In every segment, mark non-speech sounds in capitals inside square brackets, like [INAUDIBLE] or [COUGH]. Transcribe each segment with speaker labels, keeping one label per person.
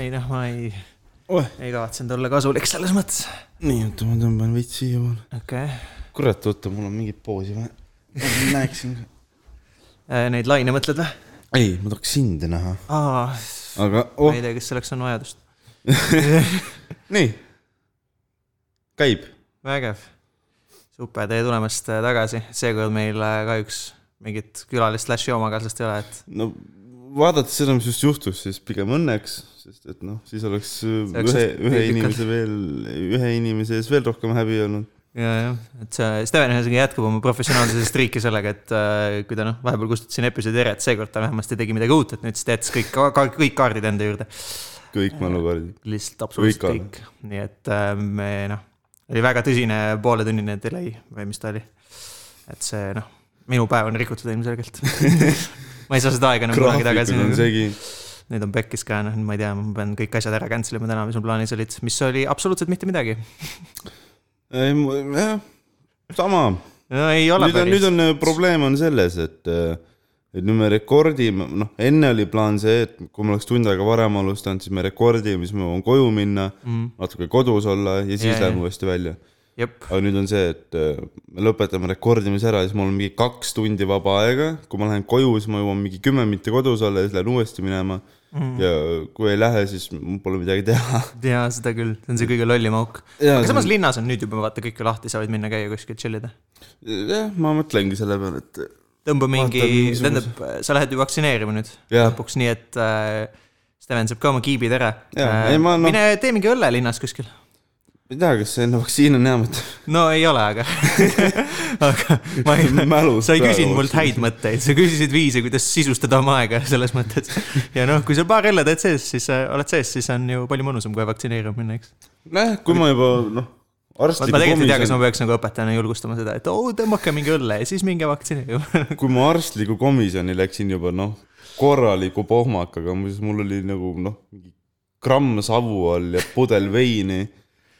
Speaker 1: ei noh , ma ei
Speaker 2: Oeh. ,
Speaker 1: ei kavatsenud olla kasulik selles mõttes .
Speaker 2: nii , oota , ma tõmban veits siia poole .
Speaker 1: okei
Speaker 2: kurat , oota , mul on mingit poosi vaja . ma [LAUGHS] näeksin ka .
Speaker 1: okay. , Äh, neid laine mõtled või ?
Speaker 2: ei , ma tahaks sind näha ,
Speaker 1: aa ,
Speaker 2: aga
Speaker 1: ma
Speaker 2: oh
Speaker 1: ei , tea , kas selleks on vajadust .
Speaker 2: nii . käib .
Speaker 1: vägev . super , teie tulemast äh, tagasi , seekord meil äh, kahjuks mingit külalist slaši omakaaslast ei ole , et
Speaker 2: no vaadates seda , mis just juhtus , siis pigem õnneks , sest et noh , siis oleks
Speaker 1: oleks
Speaker 2: ühe , ühe
Speaker 1: piinlikult.
Speaker 2: inimese veel , ühe inimese ees veel rohkem häbi olnud .
Speaker 1: ja , jah , et see Steven ühesõnaga jätkab oma professionaalsuse striiki sellega , et äh, kui ta noh , vahepeal kustutasin episoodi ära , et seekord ta vähemasti tegi midagi uut , et nüüd siis ta jättis kõik ka, , ka, kõik kaardid enda juurde .
Speaker 2: kõik mälukaardid .
Speaker 1: lihtsalt absoluutselt
Speaker 2: Kõik
Speaker 1: kõik . nii et äh, me noh , oli väga tõsine pooletunnine delay või mis ta oli . et see noh , minu päev on rikutud
Speaker 2: [LAUGHS]
Speaker 1: ilmselgelt . ma ei saa seda aega enam kunagi tagasi
Speaker 2: graafikud on . segi .
Speaker 1: nüüd on pekkis ka , noh , ma ei tea , ma pean kõik asjad ära cancel ima täna , mis mul plaanis olid , mis oli absoluutselt mitte midagi .
Speaker 2: ei , jah , sama .
Speaker 1: no ei ole
Speaker 2: nüüd on , nüüd
Speaker 1: päris .
Speaker 2: on äh, probleem on selles , et , et nüüd me rekordime , noh , enne oli plaan see , et kui me oleks tund aega varem alustanud , siis me rekordime , siis ma jõuan koju minna mm. , natuke kodus olla ja siis
Speaker 1: Jajah.
Speaker 2: yeah. lähme uuesti välja
Speaker 1: jep ,
Speaker 2: aga nüüd on see , et äh, me lõpetame rekordimise ära , siis mul on mingi kaks tundi vaba aega , kui ma lähen koju , siis ma jõuan mingi kümme minutit kodus olla ja siis lähen uuesti minema mm. . ja kui ei lähe , siis mul pole midagi teha .
Speaker 1: jaa , seda küll , see on see kõige lollim auk .
Speaker 2: Jaa,
Speaker 1: aga
Speaker 2: see
Speaker 1: samas
Speaker 2: on-
Speaker 1: linnas on nüüd juba vaata kõik ju lahti , sa võid minna käia kuskil chill ida .
Speaker 2: jah , ma mõtlengi selle peale , et
Speaker 1: tõmba mingi ,
Speaker 2: mingisuguse-
Speaker 1: tähendab , sa lähed ju vaktsineerima nüüd
Speaker 2: Jah.
Speaker 1: lõpuks , nii et äh, Steven saab ka oma kiibid ära .
Speaker 2: Jaa, ei, ma, noh-
Speaker 1: mine tee mingi õlle linnas kuskil .
Speaker 2: ma ei tea , kas see enne vaktsiin on hea mõte .
Speaker 1: [LAUGHS] no ei ole ,
Speaker 2: [LAUGHS]
Speaker 1: aga , aga ma ei ,
Speaker 2: Mälus
Speaker 1: sa ei
Speaker 2: praegu
Speaker 1: küsinud mult
Speaker 2: vaktsiin.
Speaker 1: häid mõtteid , sa küsisid viise , kuidas sisustada oma aega selles mõttes . ja noh , kui sa paar õlle teed sees , siis äh, oled sees , siis on ju palju mõnusam kui vaktsineerima minna , eks .
Speaker 2: nojah , kui ma juba noh ,
Speaker 1: ma ma
Speaker 2: arstliku
Speaker 1: tegelikult ei tea , kas
Speaker 2: komisjoni ,
Speaker 1: ma peaks nagu õpetajana julgustama seda , et oo , tõmmake mingi õlle ja siis minge vaktsineerima . [LAUGHS]
Speaker 2: kui ma arstliku komisjoni läksin juba noh , korraliku pohmakaga , siis mul oli nagu noh , mingi gramm savu all ja pudel veini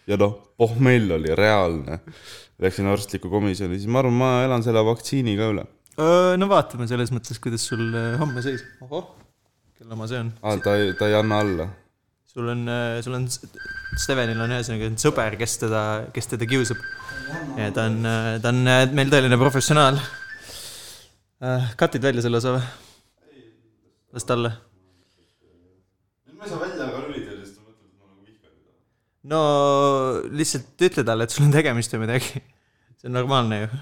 Speaker 2: ja noh , pohmell oli reaalne . Läksin arstliku komisjoni , siis ma arvan , ma elan selle vaktsiini ka üle .
Speaker 1: Äh, no vaatame selles mõttes , kuidas sul äh, homme seis . ohoh , kelle oma see on ?
Speaker 2: aa , Ah, ta ei , ta ei anna alla .
Speaker 1: sul on , sul on , Stevenil on ühesõnaga nüüd sõber , kes teda , kes teda kiusab . ja ta on , ta on äh, meil tõeline professionaal . Cut'id välja selle osa või ? las ta olla .
Speaker 2: nüüd ma ei saa välja ka lülitada , sest ta mõtleb , et ma nagu vihkan teda .
Speaker 1: no lihtsalt ütle talle , et sul on tegemist või midagi . see on normaalne ju .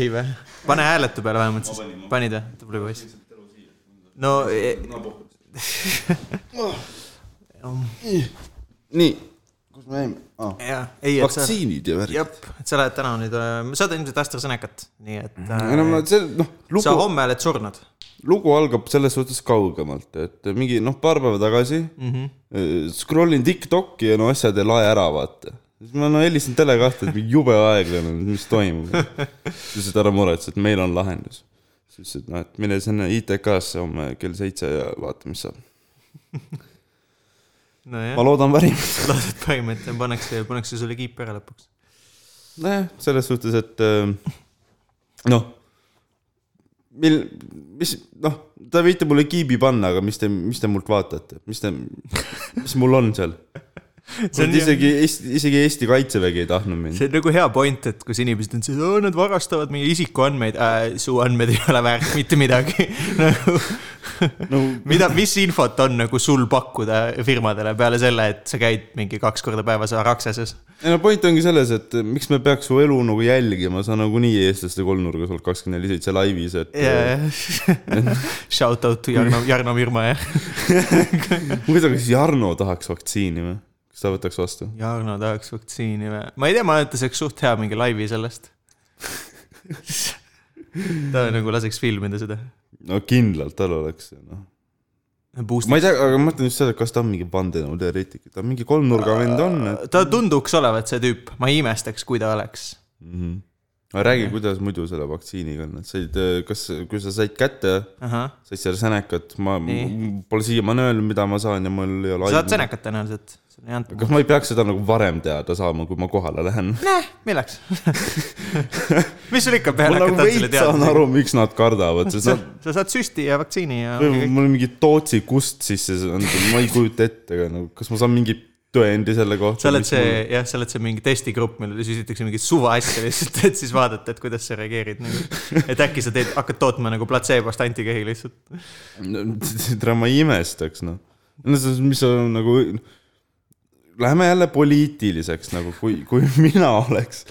Speaker 1: ei või ? pane hääletu peale vähemalt siis . panid või ? tubli poiss . no e-
Speaker 2: nii , kus me jäime ah, ?
Speaker 1: jah , ei , et sa ,
Speaker 2: vaktsiinid ja värk .
Speaker 1: jep , et sa lähed täna nüüd , saad ilmselt AstraZenecat , nii et äh,
Speaker 2: ei no ma , see noh ,
Speaker 1: sa
Speaker 2: lugu ,
Speaker 1: homme oled surnud
Speaker 2: lugu algab selles suhtes kaugemalt , et mingi noh , paar päeva tagasi mm
Speaker 1: Mhm.
Speaker 2: -hmm. scroll in Tiktoki ja no asjad ei lae ära , vaata . siis ma no helistasin tele kahte , et mingi jube aeglane , mis toimub . siis ütles , et ära muretse , et meil on lahendus . siis ütles , et noh , et mine sinna ITK-sse homme kell seitse ja vaata , mis saab .
Speaker 1: nojah ,
Speaker 2: ma
Speaker 1: [LAUGHS]
Speaker 2: loodan parimat .
Speaker 1: loodad põhimõtteliselt ja pannakse , pannakse sulle kiip ära lõpuks .
Speaker 2: nojah , selles suhtes , et ähm, noh , mil , mis , noh , te võite mulle kiibi panna , aga mis te , mis te mult vaatate , mis te , mis mul on
Speaker 1: [LAUGHS]
Speaker 2: seal ?
Speaker 1: on ju-
Speaker 2: isegi Eesti , isegi Eesti kaitsevägi ei tahtnud mind .
Speaker 1: see on nagu hea point , et kus inimesed on see , et oo, nad varastavad meie isikuandmeid äh, , su andmed ei ole väärt mitte midagi . [LAUGHS] nagu ,
Speaker 2: no
Speaker 1: mida , mis infot on nagu sul pakkuda firmadele peale selle , et sa käid mingi kaks korda päevas Araxeses ?
Speaker 2: ei no point ongi selles , et miks me peaks su elu nagu jälgima , sa nagunii eestlaste kolmnurgas oled kakskümmend neli seitse laivis , et äh,
Speaker 1: [LAUGHS] Shout out to Jarno , Jarno Virma , jah .
Speaker 2: muidu , kas Jarno tahaks vaktsiini või ? kas ta võtaks vastu ?
Speaker 1: Jarno tahaks vaktsiini või ? ma ei tea , ma arvan , et ta saaks suht hea mingi laivi sellest . ta nagu laseks filmida seda .
Speaker 2: no kindlalt tal oleks , noh
Speaker 1: Boost
Speaker 2: ma ei tea , aga ma mõtlen just seda , kas ta on mingi vandenõuteoreetik , ta mingi kolmnurga vend on , et
Speaker 1: ta tunduks olevat see tüüp , ma ei imestaks , kui ta oleks .
Speaker 2: Mhm. no räägi , kuidas muidu selle vaktsiiniga on , et said , kas , kui sa said kätte ,
Speaker 1: ahah ,
Speaker 2: said selle sänekat , ma
Speaker 1: Nii.
Speaker 2: m- pole siiamaani öelnud , mida ma saan ja mul ei ole
Speaker 1: sa saad . senekat tõenäoliselt , sulle ei anta .
Speaker 2: kas ma ei peaks seda nagu varem teada saama , kui ma kohale lähen ?
Speaker 1: näh ,
Speaker 2: [LAUGHS]
Speaker 1: milleks ? mis sul ikka peale
Speaker 2: ma nagu
Speaker 1: hakata selle
Speaker 2: veits saan
Speaker 1: teadmisega ?
Speaker 2: aru , miks nad kardavad , sest
Speaker 1: sa
Speaker 2: nad ,
Speaker 1: sa saad süsti ja vaktsiini ja [LAUGHS] ongi kõik .
Speaker 2: mul on mingi Tootsi kust sisse saanud , ma ei kujuta ette , aga nagu kas ma saan mingi tõendi selle kohta ?
Speaker 1: sa oled see , jah , sa oled see mingi testigrupp , millele süsitakse mingit suva asja [LAUGHS] lihtsalt , et siis vaadata , et kuidas sa reageerid nagu . et äkki sa teed , hakkad tootma nagu platseebost antikehi lihtsalt .
Speaker 2: [LAUGHS] tere , ma ei imestaks , noh . no see , mis on nagu , läheme jälle poliitiliseks nagu , kui , kui [LAUGHS] mina oleks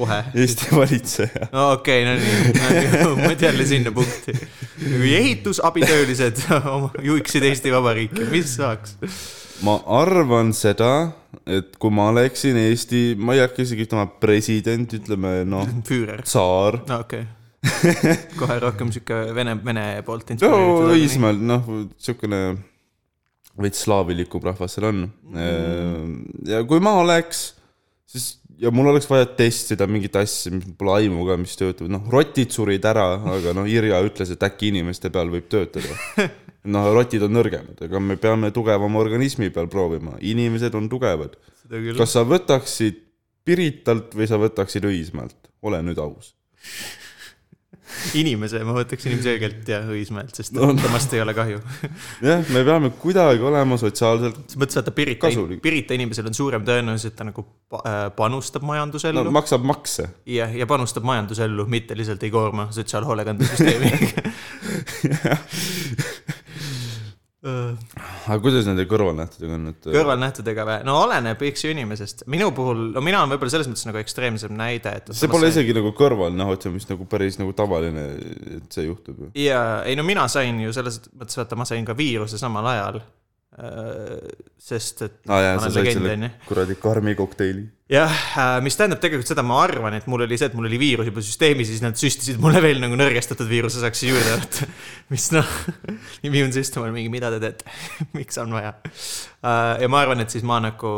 Speaker 1: kohe .
Speaker 2: Eesti valitseja .
Speaker 1: no okei okay, , no nii , ma tean jälle sinna punkti . kui ehitusabitöölised [LAUGHS] oma- juhiksid Eesti Vabariiki , mis saaks ?
Speaker 2: ma arvan seda , et kui ma oleksin Eesti , ma ei hakka isegi ütlema president , ütleme noh ,
Speaker 1: Füürer .
Speaker 2: tsaar .
Speaker 1: no
Speaker 2: [LAUGHS]
Speaker 1: okei okay. . kohe rohkem sihuke Vene , Vene poolt
Speaker 2: no
Speaker 1: inspireeritud .
Speaker 2: Õismäel , noh , niisugune veits slaavilikum rahvas seal on mm. . ja kui ma oleks , siis ja mul oleks vaja testida mingit asja , mis mul pole aimu ka , mis töötab , noh , rotid surid ära , aga noh , Irja ütles , et äkki inimeste peal võib [LAUGHS] töötada . noh , rotid on nõrgemad , aga me peame tugevama organismi peal proovima , inimesed on tugevad .
Speaker 1: seda küll .
Speaker 2: kas sa võtaksid Piritalt või sa võtaksid Õismäelt , ole nüüd aus .
Speaker 1: inimese , ma võtaks inimese õigelt ja Õismäelt , sest
Speaker 2: No, no.
Speaker 1: temast ei ole kahju .
Speaker 2: jah , me peame kuidagi olema sotsiaalselt
Speaker 1: selles mõttes , vaata Pirita ,
Speaker 2: Kasulik.
Speaker 1: Pirita inimesel on suurem tõenäosus , et ta nagu pa- äh, panustab majandusellu
Speaker 2: no, ,
Speaker 1: no,
Speaker 2: maksab makse
Speaker 1: ja , ja panustab majandusellu , mitte lihtsalt ei koorma
Speaker 2: [LAUGHS]
Speaker 1: sotsiaalhoolekandesüsteemi . [LAUGHS] Äh,
Speaker 2: aga kuidas nende kõrvalnähtudega on , et
Speaker 1: kõrvalnähtudega või ? no oleneb , eks ju , inimesest . minu puhul , no mina olen võib-olla selles mõttes nagu ekstreemsem näide , et
Speaker 2: see pole isegi nagu kõrvalnähud , see on vist nagu päris nagu tavaline , et see juhtub ju .
Speaker 1: jaa , ei no mina sain ju selles mõttes , vaata , ma sain ka viiruse samal ajal . sest et
Speaker 2: aa jaa ,
Speaker 1: ma
Speaker 2: sa
Speaker 1: olen
Speaker 2: said
Speaker 1: legend , onju
Speaker 2: selle . kuradi karmi kokteili .
Speaker 1: jah , mis tähendab tegelikult seda , ma arvan , et mul oli see , et mul oli viirus juba süsteemis ja siis nad süstisid mulle veel nagu nõrgestatud viiruse saaks juurde võtta . [LAUGHS] mis noh , immuunsüsteem on mingi , mida te teete , [LAUGHS] miks on vaja . ja ma arvan , et siis ma nagu ,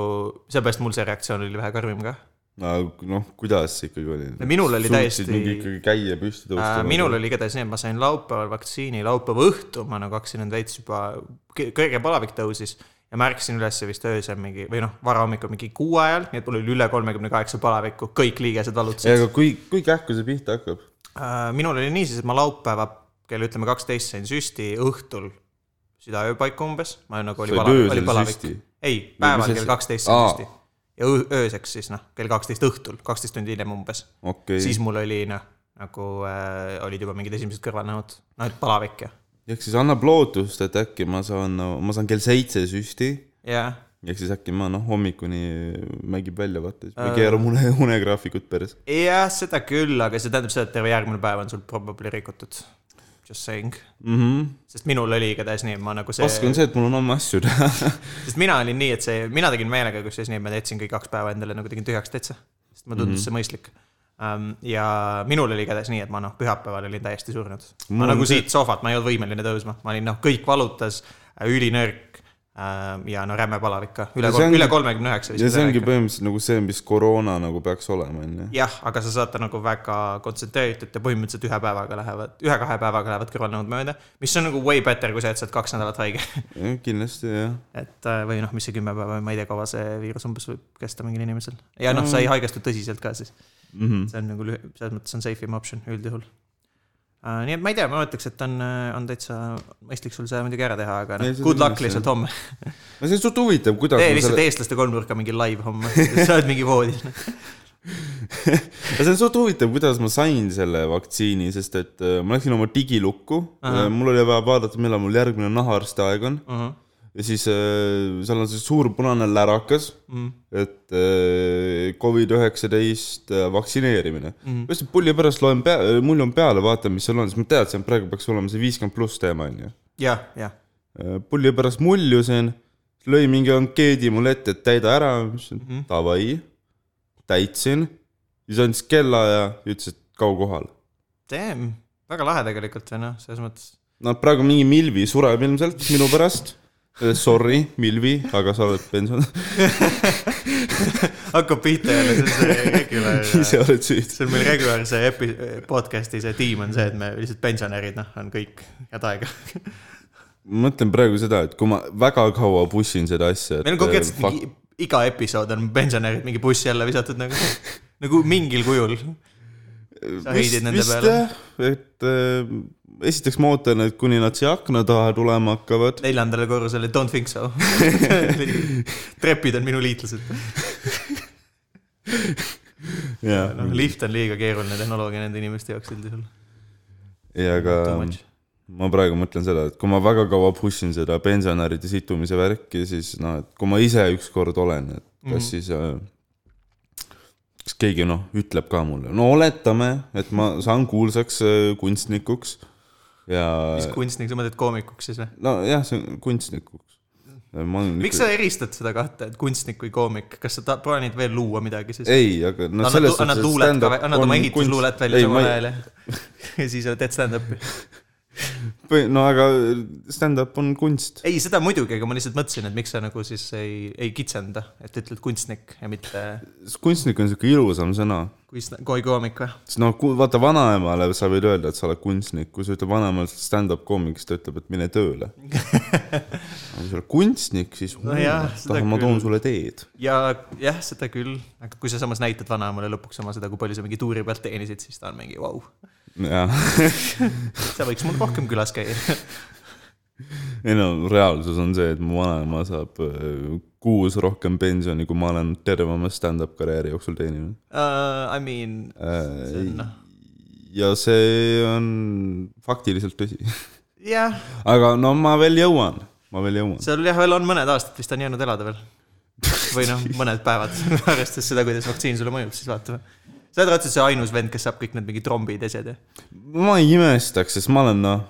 Speaker 1: seepärast mul see reaktsioon oli vähe karmim ka .
Speaker 2: aga noh , kuidas see ikkagi oli ?
Speaker 1: No minul oli täiesti-
Speaker 2: mingi ikkagi käia püsti nagu? tõusta .
Speaker 1: Äh, minul oli igatahes nii , et ma sain laupäeval vaktsiini , laupäeva õhtul ma nagu hakkasin end veits juba , kõrge palavik tõusis ja ma ärkasin üles vist öösel mingi või noh , varahommikul mingi kuue ajal , nii et mul oli üle kolmekümne kaheksa palavikku , kõik liigesed valutasid .
Speaker 2: ei , aga kui , kui kähku see pihta hakkab ?
Speaker 1: Äh, minul oli niisiis , et ma laupäeva kell ütleme kaksteist sain süsti , õhtul südaöö paiku umbes , ma nagu oli
Speaker 2: Said
Speaker 1: palavik ,
Speaker 2: öösel
Speaker 1: oli palavik
Speaker 2: süsti? .
Speaker 1: ei , päeval
Speaker 2: mis
Speaker 1: kell
Speaker 2: asi?
Speaker 1: kaksteist sain
Speaker 2: Aa.
Speaker 1: süsti ja öö, ööseks siis noh , kell kaksteist õhtul , kaksteist tundi hiljem umbes ,
Speaker 2: okei
Speaker 1: siis , mul oli noh , nagu äh, olid juba mingid esimesed kõrvalnähud , noh et palavik ja ,
Speaker 2: ehk siis annab lootust , et äkki ma saan , ma saan kell seitse süsti
Speaker 1: ja
Speaker 2: ehk siis äkki ma noh , hommikuni mängib välja ,
Speaker 1: Äh.
Speaker 2: vaata , siis ma ei keera une , unegraafikut päris .
Speaker 1: jah , seda küll , aga see tähendab seda , et terve järgmine päev on sul probably rikutud . Just saying , sest minul oli igatahes nii , ma nagu see .
Speaker 2: Mhm. raske on see , et mul on homme asju teha [LAUGHS]
Speaker 1: sest mina olin nii , et see , mina tegin meelega , kusjuures nii , et ma täitsin kõik kaks päeva endale nagu tegin tühjaks täitsa . sest mulle tundus mm -hmm. see
Speaker 2: Mhm.
Speaker 1: mõistlik um, . ja minul oli igatahes nii , et ma noh , pühapäeval olin täiesti surnud . ma
Speaker 2: Mul on
Speaker 1: nagu
Speaker 2: see-
Speaker 1: siit sohvat , ma ei olnud võimeline tõusma , ma olin noh , kõik valutas , ülinõrk um, ja no räme palavik ka , üle
Speaker 2: see , ongi-
Speaker 1: üle kolmekümne üheksa
Speaker 2: ja see ongi
Speaker 1: vist .
Speaker 2: põhimõtteliselt nagu see , mis koroona nagu peaks olema , onju .
Speaker 1: jah , aga sa saad ta nagu väga kontsentreeritud ja põhimõtteliselt ühe päevaga lähevad , ühe-kahe päevaga lähevad kõrvalnõud mööda , mis on nagu way better kui see , et sa oled kaks nädalat haige [LAUGHS]
Speaker 2: kindlasti jah .
Speaker 1: et äh, või noh , mis see kümme päeva , ma ei tea , kaua see viirus umbes võib kesta mingil inimesel . ja
Speaker 2: Mm.
Speaker 1: noh , sa ei haigestu tõsiselt ka siis .
Speaker 2: Mhm.
Speaker 1: see on nagu lüh- , selles mõttes on safe im option üldjuhul . nii et ma ei tea , ma ütleks , et on , on täitsa mõistlik sul see muidugi ära teha , aga
Speaker 2: Ei,
Speaker 1: noh
Speaker 2: see ,
Speaker 1: good
Speaker 2: on
Speaker 1: luck
Speaker 2: kindlasti,
Speaker 1: lihtsalt homme .
Speaker 2: no see on suht huvitav , kuidas
Speaker 1: tee
Speaker 2: ma
Speaker 1: lihtsalt
Speaker 2: selle ,
Speaker 1: eestlaste kolmnurka mingi live homme , sa oled mingi
Speaker 2: [LAUGHS]
Speaker 1: voodis .
Speaker 2: see on suht huvitav , kuidas ma sain selle vaktsiini , sest et äh, ma läksin oma digilukku , mul oli vaja vaadata , millal mul järgmine nahaarsti aeg on
Speaker 1: Mhm,
Speaker 2: ja siis äh, seal on see suur punane lärakas ,
Speaker 1: mhm.
Speaker 2: et äh, Covid üheksateist vaktsineerimine . lihtsalt pulli pärast loen pea , mulje on peale , vaatan , mis seal on , siis ma teadsin , et praegu peaks olema see viiskümmend pluss teema onju
Speaker 1: jah , jah .
Speaker 2: Äh, pulli pärast muljusin , lõi mingi ankeedi mulle ette , et täida ära , mis on
Speaker 1: Mhm.
Speaker 2: mm. davai , täitsin , siis andis kella ja ütles , et kao kohale .
Speaker 1: Damn , väga lahe tegelikult või noh , selles mõttes .
Speaker 2: no praegu mingi Milvi sureb ilmselt minu pärast , Sorry , Milvi , aga sa oled
Speaker 1: [LAUGHS]
Speaker 2: pensionär ,
Speaker 1: hakkab pihta jälle , see on see
Speaker 2: [LAUGHS]
Speaker 1: regular ,
Speaker 2: [LAUGHS] ise oled süüdi .
Speaker 1: see on meil regular see epi- , podcast'i see tiim on see , et me lihtsalt pensionärid , noh , on kõik head aega .
Speaker 2: ma mõtlen praegu seda , et kui ma väga kaua push in seda asja . äh,
Speaker 1: meil on konkreetselt mingi , iga episood on pensionärid mingi buss jälle visatud nagu , nagu mingil kujul . sa heidid nende peale. .
Speaker 2: et äh, esiteks ma ootan , et kuni nad siia akna taha tulema hakkavad .
Speaker 1: neljandale korrusele don't think so . trepid on minu liitlased .
Speaker 2: ja ,
Speaker 1: noh , lift on liiga keeruline tehnoloogia nende inimeste jaoks üldjuhul .
Speaker 2: ja aga
Speaker 1: Too much.
Speaker 2: ma praegu mõtlen seda , et kui ma väga kaua push in seda pensionäride situmise värki , siis noh , et kui ma ise ükskord olen , et
Speaker 1: Mhm.
Speaker 2: kas mm -hmm. siis äh, kas keegi noh , ütleb ka mulle , no oletame , et ma saan kuulsaks äh, kunstnikuks ja
Speaker 1: mis kunstnik , sa mõtled koomikuks siis või ?
Speaker 2: nojah , see on kunstnikuks .
Speaker 1: miks sa eristad seda kahte , et kunstnik või koomik , kas sa ta- plaanid veel luua midagi siis ?
Speaker 2: ei , aga no
Speaker 1: annad,
Speaker 2: selles
Speaker 1: lu- annad luulet ka , annad oma ehitusluulet välja samal
Speaker 2: samal
Speaker 1: ajal ja [LAUGHS] ja siis teed stand-up'i .
Speaker 2: ajal . no aga äh, stand-up on kunst .
Speaker 1: ei , seda muidugi , aga ma lihtsalt mõtlesin , et miks sa nagu siis ei , ei kitsenda , et ütled kunstnik ja mitte
Speaker 2: kunstnik on sihuke ilusam sõna .
Speaker 1: kunst- , koikoomik või ?
Speaker 2: sest noh , vaata vanaemale sa võid öelda , et sa oled kunstnik , kui sa ütled vanaemale sa oled stand-up koomik , siis ta ütleb , et mine
Speaker 1: [LAUGHS]
Speaker 2: tööle . aga kui sa oled kunstnik , siis
Speaker 1: No jah,
Speaker 2: "Mm,
Speaker 1: seda
Speaker 2: tahan- ma toon
Speaker 1: küll.
Speaker 2: sulle teed .
Speaker 1: ja jah , seda küll , aga kui sa samas näitad vanaemale lõpuks oma seda , kui palju sa mingi tuuri pealt teenisid , siis ta on mingi vau wow, ,
Speaker 2: jah ,
Speaker 1: sa võiks mul rohkem külas käia . [LAUGHS]
Speaker 2: ei no reaalsus on see , et mu vanaema saab öö, kuus rohkem pensioni , kui ma olen terve oma stand-up karjääri jooksul teeninud .
Speaker 1: Uh, I mean , see on noh ,
Speaker 2: ja see on faktiliselt tõsi . [LAUGHS]
Speaker 1: jah ,
Speaker 2: aga no ma veel jõuan , ma veel jõuan .
Speaker 1: seal jah , veel on mõned aastad vist on jäänud elada veel . või noh , mõned päevad , [LAUGHS] arvestades seda , kuidas vaktsiin sulle mõjub , siis vaatame . sa oled raudselt see ainus vend , kes saab kõik need mingid trombid ja asjad ja .
Speaker 2: ma ei imestaks , sest ma olen noh ,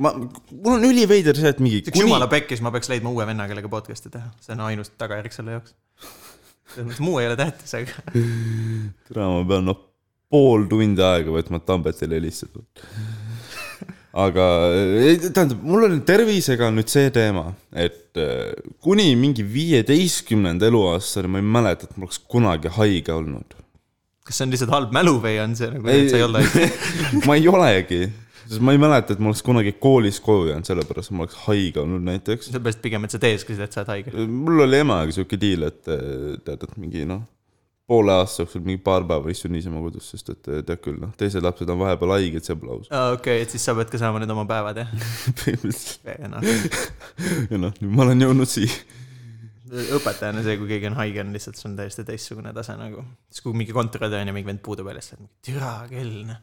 Speaker 2: ma , mul on üliveider see , et mingi
Speaker 1: üks
Speaker 2: kuni
Speaker 1: jumala pekkis , ma peaks leidma uue venna , kellega podcast'i teha , see on ainus tagajärg selle jaoks . selles mõttes muu ei ole tähtis , aga [LAUGHS]
Speaker 2: täna ma pean noh , pool tundi aega võtma et Tambetile helistada . aga ei, tähendab , mul on tervisega nüüd see teema , et eh, kuni mingi viieteistkümnenda eluaastani ma ei mäleta , et ma oleks kunagi haige olnud .
Speaker 1: kas see on lihtsalt halb mälu või on see nagu ,
Speaker 2: Ei,
Speaker 1: et sa ei olnud haige ?
Speaker 2: ma ei olegi , sest ma ei mäleta , et ma oleks kunagi koolis koju jäänud , sellepärast ma oleks haige olnud
Speaker 1: [LAUGHS]
Speaker 2: näiteks .
Speaker 1: sellepärast pigem , et sa teeskasid , et sa oled haige .
Speaker 2: mul oli emaga sihuke deal , et eh, tead , et mingi noh , poole aasta jooksul mingi paar päeva istun niisama kodus , sest et eh, tead küll , noh , teised lapsed on vahepeal haiged , see pole aus .
Speaker 1: okei , et siis sa pead ka saama nüüd oma päevad , jah ? [LAUGHS]
Speaker 2: [LAUGHS] põhimõtteliselt
Speaker 1: noh ,
Speaker 2: [LAUGHS] ja noh , nüüd ma olen jõudnud siia .
Speaker 1: õpetajana see , kui keegi on haige , on lihtsalt , see on täiesti teistsugune tase nagu . siis kui mingi kontoritöö on ja mingi vend puudub välja , siis sa oled mingi türa küll , noh .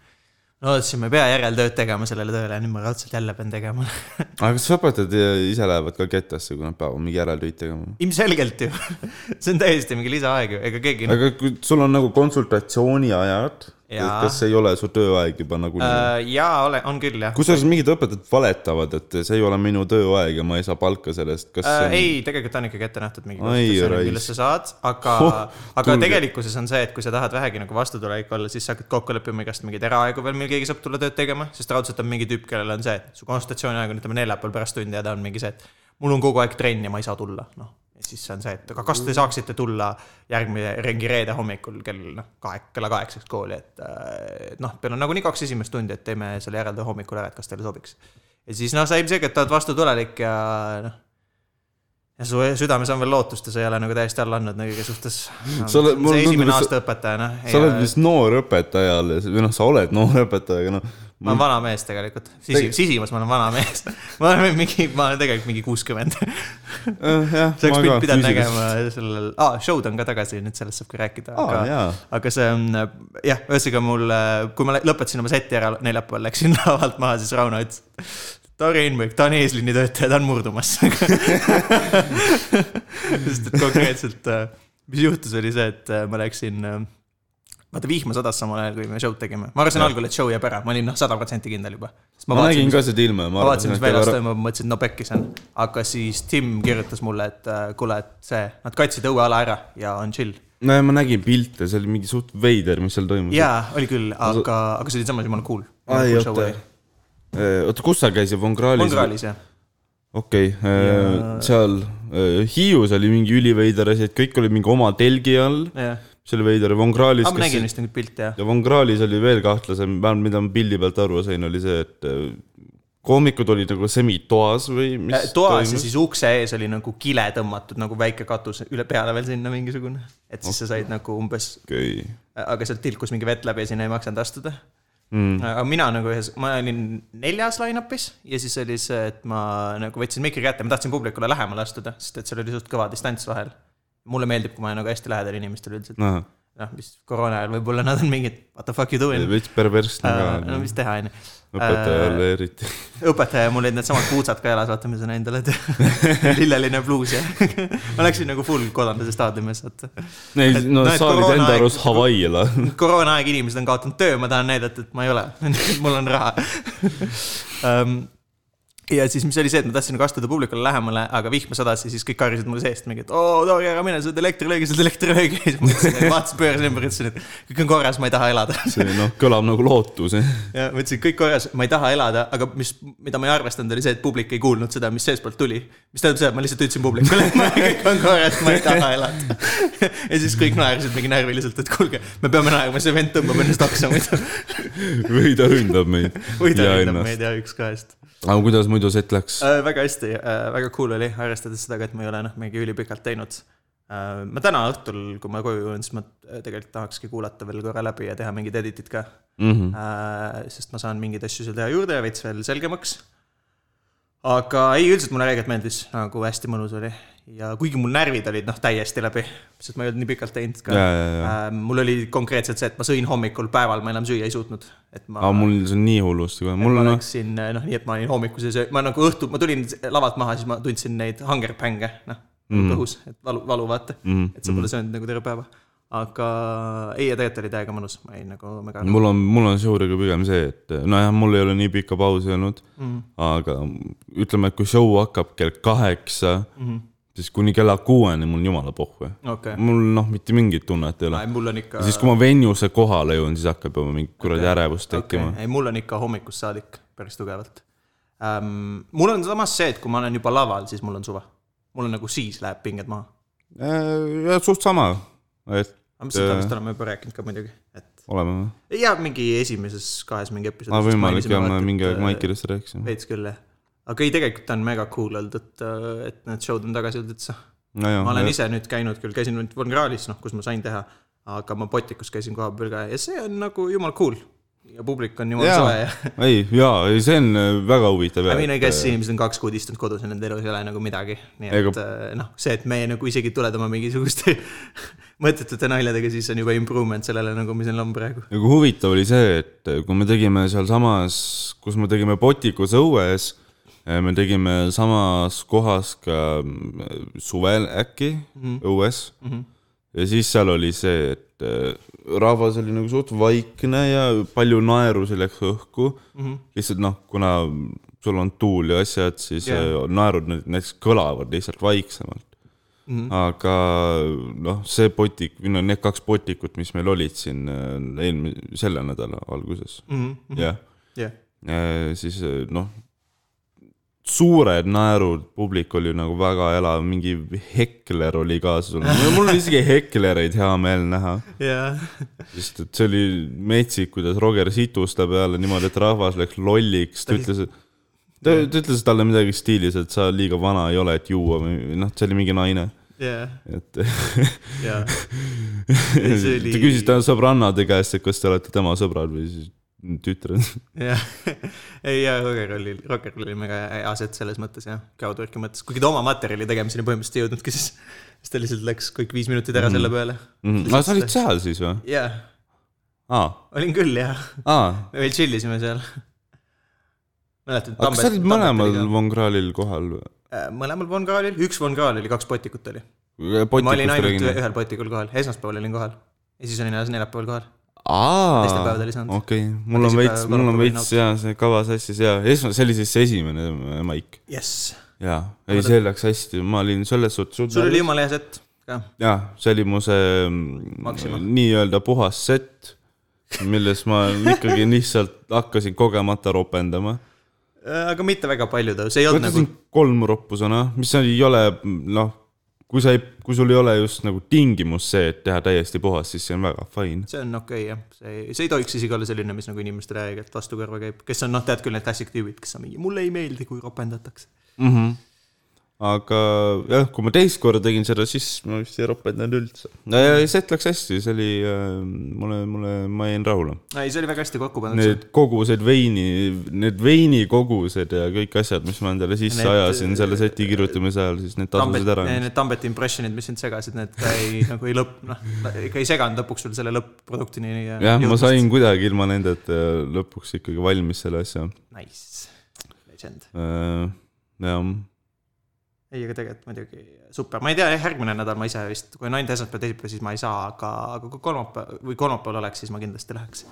Speaker 1: lootsime pea järeltööd tegema sellele tööle ja nüüd ma raudselt jälle pean tegema . [LAUGHS]
Speaker 2: aga kas õpetajad eh, ise lähevad ka ketasse , kui nad peavad mingi järeltöid tegema ?
Speaker 1: ilmselgelt ju . [LAUGHS] see on täiesti mingi lisaaeg ju , ega keegi
Speaker 2: aga kui sul on nagu konsultatsiooni ajad ,
Speaker 1: Jaa.
Speaker 2: kas ei ole su tööaeg juba nagunii äh, ?
Speaker 1: äh, . jaa , ole , on küll jah .
Speaker 2: kusjuures mingid õpetajad valetavad , et see ei ole minu tööaeg ja ma ei saa palka selle eest , kas
Speaker 1: Äh,
Speaker 2: see
Speaker 1: ei , tegelikult on ikkagi ette nähtud mingi
Speaker 2: Ai,
Speaker 1: konsultatsioon ,
Speaker 2: raisk.
Speaker 1: millest sa saad , aga
Speaker 2: Hoh,
Speaker 1: oh, , aga
Speaker 2: tulge.
Speaker 1: tegelikkuses on see , et kui sa tahad vähegi nagu vastutulelik olla , siis sa hakkad kokku leppima igast mingeid eraaegu veel , mil keegi saab tulla tööd tegema , sest raudselt on mingi tüüp , kellel on see , et su konsultatsiooni aeg on , ütleme neljapäeval pärast tundi ja ta on mingi see , et mul on kogu aeg trenn ja ma ei saa tulla , noh . ja siis on see , et aga kas te saaksite tulla järgmine , ringi reede hommikul kell noh , kahek- , kella kaheksaks kooli , et äh, et noh , meil on nagunii kaks esimest tundi , et teeme selle järeltöö hommikul ära , et kas teile sobiks . ja siis noh , sa ilmselgelt oled vastutulelik ja noh , ja su e-, südames on veel lootust ja sa ei ole nagu täiesti alla andnud nagu kõige suhtes .
Speaker 2: Mm, Sa oled- mulle
Speaker 1: see
Speaker 2: tundub,
Speaker 1: esimene
Speaker 2: et sa-
Speaker 1: aasta noh, õpetajana .
Speaker 2: sa oled vist noor õpetaja alles või noh , sa oled noor õpetaja , aga noh ,
Speaker 1: ma olen vana mees tegelikult , sisi , sisimas ma olen vana mees . [LAUGHS] ma olen mingi , ma olen tegelikult mingi kuuskümmend . [LAUGHS]
Speaker 2: Äh, jah .
Speaker 1: sa oleks pidanud nägema sellel ah, , show'd on ka tagasi , nüüd sellest saab ka rääkida ,
Speaker 2: Aa,
Speaker 1: aga
Speaker 2: jaa.
Speaker 1: aga see on jah , ühesõnaga mul , kui ma lä- lõpetasin oma seti ära neljapäeval , läksin [LAUGHS] lavalt maha , siis Rauno ütles . Tori Einberg , ta on eesliini töötaja , ta on murdumas . [LAUGHS] sest et konkreetselt , mis juhtus , oli see , et äh, ma läksin äh, vaata vihma sadas samal ajal , kui me show'd tegime , ma arvasin algul , et show jääb ära , ma olin noh , sada protsenti kindel juba .
Speaker 2: ma nägin ka seda ilma ja ma
Speaker 1: ma vaatasin ,
Speaker 2: arvasin ,
Speaker 1: mis
Speaker 2: et ei
Speaker 1: väljas
Speaker 2: ole .
Speaker 1: toimub , mõtlesin , no pekkis on . aga siis Tim kirjutas mulle , et äh, kuule , et see , nad katsid õueala ära ja on chill .
Speaker 2: no ja ma nägin pilte , see oli mingi suht veider , mis seal toimus .
Speaker 1: jaa , oli küll , aga , aga see oli samas jumala cool .
Speaker 2: Äh, ai oota . oota , kus sa käisid , Von Krahlis ?
Speaker 1: Mongraalis jah ,
Speaker 2: okei
Speaker 1: Ja-
Speaker 2: okay, , seal äh, Hiius oli mingi üliveider asi , et kõik olid mingi oma telgi all ,
Speaker 1: jah .
Speaker 2: see oli veider , Von Krahlis
Speaker 1: aa , Ah, ma nägin vist neid pilte , jah .
Speaker 2: ja Von Krahlis oli veel kahtlasem , vähemalt mida ma pildi pealt aru sain , oli see , et äh, koomikud olid nagu semitoas või mis
Speaker 1: Äh, toas ja siis ukse ees oli nagu kile tõmmatud nagu väike katus üle peale veel sinna mingisugune . et siis sa said nagu umbes ,
Speaker 2: okei okay. ,
Speaker 1: aga sealt tilkus mingi vett läbi ja sinna ei maksanud astuda mm. . aga mina nagu ühes , ma olin neljas line-up'is ja siis oli see , et ma nagu võtsin mikri kätte , ma tahtsin publikule lähemale astuda , sest et seal oli suht kõva distants vahel . mulle meeldib , kui ma olen nagu hästi lähedal inimestele üldiselt .
Speaker 2: noh ,
Speaker 1: noh , mis koroona ajal võib-olla nad on mingid what the fuck you doing .
Speaker 2: veits nagu perversne
Speaker 1: Äh, no
Speaker 2: ka ,
Speaker 1: mis Äh, teha , onju .
Speaker 2: õpetajale eriti .
Speaker 1: õpetaja , mul olid needsamad puutsad ka jalas , vaata , mis on endale teinud . [LAUGHS] lilleline pluus ja ma läksin nagu full kodanduse staadiumis , et
Speaker 2: ei ,
Speaker 1: [LAUGHS] no,
Speaker 2: no
Speaker 1: et
Speaker 2: sa olid
Speaker 1: koroonaaeg-
Speaker 2: enda arust Hawaii'l või ?
Speaker 1: koroona aeg inimesed on kaotanud töö , ma tahan näidata , et ma ei ole , [LAUGHS] mul on raha um, . ja siis , mis oli see , et ma tahtsin nagu astuda publikule lähemale , aga vihma sadas ja siis kõik karjusid mulle seest mingi , et oo , Tori , ära mine , sa oled elektrilöögi , sa oled elektrilöögi . [LAUGHS] siis ma mõtlesin , vaatasin , pöörasin ümber , ütlesin , et kõik on korras , ma ei taha elada
Speaker 2: [LAUGHS]
Speaker 1: [LAUGHS]
Speaker 2: see noh , kõlab nagu lootus .
Speaker 1: ja ma ütlesin , kõik korras , ma ei taha elada , aga mis , mida ma ei arvestanud , oli see , et publik ei kuulnud seda , mis seestpoolt tuli . mis tähendab seda , et ma lihtsalt ütlesin publikule , et ma- [LAUGHS] kõik on korras , ma ei taha elada . [LAUGHS] ja siis kõik naersid mingi närviliselt , et kuulge , me peame naerma , see vend tõmbab ennast oksa muidu .
Speaker 2: [LAUGHS] või ta ründab meid .
Speaker 1: või ta ründab meid ja üks kahest .
Speaker 2: aga kuidas muidu set läks ?
Speaker 1: Äh, väga hästi , väga cool oli , arvestades seda ka , et ma ei ole noh , mingi ülipikalt teinud . ma täna õhtul , kui ma koju jõuan , siis ma äh, tegelikult tahakski kuulata veel korra läbi ja teha mingid editid ka Äh, sest ma saan mingeid asju seal teha juurde ja veits veel selgemaks . aga ei , üldiselt mulle räigelt meeldis , nagu hästi mõnus oli ja kuigi mul närvid olid noh , täiesti läbi , sest ma ei olnud nii pikalt teinud ka Äh,
Speaker 2: Jaa, jaa, jaa. .
Speaker 1: mul oli konkreetselt see , et ma sõin hommikul , päeval ma enam süüa ei suutnud , et ma
Speaker 2: aga mul see on nii hullusti kohe , mul
Speaker 1: ma
Speaker 2: on noh ,
Speaker 1: läksin noh , nii et ma olin hommikuse söö- , ma nagu õhtul , ma tulin lavalt maha , siis ma tundsin neid hungerpänge , noh
Speaker 2: Mhm.
Speaker 1: mm. , kõhus , et valu , valu vaata mm. , et sa pole söönud nagu terve päeva . aga ei , ja tegelikult oli täiega mõnus , ma olin nagu mega
Speaker 2: mul on , mul on show'dega pigem see , et eh, nojah , mul ei ole nii pikka pausi olnud
Speaker 1: Mhm.
Speaker 2: mm. , aga ütleme , et kui show hakkab kell kaheksa
Speaker 1: Mhm.
Speaker 2: mm. , siis kuni kella kuueni mul on jumala pohhu .
Speaker 1: okei okay. ,
Speaker 2: mul noh , mitte mingit tunnet ei ole .
Speaker 1: mul on ikka .
Speaker 2: siis , kui ma venue'sse kohale jõuan , siis hakkab juba mingi kuradi ärevus tekkima okay. .
Speaker 1: ei , mul on ikka hommikust saadik päris tugevalt um, . mul on samas see , et kui ma olen juba laval , siis mul on suva . mul on nagu siis läheb pinged maha .
Speaker 2: ja Äh, suht sama , et
Speaker 1: aga me seda vist oleme juba rääkinud ka muidugi , et
Speaker 2: oleme või ?
Speaker 1: ja mingi esimeses kahes mingi episoodis
Speaker 2: aa , võimalik jah , me mingi aeg . Maikidest rääkisime .
Speaker 1: veits küll jah , aga ei , tegelikult on mega cool olnud , et , et need show'd on tagasi jõudnud üldse . ma olen
Speaker 2: nojah ,
Speaker 1: ise nüüd käinud küll , käisin nüüd Von Krahlis , noh , kus ma sain teha , aga ma Botikus käisin kohapeal ka ja see on nagu jumal cool ja publik on jumal
Speaker 2: Jaa.
Speaker 1: soe ja
Speaker 2: [LAUGHS] ei jaa , ei see on äh, väga
Speaker 1: [LAUGHS]
Speaker 2: huvitav
Speaker 1: I
Speaker 2: jah
Speaker 1: mean , I guess inimesed on kaks kuud istunud kodus ja nende elus ei ole nagu midagi , nii et
Speaker 2: äh, Ega-
Speaker 1: äh, noh , see , et meie nagu isegi tuled oma mingisuguste [LAUGHS] mõttetute naljadega , siis on juba improvement sellele nagu , mis neil on praegu .
Speaker 2: nagu huvitav oli see , et äh, kui me tegime sealsamas , kus me tegime Botikus õues , me tegime samas kohas ka mm, suvel äkki
Speaker 1: Mhm.
Speaker 2: mm. õues mm . -hmm. ja siis seal oli see , et eh, rahvas oli nagu suht vaikne ja palju naeru see läks õhku mm .
Speaker 1: Mhm.
Speaker 2: -hmm. lihtsalt noh , kuna sul on tuul ja asjad , siis yeah.
Speaker 1: Jaa.
Speaker 2: naerud nä- näiteks kõlavad lihtsalt vaiksemalt . Mm -hmm. aga noh , see botik , või no need kaks botikut , mis meil olid siin eh, eelmise , selle nädala alguses mm ,
Speaker 1: Mhm,
Speaker 2: -hmm. jah
Speaker 1: jah ,
Speaker 2: Eh, siis eh, noh , suured naerud , publik oli nagu väga elav , mingi hekler oli kaasas olnud , mul oli isegi heklereid hea meel näha ,
Speaker 1: ja ,
Speaker 2: sest et see oli metsik , kuidas Roger situs ta peale niimoodi , et rahvas läks lolliks , ta ütles , et ta, ta ütles talle midagi stiilis , et sa liiga vana ei ole , et juua või noh , see oli mingi naine ,
Speaker 1: ja ,
Speaker 2: et äh, [LAUGHS]
Speaker 1: ja , see oli-
Speaker 2: ta küsis ta sõbrannade käest , et kas te olete tema sõbrad või siis
Speaker 1: [LAUGHS]
Speaker 2: tütred .
Speaker 1: ja ei ja Roger oli , Roger oli mega hea aset selles mõttes jah , crowdwork'i mõttes , kuigi ta oma materjali tegemiseni põhimõtteliselt ei jõudnudki , siis siis ta lihtsalt läks kõik viis minutit
Speaker 2: Mhm.
Speaker 1: ära selle peale .
Speaker 2: aga Ah, sa olid seal siis või ? Ah,
Speaker 1: jaa ,
Speaker 2: aa ,
Speaker 1: olin küll jah ,
Speaker 2: aa
Speaker 1: me veel chill isime seal . mäletad ?
Speaker 2: ah. aga kas sa olid mõlemal Von Kralil kohal või ?
Speaker 1: Äh, mõlemal Von Kralil , üks Von Kral oli , kaks Botikut oli . ma olin
Speaker 2: potikust
Speaker 1: ainult äh,
Speaker 2: räägin
Speaker 1: ühe- . ühel Botikul kohal , esmaspäeval olin kohal ja siis olin alles neljapäeval kohal . teistel
Speaker 2: aa
Speaker 1: päevadel ei , saanud.
Speaker 2: okei , mul on
Speaker 1: teisipäeval
Speaker 2: veits , mul on
Speaker 1: kolmapäeval
Speaker 2: veits jaa , see kava sassis jaa , esma- , see oli siis see esimene äh, maik .
Speaker 1: jess ,
Speaker 2: jaa , ei see läks hästi , ma olin selles suhtes
Speaker 1: sul oli . jumala hea set ka .
Speaker 2: jaa , see oli mu see mm,
Speaker 1: Maxima.
Speaker 2: nii-öelda puhas set , milles ma ikkagi lihtsalt hakkasin kogemata ropendama .
Speaker 1: Äh, aga mitte väga palju ta , see ei
Speaker 2: ma
Speaker 1: olnud nagu
Speaker 2: ütlesin , kolm roppu sõna , mis ei ole , noh , kui sa ei , kui sul ei ole just nagu tingimus see , et teha täiesti puhas , siis see on väga fine .
Speaker 1: see on okei okay, jah , see ei , see ei tohiks isegi olla selline , mis nagu inimestele aeg-ajalt vastu kõrva käib , kes on noh , tead küll need classic tüübid , kes on mingi , mulle ei meeldi , kui ropendatakse .
Speaker 2: aga jah , kui ma teist korda tegin seda , siis ma vist ei ropendanud üldse . ja set läks hästi , see oli äh, , mulle , mulle , ma jäin rahule .
Speaker 1: ei , see oli väga hästi kokku pandud .
Speaker 2: Need kogused veini , need veinikogused ja kõik asjad , mis ma endale sisse
Speaker 1: Need- äh,
Speaker 2: need, ajasin selle seti kirjutamise ajal , siis need tasusid ära .
Speaker 1: Need Tambeti impressionid , mis sind segasid , need ka ei [LAUGHS] nagu ei lõpp , noh , ikka ei seganud lõpuks sul selle lõpp-produktini .
Speaker 2: jah , ma sain . kuidagi ilma nendeta lõpuks ikkagi valmis selle asja .
Speaker 1: Nice , legend .
Speaker 2: jah ,
Speaker 1: ei , aga tegelikult muidugi super , ma ei tea , järgmine nädal ma ise vist , kui on ainult esmaspäev , teisipäev , siis ma ei saa , aga , aga kui kolmapäev või kolmapäeval oleks , siis ma kindlasti läheks .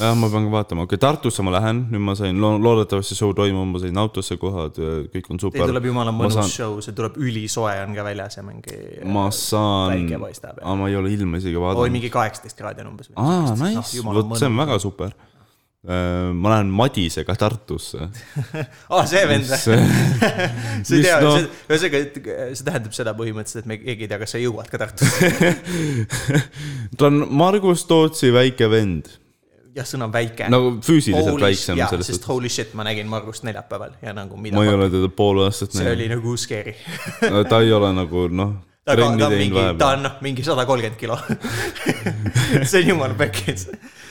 Speaker 2: jah , ma pean ka vaatama , okei okay, , Tartusse ma lähen , nüüd ma sain , loodetavasti show toimub , ma sain autosse kohad , kõik on
Speaker 1: Teil
Speaker 2: super .
Speaker 1: tuleb jumala
Speaker 2: ma
Speaker 1: mõnus
Speaker 2: saan-
Speaker 1: saan... show , see tuleb ülisoe , on ka väljas ja mingi .
Speaker 2: ma saan ,
Speaker 1: päike paistab ja
Speaker 2: aga ma ei ole ilma isegi
Speaker 1: oi ,
Speaker 2: vaadanud .
Speaker 1: mingi Ah, kaheksateist kraadi on umbes .
Speaker 2: aa ,
Speaker 1: noh,
Speaker 2: nice , vot see on . väga super . ma lähen Madisega Tartusse .
Speaker 1: [LAUGHS] aa , see vend või ? [LAUGHS] sa ei
Speaker 2: mis
Speaker 1: tea
Speaker 2: no-
Speaker 1: no... , ühesõnaga , et see tähendab seda põhimõtteliselt , et me keegi ei tea , kas sa jõuad ka
Speaker 2: [LAUGHS]
Speaker 1: Tartusse .
Speaker 2: ta on Margus Tootsi väike vend ,
Speaker 1: jah , sõna on väike .
Speaker 2: nagu füüsiliselt väiksem
Speaker 1: jaa ,
Speaker 2: selles
Speaker 1: sest
Speaker 2: suhtes .
Speaker 1: holy shit , ma nägin Margust neljapäeval ja nagu mida
Speaker 2: ma ei . ole teda pool aastat
Speaker 1: see
Speaker 2: näinud ,
Speaker 1: oli nagu
Speaker 2: [LAUGHS]
Speaker 1: scary .
Speaker 2: ta ei ole nagu noh ,
Speaker 1: ta ka-
Speaker 2: trenni
Speaker 1: ta on
Speaker 2: teinud
Speaker 1: mingi , ta
Speaker 2: vahepeal .
Speaker 1: on noh , mingi sada kolmkümmend
Speaker 2: [LAUGHS]
Speaker 1: kilo . [LAUGHS] see on jumala päkis .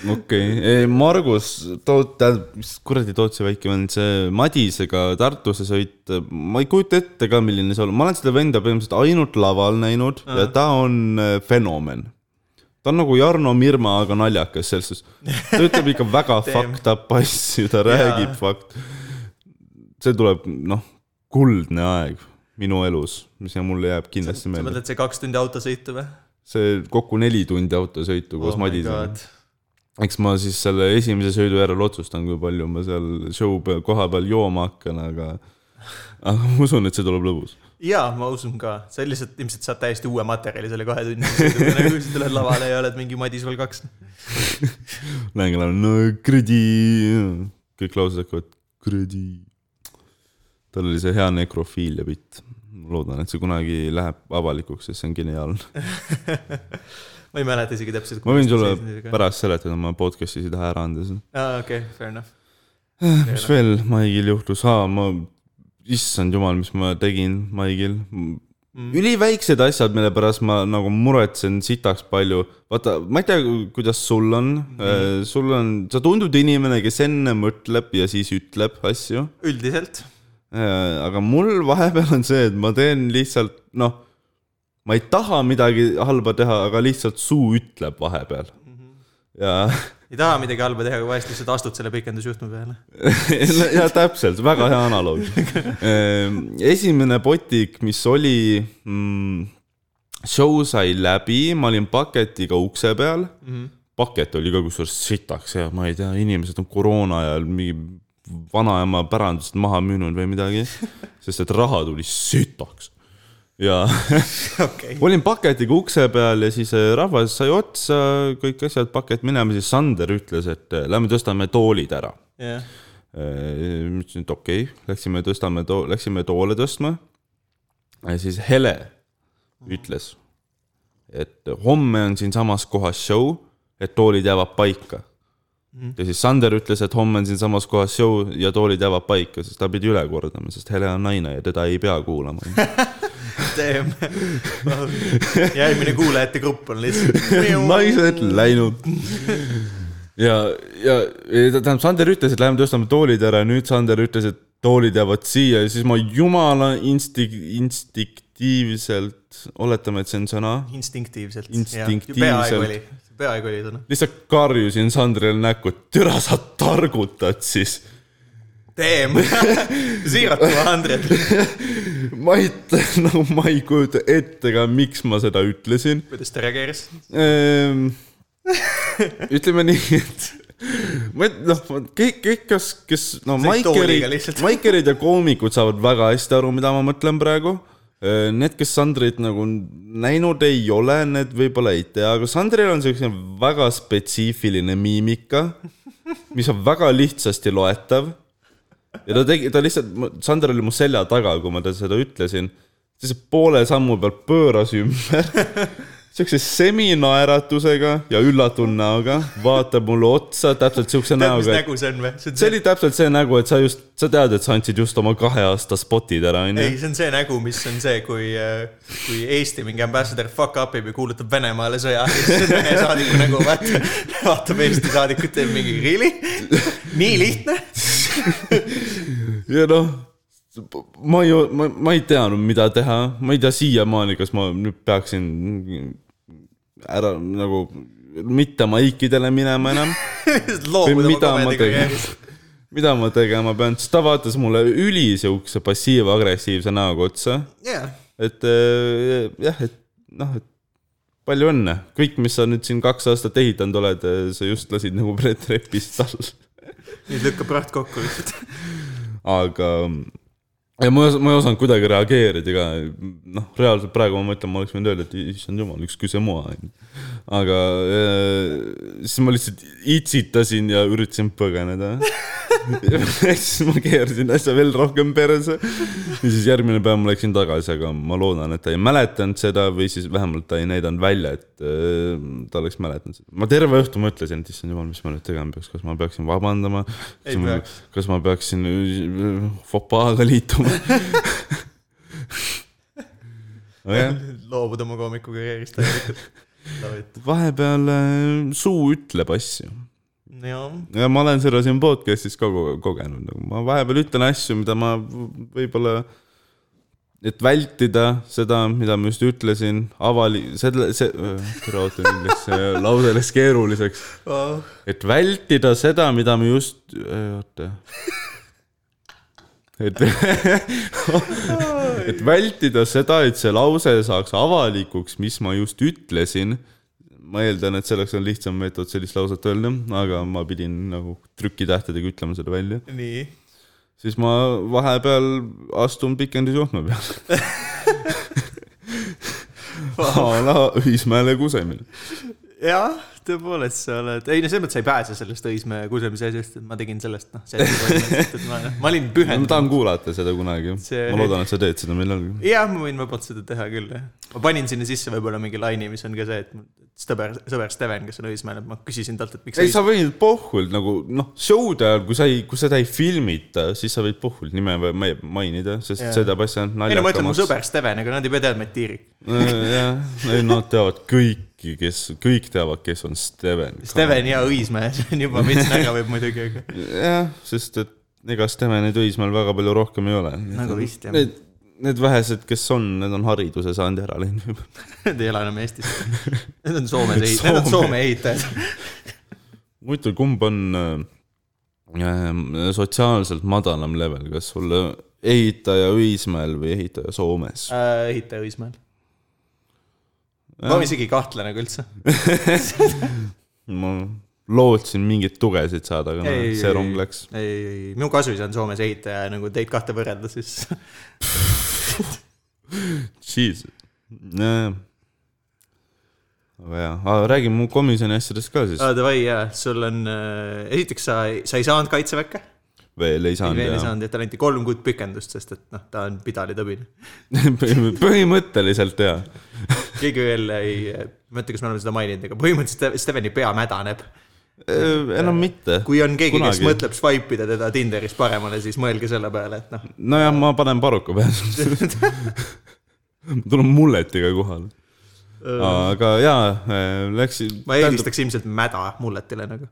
Speaker 2: okei okay. , Margus , toot- , tähendab , mis kuradi Tootsi väike vend , see Madisega Tartusse sõit , ma ei kujuta ette ka , milline see on , ma olen seda venda põhimõtteliselt ainult laval näinud ja ta on äh, fenomen . ta on nagu Jarno Mirma , aga naljakas selles suhtes . ta ütleb ikka
Speaker 1: [LAUGHS]
Speaker 2: väga fucked up asju , ta räägib fucked . see tuleb , noh , kuldne aeg minu elus , mis ja mulle jääb kindlasti
Speaker 1: sa
Speaker 2: meelde .
Speaker 1: mõtled see kaks tundi autosõitu või ?
Speaker 2: see kokku neli tundi autosõitu koos oh Madisega eks ma siis selle esimese sõidu järel otsustan , kui palju ma seal show peal , koha peal jooma hakkan , aga , aga ma usun , et see tuleb lõbus .
Speaker 1: jaa , ma usun ka , sa lihtsalt ilmselt saad täiesti uue materjali selle kahe tunni sees , kui [LAUGHS] sa tuled lavale ja oled mingi Madis veel kaks .
Speaker 2: Lähen ka lähen , no kuradi , kõik laused hakkavad kuradi . tal oli see hea nekrofiilia bitt . ma loodan , et see kunagi läheb avalikuks , sest see on geniaalne .
Speaker 1: ma ei mäleta isegi täpselt .
Speaker 2: ma võin sulle . pärast seletada , ma podcast'is ei taha ära anda seda .
Speaker 1: aa , okei , fair enough .
Speaker 2: mis veel Maigil juhtus , aa , ma , issand jumal , mis ma tegin Maigil . üliväiksed asjad , mille pärast ma nagu muretsen sitaks palju . vaata , ma ei tea , kuidas sul on , sul on , sa tundud inimene , kes enne mõtleb ja siis ütleb asju .
Speaker 1: üldiselt
Speaker 2: aga mul vahepeal on see , et ma teen lihtsalt , noh , ma ei taha midagi halba teha , aga lihtsalt suu ütleb vahepeal . ja
Speaker 1: ei taha midagi halba teha , aga vahest lihtsalt astud selle pikendusjuhtme
Speaker 2: [LAUGHS]
Speaker 1: peale .
Speaker 2: ja täpselt , väga hea analoog . esimene botik , mis oli mm, , show sai läbi , ma olin paketiga ukse peal mm . -hmm. pakett oli ka kusjuures sitaks ja ma ei tea , inimesed on koroona ajal mingi vanaema pärandust maha müünud või midagi , sest et raha tuli sitaks ja [LAUGHS]
Speaker 1: okei okay. ,
Speaker 2: olin paketiga ukse peal ja siis äh, rahvas sai otsa , kõik asjad , pakett minema , siis Sander ütles , et äh, lähme tõstame toolid ära
Speaker 1: jah .
Speaker 2: Äh, ma ütlesin , et okei okay. , läksime tõstame , läksime toole tõstma . ja siis Hele ütles , et homme on siinsamas kohas show , et toolid jäävad paika . ja siis Sander ütles , et homme on siinsamas kohas show ja toolid jäävad paika , sest ta pidi üle kordama , sest Hele on naine ja teda ei pea kuulama .
Speaker 1: teeme . [LAUGHS] järgmine kuulajate grupp on
Speaker 2: [LAUGHS]
Speaker 1: lihtsalt .
Speaker 2: naised läinud . ja , ja ja ta- tähendab , Sander ütles , et lähme tõstame toolid ära ja nüüd Sander ütles , et toolid jäävad siia ja siis ma jumala instik- , instinktiivselt , oletame , et see on sõna ,
Speaker 1: instinktiivselt .
Speaker 2: Instinktiivselt.
Speaker 1: peaaegu oli , peaaegu oli sõna .
Speaker 2: lihtsalt karjusin Sandrile näkku , et türa sa targutad siis .
Speaker 1: teeme , [LAUGHS] siiralt tuua Andret .
Speaker 2: ma ei , nagu ma ei kujuta ette ka , miks ma seda ütlesin .
Speaker 1: kuidas ta reageeris ?
Speaker 2: Ehm, ütleme nii , et ma ei , noh , kõik , kõik , kes , kes , no
Speaker 1: Said tooliga
Speaker 2: maikerid
Speaker 1: lihtsalt. ,
Speaker 2: maikerid ja koomikud saavad väga hästi aru , mida ma mõtlen praegu . Need , kes Sandrit nagu näinud ei ole , need võib-olla ei tea , aga Sandril on selline väga spetsiifiline miimika , mis on väga lihtsasti loetav ja ta tegi , ta lihtsalt , Sander oli mu selja taga , kui ma ta seda ütlesin , siis poole sammu pealt pööras ümber , [LAUGHS] siukse seminaeratusega ja üllatunud näoga , vaatab mulle otsa täpselt siukse
Speaker 1: tead , mis
Speaker 2: näoga , et
Speaker 1: nägu see on või ?
Speaker 2: see oli täpselt see nägu , et sa just , sa tead , et sa andsid just oma kahe aasta spotid ära ,
Speaker 1: ei ,
Speaker 2: onju .
Speaker 1: see on see nägu , mis on see , kui , kui Eesti mingi ambassador fuck up ib ja kuulutab Venemaale sõja . [LAUGHS] see on Vene saadiku nägu , vaata , [LAUGHS] vaatab Eesti saadikut , teeb mingi really , nii lihtne . [LAUGHS]
Speaker 2: ja noh , ma ei , ma , ma ei teadnud , mida teha , ma ei tea siiamaani , kas ma nüüd peaksin ära nagu mitte maikidele minema enam
Speaker 1: loobuda
Speaker 2: Või
Speaker 1: oma
Speaker 2: mida ma
Speaker 1: komediga
Speaker 2: tegin?
Speaker 1: käimisest .
Speaker 2: [LAUGHS] mida ma tegema pean , siis ta vaatas mulle üli siukse passiivagressiivse näoga otsa ,
Speaker 1: jaa ,
Speaker 2: et äh, jah , et noh , et palju õnne , kõik , mis sa nüüd siin kaks aastat ehitanud oled , sa just lasid nagu pre- trepist all . [LAUGHS]
Speaker 1: nüüd lükkab raht kokku lihtsalt . [LAUGHS]
Speaker 2: aga ja ma ei os- , ma ei osanud kuidagi reageerida ka , noh , reaalselt praegu ma mõtlen , ma oleks võinud öelda , et issand jumal , üks küsemoa on ju . aga äh, siis ma lihtsalt itsitasin ja üritasin
Speaker 1: [LAUGHS]
Speaker 2: põgeneda . siis ma keerasin asja veel rohkem perse . ja siis järgmine päev ma läksin tagasi , aga ma loodan , et ta ei mäletanud seda või siis vähemalt ta ei näidanud välja , et äh, ta oleks mäletanud seda . ma terve õhtu mõtlesin , et issand jumal , mis ma nüüd tegema peaks , kas ma peaksin vabandama ,
Speaker 1: Ei
Speaker 2: kas ma,
Speaker 1: peaks.
Speaker 2: kas ma peaksin äh, fopaaga
Speaker 1: [LAUGHS]
Speaker 2: liituma . aga jah
Speaker 1: loobuda oma koomikukarjäärist täielikult .
Speaker 2: vahepeal äh, suu ütleb asju .
Speaker 1: jaa ,
Speaker 2: ja ma olen seda siin podcast'is ka ko- kogenud , nagu ma vahepeal ütlen asju , mida ma v- võib-olla , et vältida seda , mida ma just ütlesin , avali- , selle , see , [LAUGHS] tere , oota , nüüd läks see lause läks keeruliseks . et vältida seda , mida me just , oota . et , [LAUGHS] et vältida seda , et see lause saaks avalikuks , mis ma just ütlesin . ma eeldan , et selleks on lihtsam meetod sellist lauset öelda , aga ma pidin nagu trükitähtedega ütlema selle välja .
Speaker 1: nii .
Speaker 2: siis ma vahepeal astun pikendusjuhtme [LAUGHS] peale a la Õismäele kusemil .
Speaker 1: jah , tõepoolest sa oled , ei no selles mõttes sa ei pääse sellest Õismäe kusemise asjast , et ma tegin sellest , noh , [LAUGHS] see , et ma, ma olin
Speaker 2: ma
Speaker 1: pühendunud .
Speaker 2: tahan kuulata seda kunagi .
Speaker 1: See-
Speaker 2: ma loodan , et sa teed seda millalgi .
Speaker 1: jah , ma võin vabalt seda teha küll , jah . ma panin sinna sisse võib-olla mingi laine , mis on ka see , et mul- sõber , sõber Steven , kes on Õismäel , ma küsisin talt , et miks
Speaker 2: ei , sa võid pohhult nagu noh , show'de ajal , kui sa ei , kui seda ei filmita , siis sa võid pohhult nime või- ma- mainida , sest
Speaker 1: Jaa.
Speaker 2: see teeb asja ainult
Speaker 1: ei no ma ütlen mu
Speaker 2: naljakamaks .
Speaker 1: sõber Steven , aga nad ei pea teadma , et Tiirik .
Speaker 2: jah , ei nad teavad kõiki , kes , kõik teavad , kes on Steven .
Speaker 1: Steven ja Õismäe , see on juba veits nägev muidugi , aga .
Speaker 2: jah , sest et ega Stevenit Õismäel väga palju rohkem ei ole .
Speaker 1: [LAUGHS] Nagu vist, jah.
Speaker 2: Need , need vähesed , kes on , need on hariduse saanud ära läinud juba .
Speaker 1: Nad ei ela enam Eestis . Need on Soome , need on
Speaker 2: Soome.
Speaker 1: Soome ehitajad .
Speaker 2: huvitav , kumb on äh, sotsiaalselt madalam level , kas sul ehitaja Õismäel või ehitaja Soomes ?
Speaker 1: Äh, ehitaja Õismäel . ma isegi ei kahtle nagu üldse .
Speaker 2: ma lootsin mingeid tugesid saada ,
Speaker 1: Ei,
Speaker 2: aga noh,
Speaker 1: ei,
Speaker 2: see rong läks .
Speaker 1: ei , ei , ei , minu kasuisa on Soomes ehitaja ja nagu teid kahte võrrelda , siis
Speaker 2: Jeez . aga jaa , räägi mu komisjoni asjadest ka siis .
Speaker 1: ah, . Davai , jaa , sul on , esiteks sa , sa ei saanud kaitseväkke .
Speaker 2: veel ei saanud
Speaker 1: veel ei
Speaker 2: jah .
Speaker 1: saanud , et talle anti kolm kuud pikendust , sest et noh , ta on pidalitõbine .
Speaker 2: [LAUGHS] põhimõtteliselt jaa .
Speaker 1: keegi veel ei , ma ei mäleta , kas me oleme seda maininud , aga põhimõtteliselt Ste- Steveni pea mädaneb .
Speaker 2: Äh, enam mitte .
Speaker 1: kui on keegi , kes
Speaker 2: Kunagi.
Speaker 1: mõtleb swipe ida teda Tinderis paremale , siis mõelge selle peale , et noh ,
Speaker 2: nojah , ma panen paruka peale . [LAUGHS] tulen mulletiga kohale . aga jaa , läksin .
Speaker 1: ma eelistaks ilmselt mäda mulletile nagu .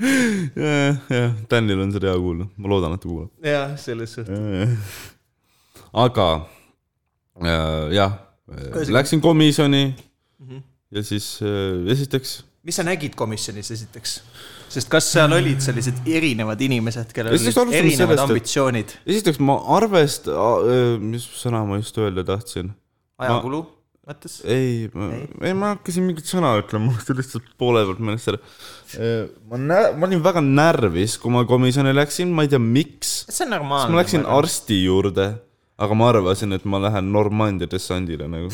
Speaker 2: jah , Danil on seda hea kuulda , ma loodan , et ta kuulab .
Speaker 1: jah , selles suhtes .
Speaker 2: Äh. aga äh, jah , läksin komisjoni mm -hmm. ja siis äh, esiteks ,
Speaker 1: mis sa nägid komisjonis esiteks ? sest kas seal olid sellised erinevad inimesed , kellel
Speaker 2: Esiteks
Speaker 1: olid
Speaker 2: alustame
Speaker 1: erinevad
Speaker 2: sellest, et-
Speaker 1: ambitsioonid ,
Speaker 2: esiteks ma arvest- , mis sõna ma just öelda tahtsin ,
Speaker 1: ajakulu mõttes ?
Speaker 2: ei ,
Speaker 1: Ei?
Speaker 2: ei ma hakkasin mingit sõna ütlema , mul see lihtsalt poole pealt meelest ära . ma nä- , ma olin väga närvis , kui ma komisjoni läksin , ma ei tea , miks .
Speaker 1: see on
Speaker 2: siis
Speaker 1: normaalne .
Speaker 2: ma läksin arsti juurde , aga ma arvasin , et ma lähen Normandi dessandile nagu .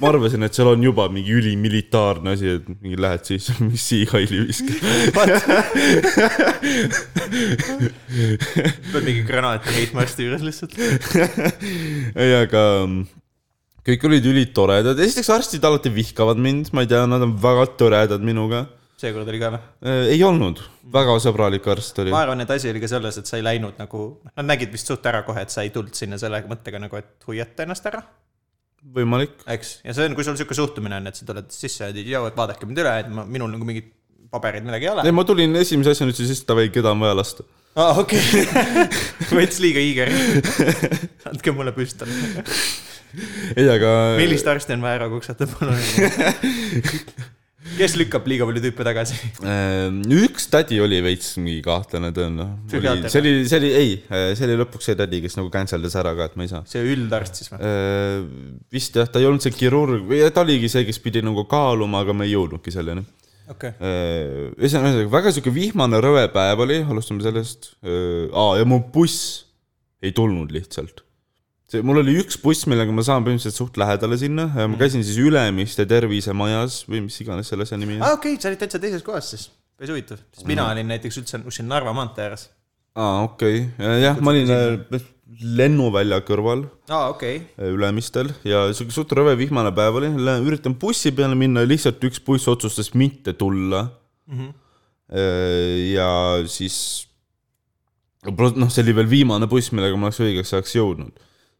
Speaker 2: ma arvasin , et seal on juba mingi ülimilitaarne asi , et mingi lähed sisse , [LAUGHS] mingi siikaili viskad .
Speaker 1: pead mingi granaati heitma arsti juures lihtsalt .
Speaker 2: ei , aga mm, kõik olid ülitoredad , esiteks arstid alati vihkavad mind , ma ei tea , nad on väga toredad minuga .
Speaker 1: seekord oli ka või ?
Speaker 2: ei olnud , väga sõbralik arst oli
Speaker 1: ma . arvan , et asi oli ka selles , et sa ei läinud nagu , nad nägid vist suht ära kohe , et sa ei tulnud sinna selle mõttega nagu , et hoiata ennast ära ,
Speaker 2: võimalik .
Speaker 1: eks . ja see on , kui sul niisugune suhtumine on , et sa tuled sisse ja ütled , joo , et vaadake mind üle , et ma , minul nagu mingit pabereid , midagi ei ole .
Speaker 2: ei , ma tulin esimese asjana , ütlesin siis davai , keda on vaja lasta .
Speaker 1: aa , okei [LAUGHS] okay. . võts liiga hiiger . andke mulle püstol .
Speaker 2: ei , aga .
Speaker 1: millist arsti on vaja ära kuksata , palun ? kes lükkab liiga palju tüüpe tagasi ?
Speaker 2: Ähm, üks tädi oli veits mingi kahtlane
Speaker 1: Psühhiaater
Speaker 2: tõenäoliselt . see oli , see oli , ei , see oli lõpuks see tädi , kes nagu cancel das ära ka , et ma ei saa .
Speaker 1: see üldarst siis või ?
Speaker 2: vist jah , ta ei olnud see kirurg või ta oligi see , kes pidi nagu kaaluma , aga me ei jõudnudki selleni .
Speaker 1: okei okay. .
Speaker 2: ühesõnaga , väga sihuke vihmane rõve päev oli , alustame sellest . aa , ja mu buss ei tulnud lihtsalt . see , mul oli üks buss , millega ma saan põhimõtteliselt suht lähedale sinna , ma käisin siis Ülemiste tervisemajas või mis iganes selle asja nimi on .
Speaker 1: aa , Ah, okei okay, , sa olid täitsa teises kohas siis . päris huvitav . sest mina
Speaker 2: Mhm.
Speaker 1: olin näiteks üldse nagu siin Narva maantee ääres .
Speaker 2: aa , okei okay. , jah , ma olin äh, lennuvälja kõrval
Speaker 1: aa , okei okay. .
Speaker 2: äh, Ülemistel ja sihuke suht rõve vihmane päev oli , üritan bussi peale minna , lihtsalt üks buss otsustas mitte tulla mm . -hmm. ja siis , noh , see oli veel viimane buss , millega ma oleks õigeks ajaks jõudnud .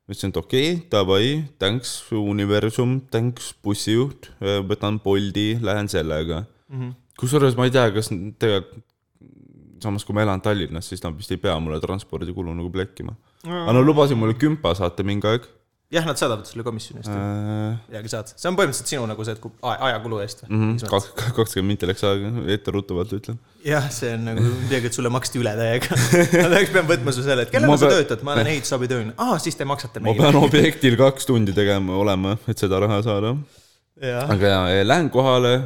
Speaker 2: ma ütlesin , et okei okay, , davai , thanks universum , thanks bussijuht , võtan Bolti , lähen sellega mm -hmm. . kusjuures ma ei tea , kas n- tegelikult samas kui ma elan Tallinnas , siis nad vist ei pea mulle transpordikulu nagu plekkima mm. . aga nad lubasid mulle kümpa saata mingi aeg
Speaker 1: jah , nad saadavad sulle komisjoni eest
Speaker 2: äh, .
Speaker 1: midagi saad . see on põhimõtteliselt sinu nagu see , et kui aja , ajakulu eest või
Speaker 2: Mhm.
Speaker 1: mm -hmm. ?
Speaker 2: kakskümmend minti läks aega , etteruttavalt ütlen .
Speaker 1: jah , see on nagu midagi , et sulle maksti üle
Speaker 2: [LAUGHS]
Speaker 1: täiega . ma peaks , pean võtma su selle , et kellena
Speaker 2: Ma
Speaker 1: sa
Speaker 2: pean-
Speaker 1: töötad , ma olen ehitusabitööline . aa , siis te maksate
Speaker 2: ma
Speaker 1: meile .
Speaker 2: pean objektil kaks tundi tegema olema , et seda raha saada .
Speaker 1: jah ,
Speaker 2: aga jaa , lähen kohale ,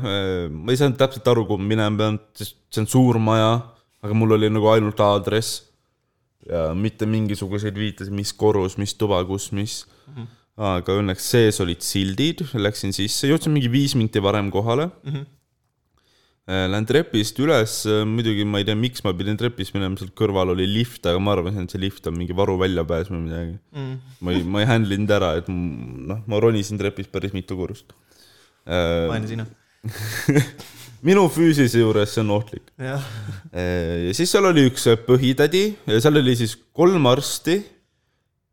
Speaker 2: ma ei saanud täpselt aru , kuhu ma minema pean , sest see on suur maja , aga mul oli nagu ainult aadress . ja mitte mingisuguseid viiteid , mis korrus , mis tuba , kus , mis . aga õnneks sees olid sildid , läksin sisse , jõudsin mingi viis minti varem kohale mm . -hmm. Lähen trepist üles , muidugi ma ei tea , miks ma pidin trepist minema , seal kõrval oli lift , aga ma arvasin , et see lift on mingi varu väljapääs või midagi mm. . ma ei , ma ei handle inud ära , et m- noh , ma ronisin trepist päris mitu korrust .
Speaker 1: ma olen sina .
Speaker 2: minu füüsilise juures see on ohtlik .
Speaker 1: jah ,
Speaker 2: ja siis seal oli üks äh, põhitädi ja seal oli siis kolm arsti ,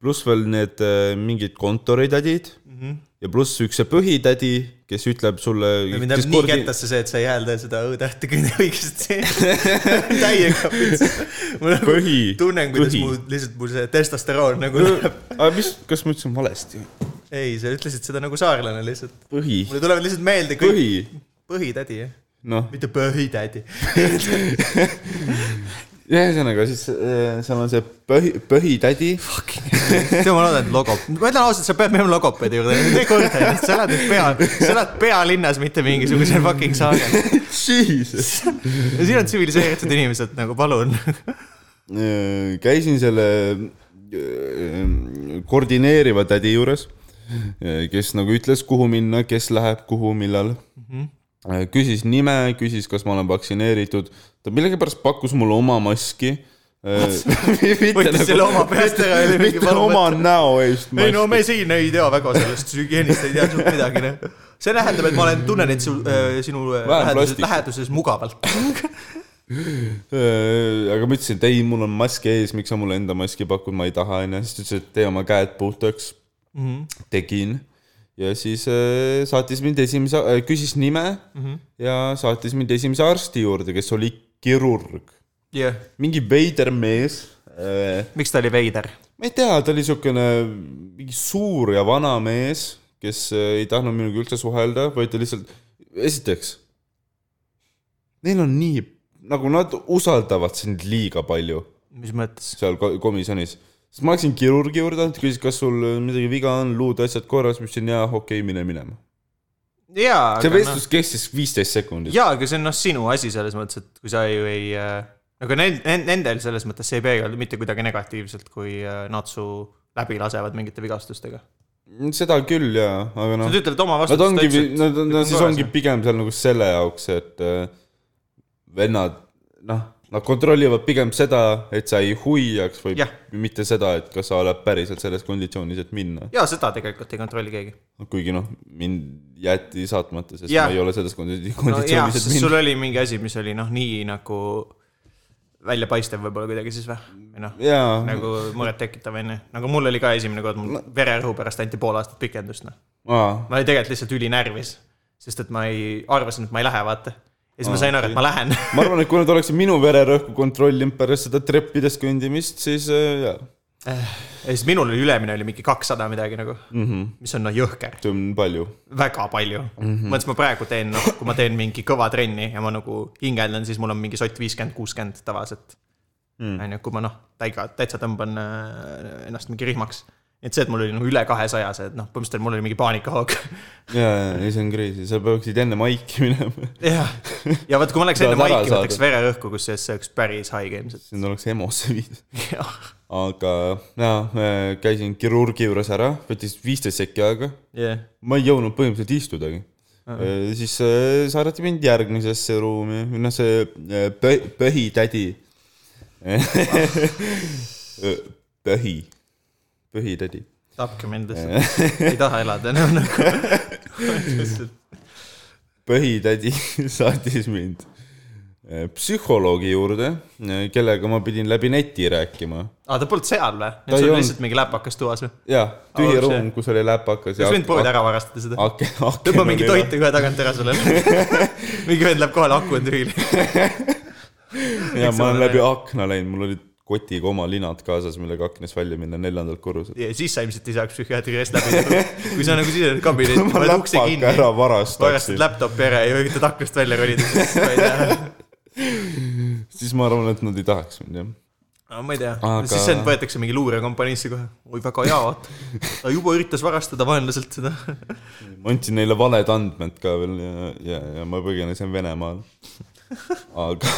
Speaker 2: pluss veel need eh, mingid kontoritädid mm
Speaker 1: Mhm.
Speaker 2: -hmm. ja pluss üks see põhitädi , kes ütleb sulle .
Speaker 1: mind jääb nii kätesse see , et sa ei häälda seda Õ-tähte kõige õigesti .
Speaker 2: [LAUGHS]
Speaker 1: täiega pits . ma nagu [LAUGHS]
Speaker 2: Põhi-
Speaker 1: tunnen , kuidas
Speaker 2: põhi.
Speaker 1: mu lihtsalt mul see testosteroon nagu läheb .
Speaker 2: aga mis , kas ma ütlesin valesti ?
Speaker 1: ei , sa ütlesid seda nagu saarlane lihtsalt .
Speaker 2: põhi ,
Speaker 1: mulle tulevad lihtsalt meelde kõik .
Speaker 2: põhi ,
Speaker 1: põhitädi , jah .
Speaker 2: noh ,
Speaker 1: mitte põhitädi .
Speaker 2: ühesõnaga siis eh, seal on see põhi , põhitädi
Speaker 1: [LAUGHS] tead , ma loodan , et logo , ma ütlen ausalt , sa pead minema logopeedi juurde , tee korda , sa elad nüüd pea , sa elad pealinnas , mitte mingisugusel fucking saarel .
Speaker 2: Jesus.
Speaker 1: ja siin on tsiviliseeritud inimesed nagu , palun .
Speaker 2: Äh, käisin selle äh, koordineeriva tädi juures , kes nagu ütles , kuhu minna , kes läheb , kuhu , millal mm . -hmm. küsis nime , küsis , kas ma olen vaktsineeritud , ta millegipärast pakkus mulle oma maski . [LAUGHS]
Speaker 1: võttis selle oma peast ära ja oli mingi
Speaker 2: nagu- mitte
Speaker 1: palun
Speaker 2: oma . näo eest
Speaker 1: ei no
Speaker 2: maski .
Speaker 1: me siin ei tea väga sellest hügieenist , ei tea suurt midagi , noh . see tähendab , et ma olen , tunnen end sul , sinu äh,
Speaker 2: Vähem
Speaker 1: läheduses ,
Speaker 2: plastikut.
Speaker 1: läheduses mugavalt .
Speaker 2: Äh, aga ma ütlesin , et ei , mul on mask ees , miks sa mulle enda maski pakud , ma ei taha , onju . siis ta ütles , et tee oma käed puhtaks
Speaker 1: Mhm. .
Speaker 2: tegin ja siis äh, saatis mind esimese äh, , küsis nime mm -hmm. ja saatis mind esimese arsti juurde , kes oli kirurg .
Speaker 1: jah ,
Speaker 2: mingi veider mees äh, .
Speaker 1: miks ta oli veider ?
Speaker 2: ma ei tea , ta oli niisugune mingi suur ja vana mees , kes äh, ei tahtnud minuga üldse suhelda , vaid ta lihtsalt , esiteks , neil on nii , nagu nad usaldavad sind liiga palju
Speaker 1: mis mõttes ?
Speaker 2: seal ko- komisjonis . siis ma läksin kirurgi juurde , ta küsis , kas sul midagi viga on , luud , asjad korras , ma ütlesin jaa , okei okay, , mine minema .
Speaker 1: jaa ,
Speaker 2: see
Speaker 1: aga noh .
Speaker 2: vestlus kestis viisteist sekundit .
Speaker 1: jaa , aga see on noh , sinu asi selles mõttes , et kui sa ju ei äh, , aga neil , nendel selles mõttes see ei peegeldu mitte kuidagi negatiivselt , kui äh, natsu läbi lasevad mingite vigastustega .
Speaker 2: seda küll jaa , aga noh
Speaker 1: Nad , ütlevad oma
Speaker 2: nad
Speaker 1: vastutust
Speaker 2: ongi , nad on , no siis ongi . pigem seal nagu selle jaoks , et äh, vennad , noh , nad kontrollivad pigem seda , et sa ei huiaks või
Speaker 1: Jah.
Speaker 2: mitte seda , et kas sa oled päriselt selles konditsioonis , et minna .
Speaker 1: jaa , seda tegelikult ei kontrolli keegi .
Speaker 2: kuigi noh , mind jäeti saatmata , sest
Speaker 1: Jah.
Speaker 2: ma ei ole selles kondi-
Speaker 1: no jaa ,
Speaker 2: konditsioonis , et
Speaker 1: sest
Speaker 2: minna .
Speaker 1: sul oli mingi asi , mis oli noh , nii nagu väljapaistev võib-olla kuidagi siis või ? või noh ,
Speaker 2: jaa ,
Speaker 1: nagu murettekitav onju . nagu mul oli ka esimene kord , mul vererõhu pärast anti pool aastat pikendust noh .
Speaker 2: aa ,
Speaker 1: ma olin tegelikult lihtsalt ülinärvis , sest et ma ei , arvasin , et ma ei lähe , vaata . ja siis ma sain aru , et ma lähen .
Speaker 2: ma arvan , et kui nad oleksid minu vererõhku kontrollinud pärast seda treppides kõndimist , siis äh, jaa ,
Speaker 1: ja siis minul oli ülemine oli mingi kakssada midagi nagu mm , -hmm. mis on noh jõhker ,
Speaker 2: see on palju .
Speaker 1: väga palju mm -hmm. . mõtlesin , ma praegu teen , noh , kui ma teen mingi kõva trenni ja ma nagu hingeldan , siis mul on mingi sott viiskümmend , kuuskümmend tavaliselt . on ju , kui ma noh , täiga , täitsa tõmban äh, ennast mingi rihmaks . et see , et mul oli nagu üle kahesaja , see , et noh , põhimõtteliselt mul oli mingi paanikahoog .
Speaker 2: jaa , jaa , see on crazy , sa peaksid enne maiki minema , [LAUGHS]
Speaker 1: jah , ja vot , kui ma oleks
Speaker 2: Tahad
Speaker 1: enne
Speaker 2: ära
Speaker 1: vaiki ,
Speaker 2: saada.
Speaker 1: võtaks vererõhku , kusjuures see oleks päris haige ilmselt .
Speaker 2: siis nad oleks EMO-sse viidud .
Speaker 1: jah ,
Speaker 2: aga jaa , käisin kirurgi juures ära , võttis viisteist sekki aega ,
Speaker 1: jah ,
Speaker 2: ma ei jõudnud põhimõtteliselt istudagi . Ee, siis äh, saadeti mind järgmisesse ruumi , noh see äh, pö- , [LAUGHS] pöhitädi . pöhi , pöhitädi .
Speaker 1: tapke mind lihtsalt , ei taha elada enam
Speaker 2: [LAUGHS]
Speaker 1: nagu .
Speaker 2: põhitädi [LAUGHS] saatis mind äh, psühholoogi juurde , kellega ma pidin läbi neti rääkima .
Speaker 1: aa , ta polnud seal või ?
Speaker 2: Ta
Speaker 1: et sul
Speaker 2: ei
Speaker 1: oli
Speaker 2: olnud.
Speaker 1: lihtsalt mingi läpakas toas või ?
Speaker 2: jah ,
Speaker 1: Aa,
Speaker 2: tühi
Speaker 1: see-
Speaker 2: ruum , kus oli läpakas .
Speaker 1: kas mind poodi ära varastada seda ?
Speaker 2: aken , aken .
Speaker 1: tõmba mingi [LAUGHS] toitu kohe tagant ära sulle .
Speaker 2: [LAUGHS]
Speaker 1: mingi vend läheb kohale , aku on tühi .
Speaker 2: ja
Speaker 1: ole
Speaker 2: ma olen läbi
Speaker 1: läinud.
Speaker 2: akna läinud , mul olid kotiga oma linad kaasas , millega aknast välja minna neljandalt korruselt .
Speaker 1: ja siis sa ilmselt ei saaks psühhiaatri käest läbi . kui sa nagu sisened kabinetti ,
Speaker 2: [LAUGHS] ma
Speaker 1: paned ukse
Speaker 2: läpaka
Speaker 1: kinni ,
Speaker 2: ära varastaksin
Speaker 1: varastad , laptopi ära ja üritad aknast välja ronida , siis ma ei tea .
Speaker 2: siis ma arvan , et nad ei tahaks mind jah .
Speaker 1: no ma ei tea
Speaker 2: Aga-
Speaker 1: Aga... , siis see võetakse mingi luurekompaniisse kohe . oi , väga hea , vaata . ta juba üritas varastada vaenlaselt seda .
Speaker 2: ma andsin neile valed andmed ka veel ja , ja , ja ma põgenesin Venemaale . aga ,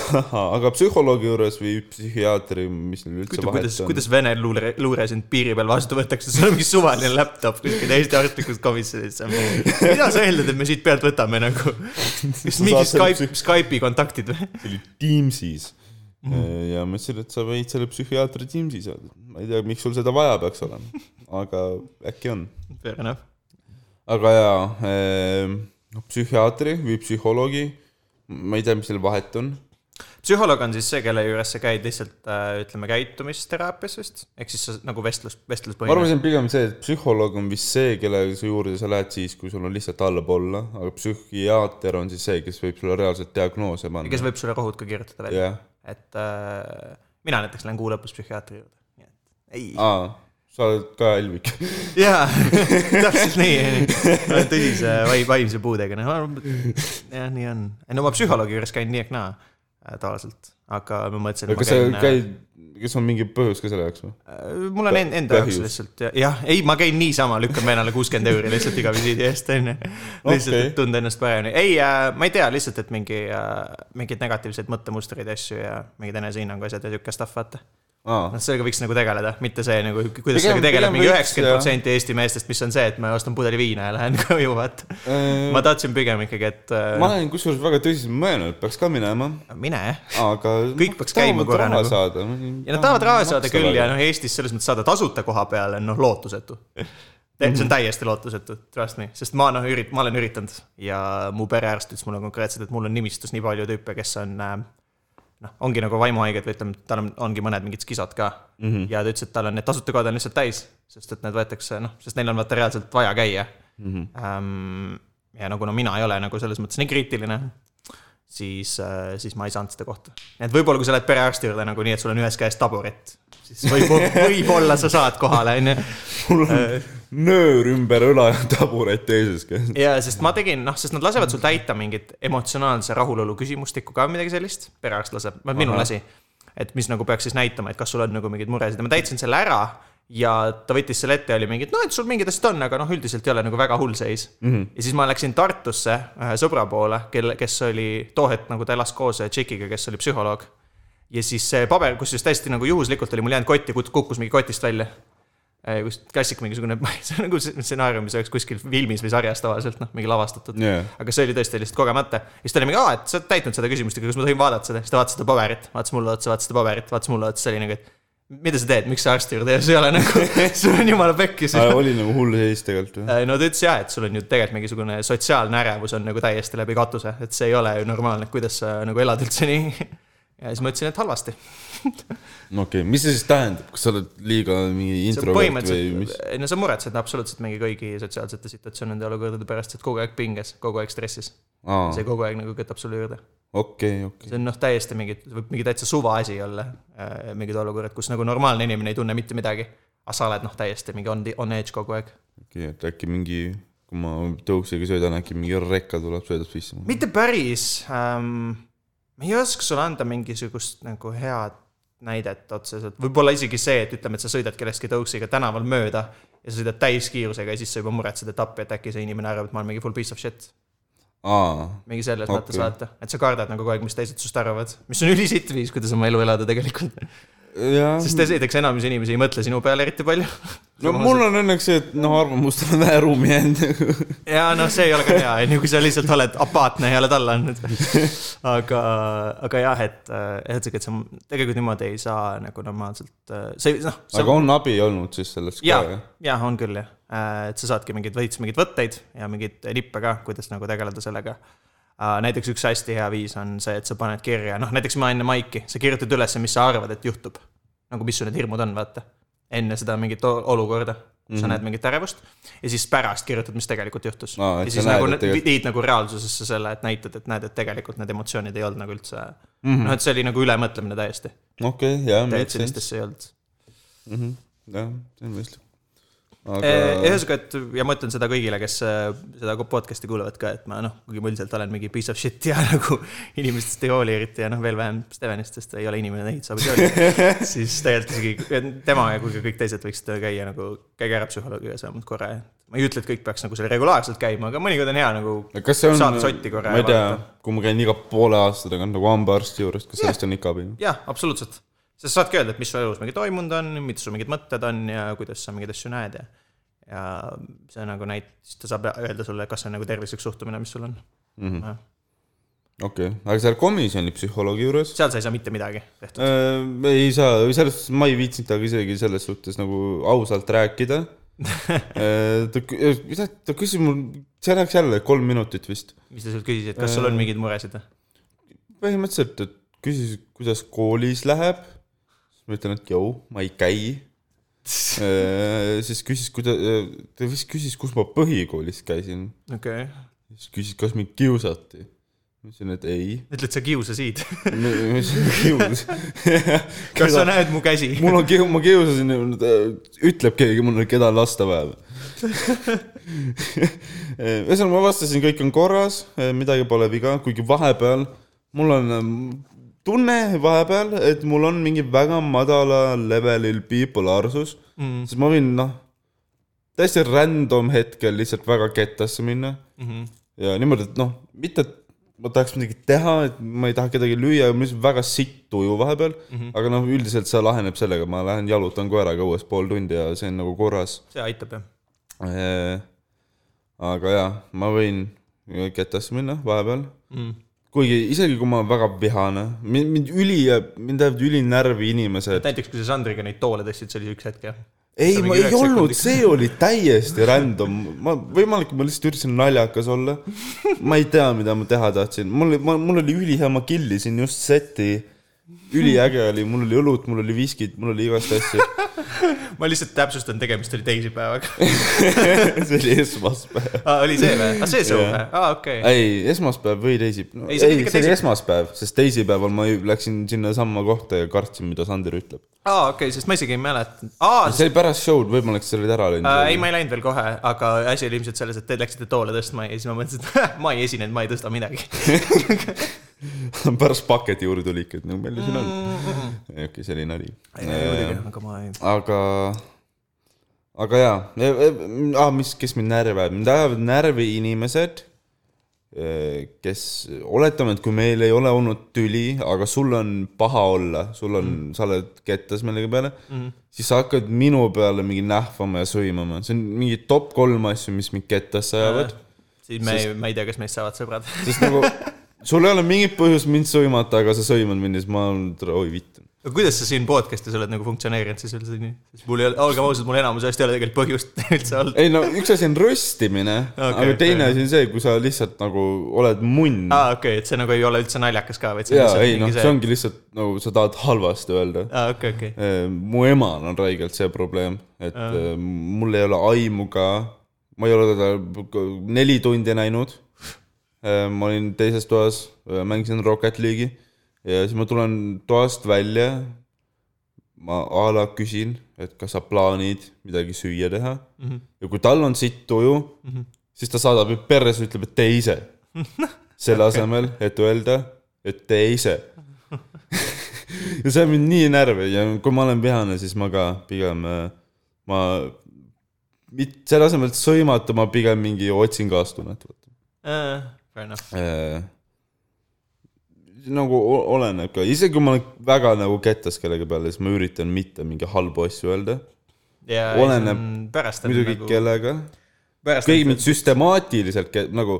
Speaker 2: aga psühholoogi juures või psühhiaatri , mis neil üldse vahet
Speaker 1: kuidas ,
Speaker 2: on .
Speaker 1: kuidas Vene luure , luure sind piiri peal vastu võetakse , [LAUGHS] sul on mingi suvaline laptop kuskil Eesti arstlikus
Speaker 2: [LAUGHS]
Speaker 1: komisjonis . mida sa eeldad , et me siit pealt võtame nagu ? kas mingi
Speaker 2: saad selle
Speaker 1: Skype , Skype'i kontaktid või ? [LAUGHS]
Speaker 2: see oli Teamsis mm . -hmm. ja ma ütlesin , et sa võid selle psühhiaatri Teamsi saada . ma ei tea , miks sul seda vaja peaks olema , aga äkki on .
Speaker 1: Fair enough .
Speaker 2: aga jaa , psühhiaatri või psühholoogi , ma ei tea , mis seal vahet on .
Speaker 1: psühholoog on siis see , kelle juures sa käid lihtsalt äh, ütleme käitumisteraapias vist , ehk siis sa nagu vestlus ,
Speaker 2: ma
Speaker 1: vestluspõhine .
Speaker 2: arvasin pigem see , et psühholoog on vist see , kelle su juurde sa lähed siis , kui sul on lihtsalt allapoole , aga psühhiaater on siis see , kes võib sulle reaalselt diagnoose panna .
Speaker 1: kes võib sulle rohud ka kirjutada välja ,
Speaker 2: jah ,
Speaker 1: et äh, mina näiteks lähen kuu lõpus psühhiaatri juurde , nii et ei .
Speaker 2: aa , sa oled ka Elvik .
Speaker 1: jaa , [LAUGHS] täpselt nii , tõsise vaim- , vaimse puudega , noh , jah , nii on . no ma psühholoogi juures käin nii ehk naa äh, tavaliselt , aga ma mõtlesin , et ma
Speaker 2: kas sa
Speaker 1: käin äh,
Speaker 2: käid , kas on mingi põhjus ka selle jaoks või ?
Speaker 1: äh, mul on en- enda jaoks
Speaker 2: põhjus?
Speaker 1: lihtsalt ja- jah , ei , ma käin niisama , lükkan vennale kuuskümmend euri lihtsalt iga visiidi eest , onju . lihtsalt ,
Speaker 2: Okei.
Speaker 1: et tunda ennast paremini , ei äh, , ma ei tea , lihtsalt , et mingi äh, , mingeid negatiivseid mõttemustreid ja asju ja mingeid enesehinnangu asjad ja siukest stuff , vaata .
Speaker 2: aa ,
Speaker 1: noh , sellega võiks nagu tegeleda , mitte see nagu , kuidas
Speaker 2: Pigem-
Speaker 1: sellega tegeleb
Speaker 2: pigem
Speaker 1: mingi
Speaker 2: võiks,
Speaker 1: üheksakümmend protsenti Eesti meestest , mis on see , et ma ostan pudeli viina ja lähen [LAUGHS] koju , vaata . ma tahtsin pigem ikkagi , et äh,
Speaker 2: äh, ma olen kusjuures väga tõsiselt mõelnud , et peaks ka minema ,
Speaker 1: mine .
Speaker 2: aga .
Speaker 1: Kõik peaks käima korra
Speaker 2: nagu .
Speaker 1: nagu.
Speaker 2: saada .
Speaker 1: ja nad tahavad raha saada küll ja . noh , Eestis selles mõttes saada tasuta koha peale on noh , lootusetu . see on täiesti lootusetu , trust me , sest ma noh , ürit- , ma olen üritanud ja mu perearst ütles mulle konkreetselt , et mul on nimistus nii palju tüüpe , kes on äh, noh , ongi nagu vaimuhaiged või ütleme , tal on , ongi mõned mingid skisod ka mm . -hmm. ja ta ütles , et tal on need tasuta kohad on lihtsalt täis , sest et need võetakse noh , sest neil on vaata reaalselt vaja käia mm . -hmm. ja no kuna mina ei ole nagu selles mõttes nii kriitiline , siis , siis ma ei saanud seda kohta . nii et võib-olla , kui sa lähed perearsti juurde nagu nii , et sul on ühes käes taburet , siis võib-olla , võib-olla sa saad kohale , onju
Speaker 2: mul
Speaker 1: Äh.
Speaker 2: on nöör ümber õla ja taburet teises
Speaker 1: [LAUGHS]
Speaker 2: käes .
Speaker 1: ja sest ma tegin , noh , sest nad lasevad sul täita mingit emotsionaalse rahulolu küsimustikku ka või midagi sellist , perearst laseb , minul lasi . et mis nagu peaks siis näitama , et kas sul on nagu mingeid muresid ja ma täitsin selle ära ja ta võttis selle ette ja oli mingi , et noh , et sul mingid asjad on , aga noh , üldiselt ei ole nagu väga hull seis mm . -hmm. ja siis ma läksin Tartusse ühe sõbra poole , kelle , kes oli too hetk nagu ta elas koos tšikiga , kes oli psühholoog . ja siis see paber , kusjuures täiesti nagu juhuslikult oli mul jäänud kotti , kukkus mingi kotist välja kus klassik mingisugune , [LAUGHS] see on nagu see stsenaarium , mis oleks kuskil filmis või sarjas tavaliselt noh , mingi lavastatud
Speaker 2: Jaa.
Speaker 1: aga see oli tõesti lihtsalt kogemata . ja siis ta oli mingi , aa , et sa oled täitnud seda küsimust , aga kas ma tohin vaadata seda , siis ta vaatas seda paberit , vaatas mulle otsa , vaatas seda paberit , vaatas mulle otsa , see oli nagu , et mida sa teed , miks sa arsti juurde ei ole , see ei ole nagu , [LAUGHS] sul on jumala pekkis .
Speaker 2: oli nagu hull seis tegelikult või ?
Speaker 1: no ta ütles jah , et sul on ju tegelikult mingisugune sotsiaalne ärevus on nagu täiesti läbi katuse , et see ei ole ju normaalne , kuidas sa nagu elad üldse nii . [LAUGHS] ja siis ma ütlesin , et halvasti .
Speaker 2: no okei okay. , mis see siis tähendab , kas sa oled liiga mingi
Speaker 1: see on
Speaker 2: introvert või mis
Speaker 1: põhimõtteliselt ?, ei no sa muretsed absoluutselt mingi kõigi sotsiaalsete situatsioonide olukordade pärast , sa oled kogu aeg pinges , kogu aeg stressis .
Speaker 2: aa ,
Speaker 1: see kogu aeg nagu kütab sulle juurde
Speaker 2: okei , okei .
Speaker 1: see on noh , täiesti mingi , võib mingi täitsa suva asi olla , mingid olukorrad , kus nagu normaalne inimene ei tunne mitte midagi . aga sa oled noh , täiesti mingi on , on edge kogu aeg .
Speaker 2: okei , et äkki mingi , kui ma tõuksiga sõidan , äkki mingi rekka tuleb , sõidab sisse .
Speaker 1: mitte päris ähm, , ma ei oska sulle anda mingisugust nagu head näidet otseselt , võib-olla isegi see , et ütleme , et sa sõidad kellestki tõuksiga tänaval mööda ja sa sõidad täiskiirusega ja siis sa juba muretsed , et appi , et äkki see inimene arvab , et ma olen mingi full piece of shit .
Speaker 2: aa ,
Speaker 1: mingi selles
Speaker 2: Okei.
Speaker 1: okay. mõttes vaata , et sa kardad nagu kogu aeg , mis teised sinust arvavad , mis on ülisitt viis , kuidas oma elu elada tegelikult .
Speaker 2: jah .
Speaker 1: sest esiteks enamus inimesi ei mõtle sinu peale eriti palju .
Speaker 2: no mul on õnneks see , et noh , arvamustel on vähe
Speaker 1: [LAUGHS]
Speaker 2: ruumi jäänud .
Speaker 1: ja noh , see ei ole ka hea , onju , kui sa lihtsalt oled apaatne ja oled alla
Speaker 2: [LAUGHS]
Speaker 1: andnud . aga , aga jah , et , et sihuke , et sa tegelikult niimoodi ei saa nagu normaalselt , see noh , see
Speaker 2: aga on abi olnud siis sellest
Speaker 1: ja
Speaker 2: ka jah ?,
Speaker 1: ja on küll jah , et sa saadki mingeid veits mingeid võtteid ja mingeid nippe ka , kuidas nagu tegeleda sellega . näiteks üks hästi hea viis on see , et sa paned kirja , noh näiteks ma enne maiki , sa kirjutad üles , mis sa arvad , et juhtub . nagu mis sul need hirmud on , vaata . enne seda mingit o- olukorda , kus mm
Speaker 2: Mhm.
Speaker 1: -hmm. sa näed mingit ärevust ja siis pärast kirjutad , mis tegelikult juhtus
Speaker 2: Aa, et
Speaker 1: ja
Speaker 2: sa
Speaker 1: siis
Speaker 2: näed,
Speaker 1: nagu
Speaker 2: et
Speaker 1: nä-
Speaker 2: tegelikult-
Speaker 1: viid nagu reaalsusesse selle , et näitad , et näed , et tegelikult need emotsioonid ei olnud nagu üldse mm -hmm. noh , et see oli nagu ülemõtlemine täiesti ,
Speaker 2: okei , jah ,
Speaker 1: et
Speaker 2: Mhm. makes sense .
Speaker 1: sellistesse ei olnud
Speaker 2: jah , see on mõistlik .
Speaker 1: Eh,
Speaker 2: aga
Speaker 1: ühesõnaga , et ja ma ütlen seda kõigile , kes eh, seda ko- podcast'i kuulavad ka , et ma noh , kuigi ma üldiselt olen mingi piece of shit ja [LAUGHS] nagu inimestest ei hooli eriti ja noh , veel vähem Stevenist , sest ta ei ole inimene neid saab ei hooli . siis tegelikult isegi tema ja kui ka kõik teised võiksid käia nagu , käige ära psühholoogiga vähemalt korra . ma ei ütle , et kõik peaks nagu seal regulaarselt käima , aga mõnikord on hea nagu
Speaker 2: kas see on ,
Speaker 1: saad sotti korra
Speaker 2: ma ei
Speaker 1: ja
Speaker 2: tea
Speaker 1: vaadata. ,
Speaker 2: kui ma käin iga poole aasta tagant nagu hambaarsti juures , kas sellest on ikka abi ?
Speaker 1: jah , absoluutselt . sest saadki öelda , et mis su elus mingi toimunud on , mis sul mingid mõtted on ja kuidas sa mingeid asju näed ja , ja see nagu näit- , siis ta saab öelda sulle , kas see on nagu tervislik suhtumine , mis sul on mm . -hmm.
Speaker 2: okei okay. , aga seal komisjoni psühholoogi juures
Speaker 1: seal sa ei saa mitte midagi tehtud .
Speaker 2: äh, ? ei saa , või selles suhtes ma ei viitsinud temaga isegi selles suhtes nagu ausalt rääkida äh, . ta , mida , ta küsis mul , see läks jälle kolm minutit vist .
Speaker 1: mis ta sult küsis , et kas sul on mingeid muresid või ?
Speaker 2: põhimõtteliselt , et küsis , kuidas koolis läheb . siis ma ütlen , et jõu , ma ei käi äh, . siis küsis , kuida- , ta vist küsis , kus ma põhikoolis käisin .
Speaker 1: okei okay. .
Speaker 2: siis küsis , kas mind kiusati . ma ütlesin , et ei . [LAUGHS]
Speaker 1: ütled sa [LAUGHS] kiusasid ?
Speaker 2: ma ma ütlesin , et kius [LAUGHS]
Speaker 1: kas sa näed mu käsi ?
Speaker 2: mul on kiu- , ma kiusasin , ütleb keegi mulle , keda on lasta vaja või ? [LAUGHS] ühesõnaga , ma vastasin , kõik on korras , midagi pole viga , kuigi vahepeal mul on ähm, tunne vahepeal , et mul on mingi väga madala levelil bipolaarsus
Speaker 1: Mhm,
Speaker 2: mm. , siis ma võin noh , täiesti random hetkel lihtsalt väga kettasse minna mm .
Speaker 1: mhm.
Speaker 2: -hmm. ja niimoodi , et noh , mitte , et ma tahaks midagi teha , et ma ei taha kedagi lüüa , mul on väga sitt tuju vahepeal mm , -hmm. aga noh , üldiselt see laheneb sellega , ma lähen jalutan koeraga umbes pool tundi ja see on nagu korras .
Speaker 1: see aitab jah .
Speaker 2: aga jaa , ma võin ketasse minna vahepeal mm. . kuigi isegi kui ma olen väga vihane , mind , mind üli , mind ajavad üli närvi inimesed .
Speaker 1: näiteks kui sa Sandriga neid toole tõstsid , see oli üks hetk jah ?
Speaker 2: ei ,
Speaker 1: mingi
Speaker 2: ma ei
Speaker 1: üheksa
Speaker 2: olnud ,
Speaker 1: sekundit.
Speaker 2: see oli täiesti random , ma , võimalik , ma lihtsalt üritasin naljakas olla . ma ei tea , mida ma teha tahtsin , mul , ma , mul oli ülihea , ma killisin just seti . üliäge oli , mul oli õlut , mul oli viskid , mul oli igast asju . [LAUGHS]
Speaker 1: ma lihtsalt täpsustan , tegemist oli teisipäevaga . [LAUGHS]
Speaker 2: see oli esmaspäev .
Speaker 1: aa , oli see või ? aa , see suu või ? aa , okei .
Speaker 2: ei , esmaspäev või teisipäev no, .
Speaker 1: Ei,
Speaker 2: ei ,
Speaker 1: see
Speaker 2: see
Speaker 1: oli
Speaker 2: oli
Speaker 1: ikka
Speaker 2: teisipäev.
Speaker 1: teisipäev.
Speaker 2: esmaspäev , sest teisipäeval ma ju läksin sinnasamma kohta ja kartsin , mida Sander ütleb .
Speaker 1: aa , Ah, okei , sest ma isegi ei Ah, mäletanud . aa ,
Speaker 2: see oli pärast show'd , võib-olla oleks sa olid ära
Speaker 1: äh, . ei ,
Speaker 2: läinud .
Speaker 1: ma ei läinud veel kohe , aga asi oli ilmselt selles , et te läksite toole tõstma ja siis ma mõtlesin , et [LAUGHS] ma ei esinenud , ma ei tõsta midagi .
Speaker 2: [LAUGHS] pärast paketi juurde tuli ikka , et no palju siin on .
Speaker 1: Mm,
Speaker 2: okei , see oli nali .
Speaker 1: aga ma ei .
Speaker 2: aga , E, aga jaa , ah, mis , kes mind närvi ajab , mind ajavad närvi inimesed , kes , oletame , et kui meil ei ole olnud tüli , aga sul on paha olla , sul on mm. , sa oled kettas millegi peale mm. , siis sa hakkad minu peale mingi nähvama ja sõimama , see on mingi top kolm asju , mis mind kettasse ajavad .
Speaker 1: siis me ei , ma ei tea , kas meist saavad sõbrad . [LAUGHS]
Speaker 2: sest nagu sul ei ole mingit põhjust mind sõimata , aga sa sõimad mind ja siis ma olen , oi vitt .
Speaker 1: aga kuidas sa siin podcast'is oled nagu funktsioneerinud siis üldse nii ? sest mul ei ole , olgem ausad , mul enamus asjast ei ole tegelikult põhjust [LAUGHS] üldse olnud .
Speaker 2: ei no üks asi on röstimine okay, , aga teine
Speaker 1: okei.
Speaker 2: asi on see , kui sa lihtsalt nagu oled munn
Speaker 1: aa ,
Speaker 2: ah, .
Speaker 1: okei , et see nagu ei ole üldse naljakas ka , vaid see on
Speaker 2: jaa ,
Speaker 1: lihtsalt
Speaker 2: ei noh ,
Speaker 1: mingi
Speaker 2: see
Speaker 1: see .
Speaker 2: ongi lihtsalt nagu sa tahad halvasti öelda .
Speaker 1: aa , okei , okei .
Speaker 2: Äh, mu emal on räigelt see probleem , et äh. mul ei ole aimu ka , ma ei ole teda k- neli tundi näinud . ma olin teises toas , mängisin Rocket League'i ja siis ma tulen toast välja . ma a la küsin , et kas sa plaanid midagi süüa teha mm -hmm. ja kui tal on sitt tuju mm , -hmm. siis ta saadab mind perre , siis ütleb , et tee ise . selle asemel , et öelda , et tee ise [LAUGHS] ja see on mind nii närvi ja kui ma olen vihane , siis ma ka pigem , ma , mitte selle asemel , et sõimata , ma pigem mingi otsin kaastunnet .
Speaker 1: Äh, Fair enough .
Speaker 2: Äh, nagu o- oleneb ka , isegi kui ma olen väga nagu kettas kellegi peale , siis ma üritan mitte mingeid halbu asju öelda .
Speaker 1: ja
Speaker 2: Oleneb
Speaker 1: pärast on
Speaker 2: muidugi
Speaker 1: nagu
Speaker 2: nagu... , kellega ,
Speaker 1: pärast
Speaker 2: keegi mind süstemaatiliselt ke- nagu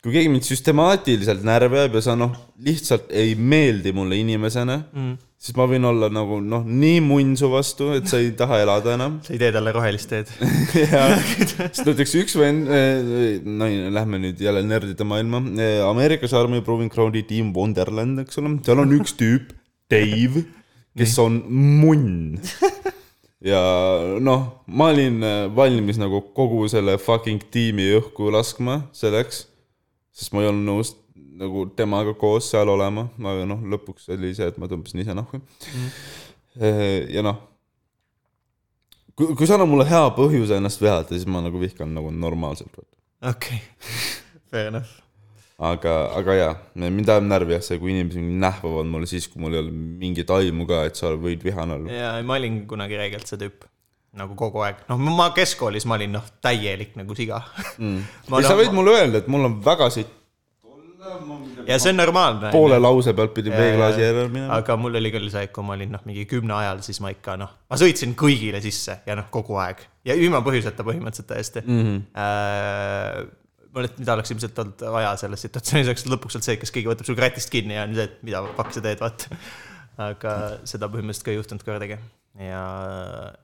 Speaker 2: kui keegi mind süstemaatiliselt närvi ajab ja sa noh , lihtsalt ei meeldi mulle inimesena mm. , siis ma võin olla nagu noh , nii munn su vastu , et sa ei taha elada enam .
Speaker 1: sa ei tee talle rohelist teed . [LAUGHS]
Speaker 2: jaa , [LAUGHS] sest näiteks üks vend , no ei, lähme nüüd jälle nerdide maailma , Äh, Ameerikas Army Proving Groundi tiim Wonderland , eks ole , seal on üks tüüp , Dave , kes on munn . ja noh , ma olin äh, valmis nagu kogu selle fucking tiimi õhku laskma selleks , sest ma ei olnud nõus nagu temaga koos seal olema , aga noh , lõpuks oli see , et ma tõmbasin ise nahku mm. . ja noh kui , kui sa annad mulle hea põhjuse ennast vihata , siis ma nagu vihkan nagu normaalselt .
Speaker 1: okei , fair enough .
Speaker 2: aga , aga jaa , mind ajab närvi jah see , kui inimesed mind nähvavad mulle siis , kui mul ei ole mingit aimu ka , et sa võid vihane olla .
Speaker 1: ja ma olin kunagi räigelt see tüüp , nagu kogu aeg , noh , ma keskkoolis ma olin noh , täielik nagu siga [LAUGHS] mm. .
Speaker 2: ja sa võid mulle öelda , et mul on väga siit
Speaker 1: ja see on normaalne .
Speaker 2: poole lause pealt pidi veeklaasi järele minema .
Speaker 1: aga mul oli küll see , et kui ma olin noh , mingi kümne ajal , siis ma ikka noh , ma sõitsin kõigile sisse ja noh , kogu aeg ja ilma põhjuseta põhimõtteliselt täiesti mm . -hmm. Äh, ma olen , mida oleks ilmselt olnud vaja selles situatsioonis , oleks lõpuks olnud see , et kas keegi võtab sul kratist kinni ja on see , et mida fuck sa teed , vaata . aga seda põhimõtteliselt ka ei juhtunud kordagi ja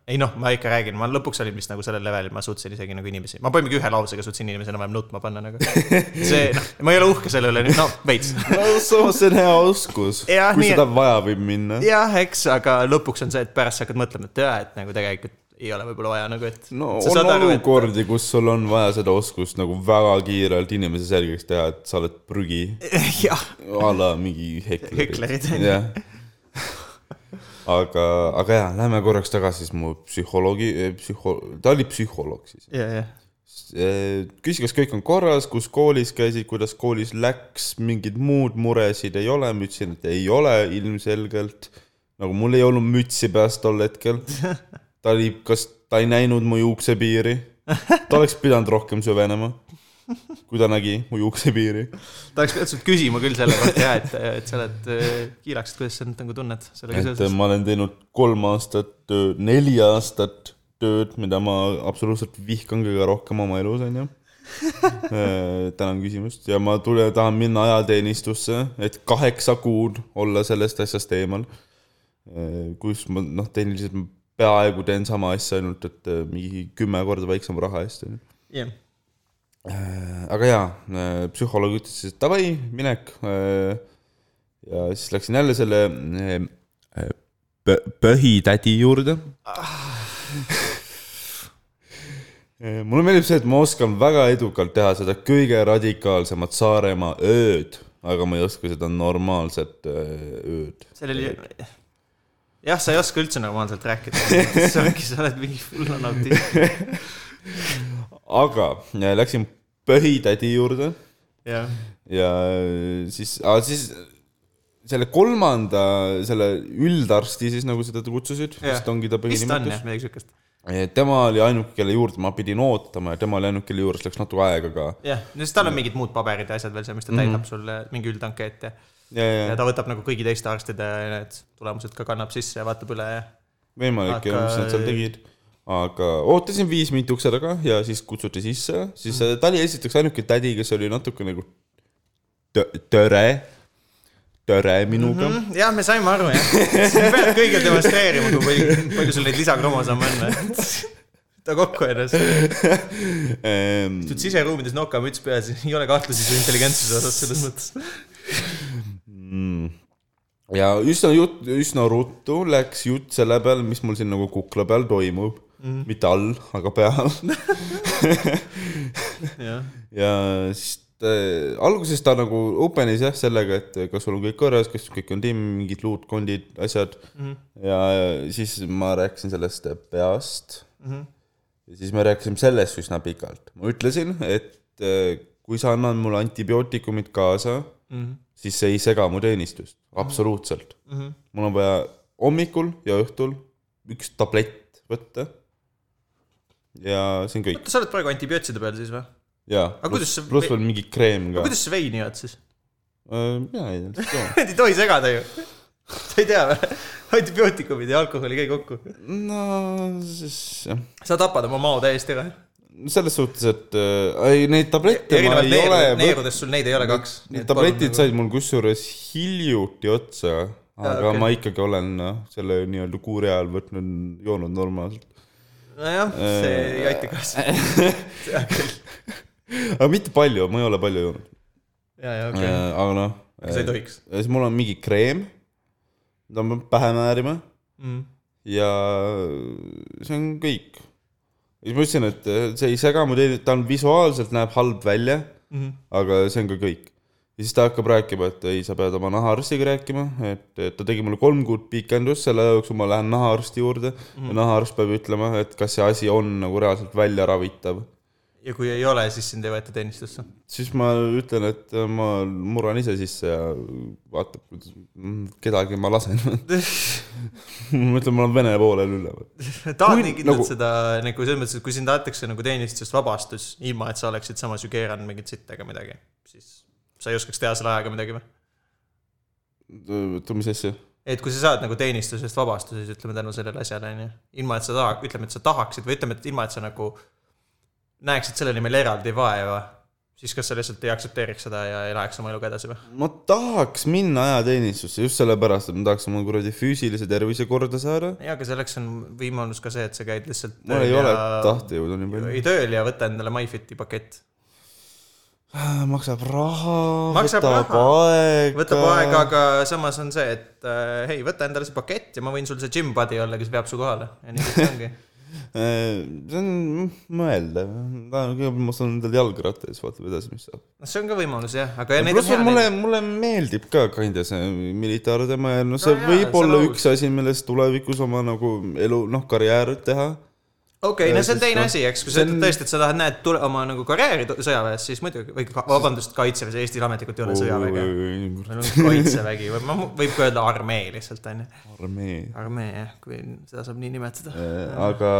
Speaker 1: ei noh , ma ikka räägin , ma lõpuks olin vist nagu sellel levelil , ma suutsin isegi nagu inimesi , ma põhimõtteliselt ühe lausega suutsin inimesi enam-vähem nutma panna nagu . see , noh , ma ei ole uhke selle üle , no veits
Speaker 2: samas see on hea oskus ,
Speaker 1: Jah,
Speaker 2: kui
Speaker 1: nii-
Speaker 2: seda vaja võib minna .
Speaker 1: jah , eks , aga lõpuks on see , et pärast sa hakkad mõtlema , et jaa , et nagu tegelikult ei ole võib-olla vaja nagu , et .
Speaker 2: no on olukordi , kus sul on vaja seda oskust nagu väga kiirelt inimese selgeks teha , et sa oled prügi
Speaker 1: [LAUGHS] jah ,
Speaker 2: a la mingi heklerid .
Speaker 1: Heklerid, on ju.
Speaker 2: jah . aga , aga jaa , lähme korraks tagasi siis mu psühholoogi , psühho- , ta oli psühholoog siis .
Speaker 1: ja , ja ,
Speaker 2: küsi , kas kõik on korras , kus koolis käisid , kuidas koolis läks , mingeid muud muresid ei ole , ma ütlesin , et ei ole ilmselgelt . nagu mul ei olnud mütsi peas tol hetkel . ta oli , kas ta ei näinud mu juuksepiiri ? ta oleks pidanud rohkem süvenema , kui ta nägi mu juuksepiiri
Speaker 1: ta oleks pidanud sult küsima küll selle kohta ja , et , et sa oled äh, kiilaks , et kuidas sa nüüd nagu tunned sellega
Speaker 2: et ähm,
Speaker 1: seoses .
Speaker 2: ma olen teinud kolm aastat tööd , neli aastat tööd , mida ma absoluutselt vihkan kõige rohkem oma elus , onju . tänan küsimust ja ma tule , tahan minna ajateenistusse , et kaheksa kuud olla sellest asjast eemal . kus ma noh , tehniliselt ma peaaegu teen sama asja , ainult et eh, mingi kümme korda väiksema raha eest , onju .
Speaker 1: jah ,
Speaker 2: aga jaa , psühholoog ütles siis , et davai , minek . ja siis läksin jälle selle eh, eh, pö- pöhitädi juurde . Äh, mulle meeldib see , et ma oskan väga edukalt teha seda kõige radikaalsemat Saaremaa ööd , aga ma ei oska seda normaalset eh, ööd .
Speaker 1: seal oli , jah , sa ei oska üldse normaalselt rääkida , sa ongi , sa oled mingi full on autist .
Speaker 2: aga eh, läksin pöhitädi juurde
Speaker 1: jah ,
Speaker 2: ja äh, siis , aga siis selle kolmanda , selle üldarsti siis nagu seda kutsusid ,
Speaker 1: Jah.
Speaker 2: vist ongi
Speaker 1: vist
Speaker 2: ta
Speaker 1: on jah
Speaker 2: põhinimetus .
Speaker 1: midagi siukest .
Speaker 2: tema oli ainuke , kelle juurde ma pidin ootama ja tema oli ainuke , kelle juures läks natuke aega ka .
Speaker 1: jah , no siis tal on mingid muud paberid ja asjad veel seal , mis ta täidab mm -hmm. sulle , mingi üldankeet ja ,
Speaker 2: ja ,
Speaker 1: ja
Speaker 2: ja
Speaker 1: ta võtab nagu kõigi teiste arstide need tulemused ka kannab sisse ja vaatab üle ja
Speaker 2: võimalik ja
Speaker 1: Aga-
Speaker 2: mis nad seal tegid . aga ootasin viis mind ukse taga ja siis kutsuti sisse , siis äh, ta oli esiteks ainuke tädi , kes oli natuke nagu tö- töre , töre minuga mm .
Speaker 1: Mhm, jah , me saime aru jah , sa pead kõigil demonstreerima , kui palju , palju sul neid lisakromosoome on , et ta kokku ennast ,
Speaker 2: -hmm.
Speaker 1: tud siseruumides nokamüts peas , ei ole kahtlusi su intelligentsuse osas selles mõttes .
Speaker 2: ja üsna jutt , üsna ruttu läks jutt selle peale , mis mul siin nagu kukla peal toimub mm. , mitte all , aga peal
Speaker 1: jah ,
Speaker 2: ja siis ta, alguses ta nagu open'is jah sellega , et kas sul on kõik korras , kas kõik on timm , mingid luutkondid , asjad mm. . ja siis ma rääkisin sellest peast mm . -hmm. ja siis me rääkisime sellest üsna pikalt . ma ütlesin , et eh, kui sa annad mulle antibiootikumid kaasa mm , -hmm. siis see ei sega mu teenistust ,
Speaker 1: Mhm.
Speaker 2: absoluutselt mm . -hmm. mul on vaja hommikul ja õhtul üks tablett võtta . ja see on kõik .
Speaker 1: sa oled praegu antibiootside peal siis või ?
Speaker 2: jaa ,
Speaker 1: kuidas
Speaker 2: pluss
Speaker 1: see-
Speaker 2: plus veel mingi kreem ka .
Speaker 1: kuidas sa veini jood siis ?
Speaker 2: mina ei tea ,
Speaker 1: Need ei tohi segada ju . sa ei tea või ? antibiootikumid ja alkohol ei käi kokku .
Speaker 2: no siis jah ,
Speaker 1: sa tapad oma mao täiesti ära .
Speaker 2: selles suhtes , et äh, ei neid tablette ma
Speaker 1: erinevalt
Speaker 2: ei ole
Speaker 1: neeru- ,
Speaker 2: võtnud ,
Speaker 1: neerudest sul neid ei ole kaks .
Speaker 2: need
Speaker 1: nagu-
Speaker 2: tabletid said mul kusjuures hiljuti otsa , aga
Speaker 1: okei.
Speaker 2: ma ikkagi olen noh , selle nii-öelda kuuri ajal võtnud , joonud normaalselt .
Speaker 1: nojah , see ei aita
Speaker 2: [LAUGHS]
Speaker 1: kaasa .
Speaker 2: aga mitte palju , ma ei ole palju joonud ,
Speaker 1: ja , ja okei okay. ,
Speaker 2: aga noh .
Speaker 1: sa ei tohiks .
Speaker 2: ja siis mul on mingi kreem , mida ma pean pähe määrima
Speaker 1: Mm.
Speaker 2: ja see on kõik . ja siis ma ütlesin , et äh, see ei sega mu teed , ta on visuaalselt näeb halb välja mm ,
Speaker 1: Mhm.
Speaker 2: -hmm. aga see on ka kõik . ja siis ta hakkab rääkima , et ei , sa pead oma nahaarstiga rääkima , et , et ta tegi mulle kolm kuud pikendust , selle aja jooksul ma lähen nahaarsti juurde mm
Speaker 1: Mhm.
Speaker 2: -hmm. ja nahaarst peab ütlema , et kas see asi on nagu reaalselt välja ravitav .
Speaker 1: ja kui ei ole , siis sind ei võeta teenistusse . [LAUGHS]
Speaker 2: siis ma ütlen , et äh, ma murran ise sisse ja vaatab , kuidas mm, kedagi ma lasen . [LAUGHS] ma ütlen , ma olen Vene poolel üleval .
Speaker 1: tahad nii kindlalt
Speaker 2: nagu-
Speaker 1: nagu... seda nagu selles mõttes , et kui sind antakse nagu teenistusest vabastus , ilma et sa oleksid samas ju keeranud mingit sitta ega midagi , siis sa ei oskaks teha selle ajaga midagi või ?
Speaker 2: oota , mis asja ?
Speaker 1: et kui sa saad nagu teenistusest vabastuse , siis ütleme tänu sellele asjale , onju . ilma , et sa taha- , ütleme , et sa tahaksid või ütleme , et ilma , et sa nagu näeksid selle nimel eraldi vaeva , siis kas sa lihtsalt ei aktsepteeriks seda ja ei läheks oma eluga edasi või ?
Speaker 2: ma tahaks minna ajateenistusse just sellepärast , et ma tahaks oma kuradi füüsilise tervise korda saada .
Speaker 1: jaa , aga selleks on võimalus ka see , et sa käid lihtsalt
Speaker 2: mul ei
Speaker 1: tööl
Speaker 2: ole
Speaker 1: ja-
Speaker 2: tahtejõudu nii palju .
Speaker 1: ei tööl ja võta endale MyFiti pakett .
Speaker 2: Ah, maksab raha ,
Speaker 1: Maksab
Speaker 2: võtab
Speaker 1: raha.
Speaker 2: aega .
Speaker 1: võtab aega , aga samas on see , et äh, hei , võta endale see pakett ja ma võin sul see gym buddy olla , kes veab su kohale . ja nii see ongi .
Speaker 2: Eh, see on mõeldav , kõigepealt ma saan endale jalgratta ja siis vaatame edasi , mis saab .
Speaker 1: noh , see on ka võimalus jah , aga ja neid on
Speaker 2: pluss
Speaker 1: hea
Speaker 2: mulle
Speaker 1: neid .,
Speaker 2: mulle meeldib ka kinda see militaarteema ja no see
Speaker 1: jaa, see
Speaker 2: võib
Speaker 1: on
Speaker 2: olla
Speaker 1: aus.
Speaker 2: üks asi , millest tulevikus oma nagu elu , noh , karjääri teha
Speaker 1: okei , no see on
Speaker 2: sest
Speaker 1: teine
Speaker 2: noh,
Speaker 1: asi , eks , kui
Speaker 2: see
Speaker 1: sa
Speaker 2: on-
Speaker 1: ütled tõesti , et sa tahad , näed , tule oma nagu karjääri tu- sõjaväes , siis muidugi , või ka- vabandust , kaitseväes , Eestil ametlikult ei ole sõjaväge . meil on kaitsevägi või ma , võib ka öelda armee lihtsalt on ju .
Speaker 2: armee .
Speaker 1: armee jah , kui seda saab nii nimetada .
Speaker 2: Eh, aga ,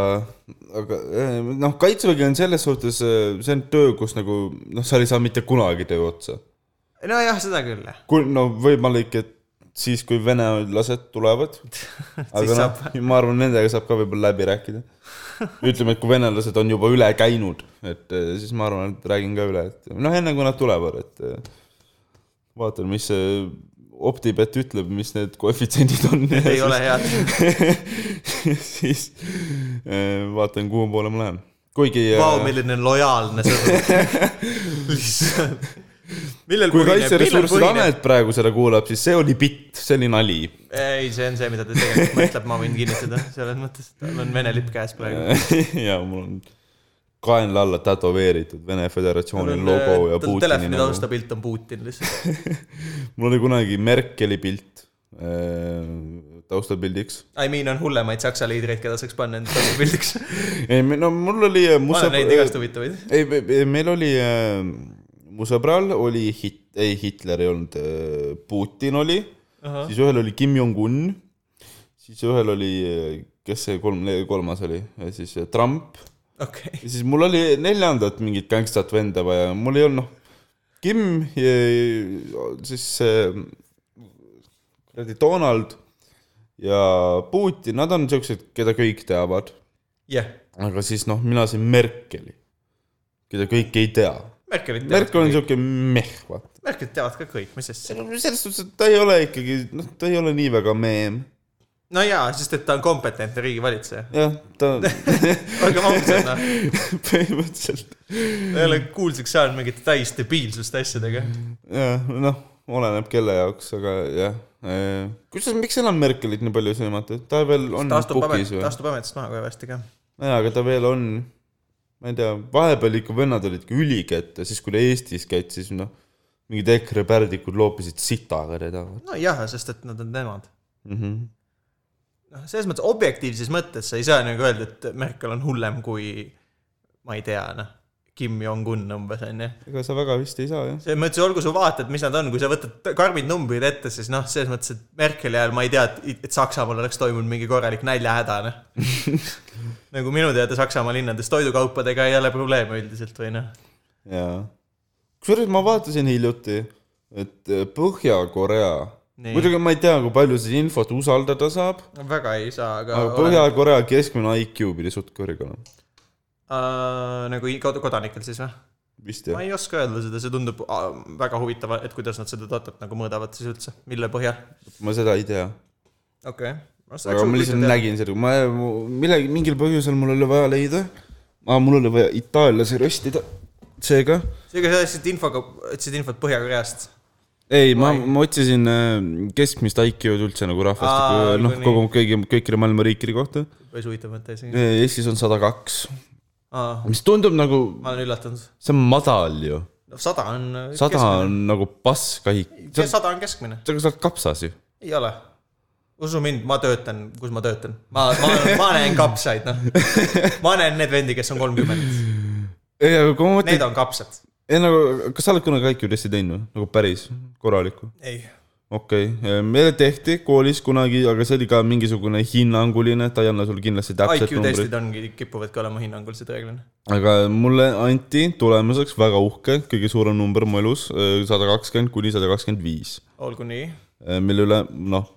Speaker 2: aga eh, noh , kaitsevägi on selles suhtes , see on töö , kus nagu noh , sa ei saa mitte kunagi töö otsa .
Speaker 1: nojah , seda küll jah .
Speaker 2: kui no võimalik , et siis , kui venelased
Speaker 1: [LAUGHS]
Speaker 2: tulevad . aga noh , ma arvan , nendega saab ka võib-olla läbi rääkida . ütleme , et kui venelased on juba üle käinud , et eh, siis ma arvan , et räägin ka üle , et noh , enne kui nad tulevad , et eh, vaatan , mis see Optibet ütleb , mis need koefitsiendid on .
Speaker 1: [LAUGHS] ei ole head .
Speaker 2: [LAUGHS] siis äh, vaatan , kuhu poole ma lähen . kuigi
Speaker 1: Vau ,
Speaker 2: äh,
Speaker 1: milline lojaalne
Speaker 2: [LAUGHS]
Speaker 1: sõdur . lihtsalt . millel põhineb-
Speaker 2: kui
Speaker 1: millel
Speaker 2: Kaitseressursside
Speaker 1: põhineb-
Speaker 2: Amet praegu seda kuulab , siis see oli bitt , see oli nali .
Speaker 1: ei , see on see , mida ta
Speaker 2: [LAUGHS]
Speaker 1: tegelikult mõtleb , ma võin kinnitada , selles mõttes , tal on Vene lipp käes
Speaker 2: [LAUGHS]
Speaker 1: praegu .
Speaker 2: ja mul on kaenla alla tätoveeritud Vene Föderatsiooni logo ja
Speaker 1: tal äh,
Speaker 2: Putini nagu.
Speaker 1: telefoni
Speaker 2: nägu .
Speaker 1: taustapilt on Putin lihtsalt .
Speaker 2: mul oli kunagi Merkeli pilt äh, taustapildiks .
Speaker 1: I mean on hullemaid saksa liidreid , keda saaks panna enda
Speaker 2: [LAUGHS]
Speaker 1: taustapildiks .
Speaker 2: ei , no mul oli äh, mu
Speaker 1: ma olen
Speaker 2: sõbra-
Speaker 1: neid igast huvitavaid .
Speaker 2: ei , meil oli äh, , mu sõbral oli hit- , ei Hitler ei olnud äh, , Putin oli uh , -huh. siis ühel oli Kim Jong-un , siis ühel oli äh, kes see kolm , kolmas oli , siis äh, Trump
Speaker 1: okei okay. .
Speaker 2: ja siis mul oli neljandat mingit gängstat venda vaja , mul ei olnud noh , Kim ja siis see kuradi Donald ja Putin , nad on siuksed , keda kõik teavad ,
Speaker 1: jah ,
Speaker 2: aga siis noh , mina sain Merkeli , keda kõik ei tea .
Speaker 1: Merkelit teavad
Speaker 2: Merkel on
Speaker 1: ka kõik ,
Speaker 2: siuke meh , vaata .
Speaker 1: Merkelit teavad ka kõik , mis asja .
Speaker 2: selles suhtes , et ta ei ole ikkagi , noh , ta ei ole nii väga meem .
Speaker 1: no jaa , sest et ta on kompetentne riigivalitseja .
Speaker 2: jah , ta [LAUGHS] on
Speaker 1: olgem ausad , noh ,
Speaker 2: põhimõtteliselt
Speaker 1: ei ole kuulsaks saanud mingit täis debiilsust asjadega .
Speaker 2: jah , noh , oleneb kelle jaoks , aga jah . kusjuures , miks enam Merkelit nii palju ei sõimata , ta veel on
Speaker 1: ta astub
Speaker 2: pukis
Speaker 1: amet ,
Speaker 2: või
Speaker 1: ta ? astub ametist maha kohe varsti ka .
Speaker 2: jaa , aga ta veel on , ma ei tea , vahepeal ikka vennad olid ikka ülikett ja siis , kui ta Eestis käis , siis noh , mingid EKRE pärdikud loopisid sitaga teda
Speaker 1: nojah , sest et nad on nemad .
Speaker 2: mm . -hmm.
Speaker 1: noh , selles mõttes objektiivses mõttes sa ei saa nagu öelda , et Merkel on hullem kui ma ei tea , noh , Kim Jong-un umbes , onju .
Speaker 2: ega sa väga vist ei saa jah .
Speaker 1: selles mõttes , olgu su vaated , mis nad on , kui sa võtad karmid numbrid ette , siis noh , selles mõttes , et Merkeli ajal ma ei tea , et et Saksamaal oleks toimunud mingi korralik näljahäda , noh . nagu minu teada Saksamaa linnades toidukaupadega ei ole probleeme üldiselt või noh .
Speaker 2: jaa . kusjuures ma vaatasin hiljuti , et eh, Põhja-Korea ,
Speaker 1: Nii.
Speaker 2: muidugi ma ei tea , kui palju seda infot usaldada saab ,
Speaker 1: väga ei saa , aga,
Speaker 2: aga Põhja-Korea keskmine IQ pidi suht kõrge olema .
Speaker 1: äh, nagu i- kod- kodanikel siis või ?
Speaker 2: vist jah
Speaker 1: ma ? ei oska öelda seda , see tundub äh, väga huvitav , et kuidas nad seda datat nagu mõõdavad siis üldse , mille põhjal .
Speaker 2: ma seda ei tea .
Speaker 1: okei okay.
Speaker 2: aga ma lihtsalt . nägin seda , ma mu- millegi , mingil põhjusel mul oli vaja leida . aa , mul oli vaja itaallasi röstida . seega ,
Speaker 1: seega sa otsid infoga , otsid infot Põhja-Koreast .
Speaker 2: ei , ma , ma otsisin äh, keskmist IQ-d üldse nagu
Speaker 1: Aa,
Speaker 2: rahvastiku , noh ,
Speaker 1: nagu
Speaker 2: kogu , kõigi , kõikide maailma riikide kohta .
Speaker 1: päris huvitav mõte isegi .
Speaker 2: Eestis on sada kaks ,
Speaker 1: ma
Speaker 2: mis tundub nagu ,
Speaker 1: olen üllatunud .
Speaker 2: see on madal ju .
Speaker 1: noh , sada on .
Speaker 2: sada on nagu paska IQ , sa
Speaker 1: sada on keskmine ,
Speaker 2: sa- sa oled kapsas ju .
Speaker 1: ei ole . usu mind , ma töötan , kus ma töötan . ma , ma , ma näen kapsaid , noh . ma näen need vendi , kes on kolmkümmend ,
Speaker 2: ei , aga kui ma mõtlen
Speaker 1: need , on kapsad .
Speaker 2: ei nagu , kas sa oled kunagi IQ testi teinud või , nagu päris korralikku ?
Speaker 1: ei .
Speaker 2: okei okay. , meile tehti koolis kunagi , aga see oli ka mingisugune hinnanguline , ta ei anna sulle kindlasti täpset
Speaker 1: IQ
Speaker 2: numbrit .
Speaker 1: testid ongi , kipuvadki olema hinnangulised reeglina .
Speaker 2: aga mulle anti tulemuseks väga uhke , kõige suurem number mu elus , sada kakskümmend kuni sada kakskümmend viis ,
Speaker 1: olgu nii .
Speaker 2: mille üle noh ,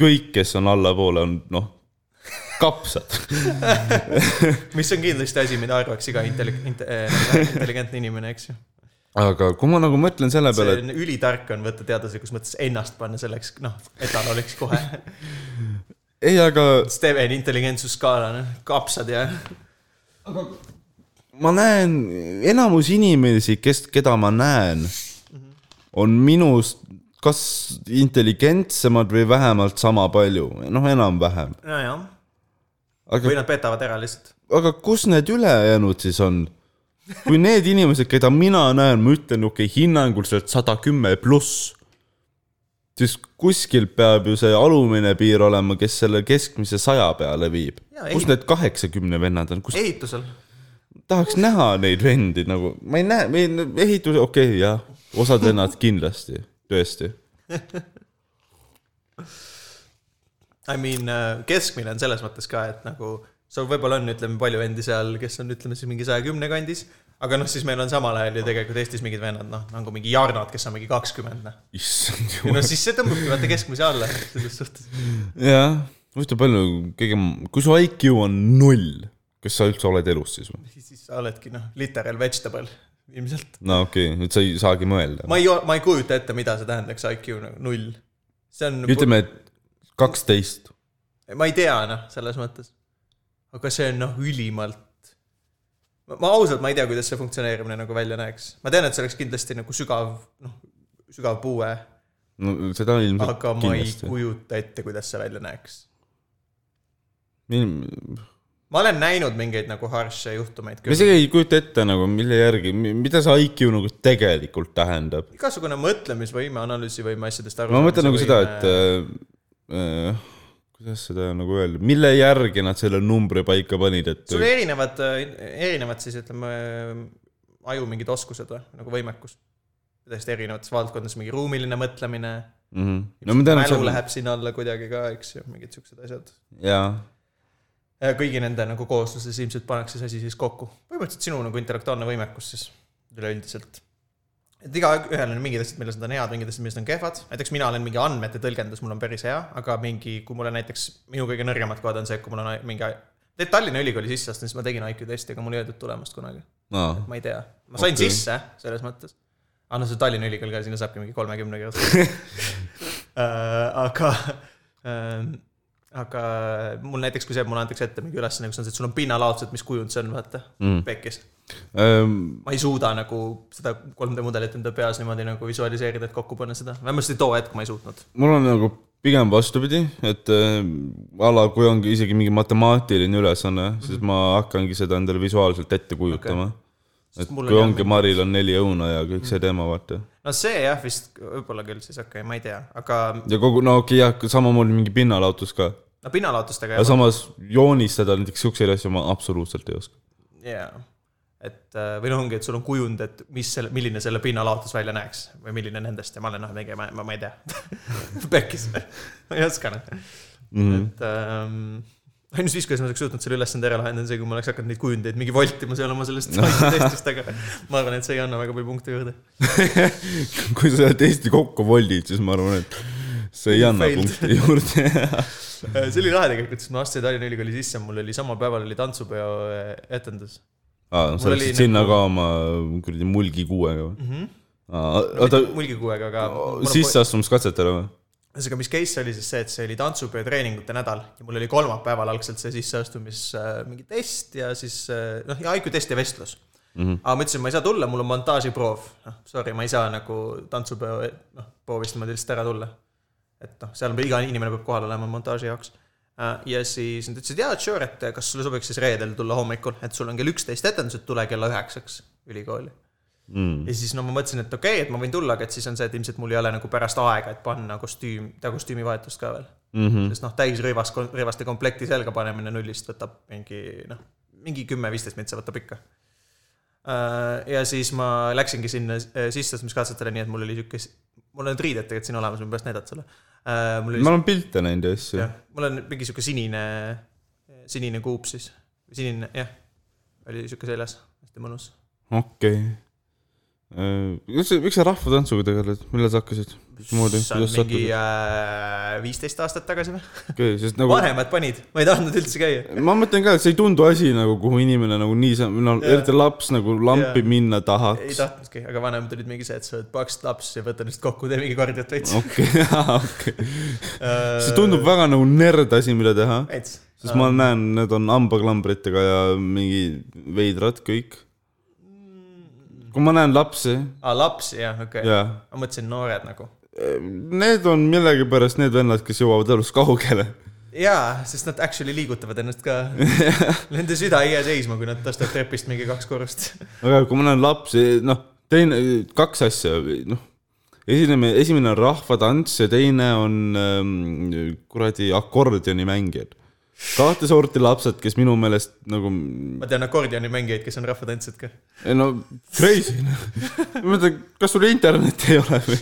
Speaker 2: kõik , kes on allapoole , on noh , kapsad . [LAUGHS]
Speaker 1: mis on kindlasti asi , mida arvaks iga intelli- , inte- , äh, intelligentne inimene , eks ju .
Speaker 2: aga kui ma nagu mõtlen selle peale , et
Speaker 1: see on ülitark on võtta teaduslikus mõttes ennast panna selleks , noh , etanoliks kohe .
Speaker 2: ei , aga
Speaker 1: Steven intelligentsusskaala , noh , kapsad ja
Speaker 2: ma näen , enamus inimesi , kes , keda ma näen , on minust kas intelligentsemad või vähemalt sama palju , noh , enam-vähem .
Speaker 1: nojah ,
Speaker 2: aga ,
Speaker 1: või nad petavad ära lihtsalt .
Speaker 2: aga kus need ülejäänud siis on ? kui need inimesed , keda mina näen , ma ütlen , okei okay, , hinnanguliselt sada kümme pluss , siis kuskil peab ju see alumine piir olema , kes selle keskmise saja peale viib
Speaker 1: Jaa, . ei-
Speaker 2: kus need kaheksakümne vennad on , kus
Speaker 1: ehitusel ,
Speaker 2: tahaks näha neid vendi nagu , ma ei näe , meil ehitus , okei okay, , jah , osad vennad kindlasti , tõesti .
Speaker 1: I mean , keskmine on selles mõttes ka , et nagu sul võib-olla on , ütleme , palju vendi seal , kes on , ütleme siis mingi saja kümne kandis , aga noh , siis meil on samal ajal ju tegelikult Eestis mingid vennad , noh , nagu mingi Jarnod , kes on mingi kakskümmend , noh .
Speaker 2: issand
Speaker 1: ja no
Speaker 2: jumal .
Speaker 1: siis see tõmbabki vaata keskmise alla selles suhtes .
Speaker 2: jah , huvitav palju kõige , kui su IQ on null , kas sa üldse oled elus siis või ?
Speaker 1: siis siis sa oledki noh , literal vegetable ilmselt .
Speaker 2: no okei okay, , et sa ei saagi mõelda .
Speaker 1: ma ei , ma ei kujuta ette , mida see tähendaks IQ nagu null . see on ,
Speaker 2: ütleme , et kaksteist .
Speaker 1: ma ei tea noh , selles mõttes . aga see on noh , ülimalt . ma ausalt , ma ei tea , kuidas see funktsioneerimine nagu välja näeks . ma tean , et see oleks kindlasti nagu sügav , noh , sügav puue ,
Speaker 2: no seda ilmselt
Speaker 1: aga ma ei
Speaker 2: kindlasti .
Speaker 1: kujuta ette , kuidas see välja näeks .
Speaker 2: ma
Speaker 1: ma olen näinud mingeid nagu harsh'e juhtumeid küll .
Speaker 2: isegi ei kujuta ette nagu , mille järgi , mida see IQ nagu tegelikult tähendab .
Speaker 1: igasugune mõtlemisvõime , analüüsivõime asjadest aru
Speaker 2: ma mõtlen nagu seda , et äh, äh, kuidas seda nagu öelda , mille järgi nad selle numbri paika panid , et
Speaker 1: sul erinevad , erinevad siis ütleme , aju mingid oskused või , nagu võimekus ? täiesti erinevates valdkondades , mingi ruumiline mõtlemine ,
Speaker 2: mm, no ma tean , et
Speaker 1: mälu
Speaker 2: see on ,
Speaker 1: läheb sinna alla kuidagi ka , eks ju , mingid siuksed asjad .
Speaker 2: jaa ,
Speaker 1: kõigi nende nagu koosluses ilmselt pannakse see asi siis kokku. põhimõtteliselt sinu nagu intellektuaalne võimekus siis üleüldiselt. et igaühel on mingid asjad, milles nad on head, mingid asjad, milles nad on kehvad. näiteks mina olen mingi andmete tõlgendus, mul on päris hea, aga mingi, kui mulle näiteks, minu kõige nõrgemad kohad on see, et kui mul on mingi Tead, Tallinna Ülikooli sisse astun, siis ma tegin IQ testi, aga mul ei öeldud tulemust kunagi.
Speaker 2: aa ,
Speaker 1: ma ei tea, ma sain
Speaker 2: Okei.
Speaker 1: okay. sisse selles mõttes . aga noh, see Tallinna Ülikool ka , sinna saabki mingi kolmekümne [LAUGHS] kirjastada uh, . aga uh, , aga mul näiteks , kui see , mulle antakse ette mingi ülesanne , kus on see , et sul on pinnalaotused , mis kujund see on , vaata mm. , pekkis .
Speaker 2: Ähm,
Speaker 1: ma ei suuda nagu seda 3D mudelit enda peas niimoodi nagu visualiseerida , et kokku panna seda , vähemasti too hetk ma ei suutnud .
Speaker 2: mul on nagu pigem vastupidi , et äh, a la kui ongi isegi mingi matemaatiline ülesanne mm , -hmm. siis ma
Speaker 1: Mhm.
Speaker 2: hakkangi seda endale visuaalselt ette kujutama okay. . et
Speaker 1: mul
Speaker 2: kui
Speaker 1: on jah
Speaker 2: ongi , Maril on neli õuna ja kõik
Speaker 1: Mhm.
Speaker 2: see teema , vaata .
Speaker 1: no see jah , vist võib-olla küll siis okei okay, , ma ei tea , aga
Speaker 2: ja kogu , no okei okay, , jah , samamoodi mingi pinnalautus ka .
Speaker 1: no pinnalaotustega
Speaker 2: aga samas joonistada näiteks siukseid asju ma absoluutselt ei oska .
Speaker 1: jaa , et äh, või noh , ongi , et sul on kujund , et mis selle , milline selle pinnalaotus välja näeks või milline nendest ja ma olen noh , mingi , ma , ma, ma ei tea . [LAUGHS] pekkis , ma ei oska noh mm
Speaker 2: Mhm.
Speaker 1: -hmm. . et ähm, ainus viis , kuidas ma oleks suutnud selle ülesande ära lahendada , on see , kui ma oleks hakanud neid kujundeid mingi voltima seal oma sellest [LAUGHS] testist , aga ma arvan , et see ei anna väga palju punkte juurde .
Speaker 2: [LAUGHS] kui sa testi kokku voldid , siis ma arvan , et see ei anna
Speaker 1: Failed.
Speaker 2: punkti
Speaker 1: [LAUGHS]
Speaker 2: juurde .
Speaker 1: Äh, see oli lahe tegelikult , sest ma astusin Tallinna Ülikooli sisse , mul oli samal päeval oli tantsupeo äh, etendus
Speaker 2: aa ,
Speaker 1: Mul
Speaker 2: sa
Speaker 1: oli
Speaker 2: läksid sinna
Speaker 1: nagu-
Speaker 2: ka oma kuradi mulgi kuuega või ? oota ,
Speaker 1: mulgi kuuega , aga .
Speaker 2: sisseastumiskatsetele või ?
Speaker 1: ühesõnaga , mis case see oli siis see , et see oli tantsupeo treeningute nädal ja mul oli kolmapäeval algselt see sisseastumis äh, mingi test ja siis äh, noh , ja IQ test ja vestlus mm . -hmm. aga ma ütlesin , ma ei saa tulla , mul on montaažiproov , noh sorry , ma ei saa nagu tantsupeo noh , proovist niimoodi lihtsalt ära tulla . et noh , seal on- iga inimene peab kohal olema montaaži jaoks . ja siis nad ütlesid , jaa , sure , et äh, kas sulle sobiks siis reedel tulla hommikul , et sul on kell üksteist etendused , tule kella üheksaks ülikooli
Speaker 2: Mm.
Speaker 1: ja siis no ma mõtlesin , et okei okay, , et ma võin tulla , aga et siis on see , et ilmselt mul ei ole nagu pärast aega , et panna kostüüm , teha kostüümivahetust ka veel mm . -hmm. sest noh , täis rõivas , rõivaste komplekti selga panemine nullist võtab mingi noh , mingi kümme-viisteist mintsa võtab ikka . ja siis ma läksingi sinna sisseastumiskatsetele , nii et mul oli sihuke , mul on need riided tegelikult siin olemas , ma pärast näidan sulle . mul oli
Speaker 2: ma olen pilte näinud ja asju .
Speaker 1: jah , mul on mingi sihuke sinine , sinine kuup siis , sinine jah , oli sihuke seljas , hästi mõnus
Speaker 2: okei . miks sa , miks sa rahvatantsuga tegeled , millal sa hakkasid ? mismoodi ,
Speaker 1: see on
Speaker 2: kuidas
Speaker 1: mingi äh,
Speaker 2: sattusid ?
Speaker 1: viisteist aastat tagasi või ?
Speaker 2: okei , sest nagu
Speaker 1: vanemad panid , ma ei tahtnud üldse käia .
Speaker 2: ma mõtlen ka , et see ei tundu asi nagu , kuhu inimene nagu niisama , no
Speaker 1: Jaa.
Speaker 2: eriti laps nagu lampi
Speaker 1: Jaa.
Speaker 2: minna
Speaker 1: ei
Speaker 2: tahaks .
Speaker 1: tahtnudki , aga vanemad olid mingi see , et sa oled paks laps ja võta ennast kokku , tee mingi kordjat veits .
Speaker 2: okei , [LAUGHS] okei . see tundub väga nagu nerd asi , mida teha .
Speaker 1: Äh, veits .
Speaker 2: sest ma näen , need on hambaklambritega ja mingi veidrad kõik . kui ma näen lapsi ,
Speaker 1: aa , lapsi , Ah, jah , okei okay. .
Speaker 2: jaa ,
Speaker 1: ma mõtlesin noored nagu .
Speaker 2: need on millegipärast need vennad , kes jõuavad elus kaugele .
Speaker 1: jaa , sest nad actually liigutavad ennast
Speaker 2: [LAUGHS]
Speaker 1: ka . Nende süda ei jää seisma , kui nad tõstavad trepist mingi kaks korrust .
Speaker 2: aga kui ma näen lapsi , noh , teine , kaks asja , noh , esineme , esimene on rahvatants ja teine on ähm, kuradi akordionimängijad . kahte sorti lapsed , kes minu meelest nagu ,
Speaker 1: ma tean akordionimängijaid , kes on rahvatantsijad ka .
Speaker 2: ei no crazy , noh . [LAUGHS] ma mõtlen , kas sul internetti ei ole või ?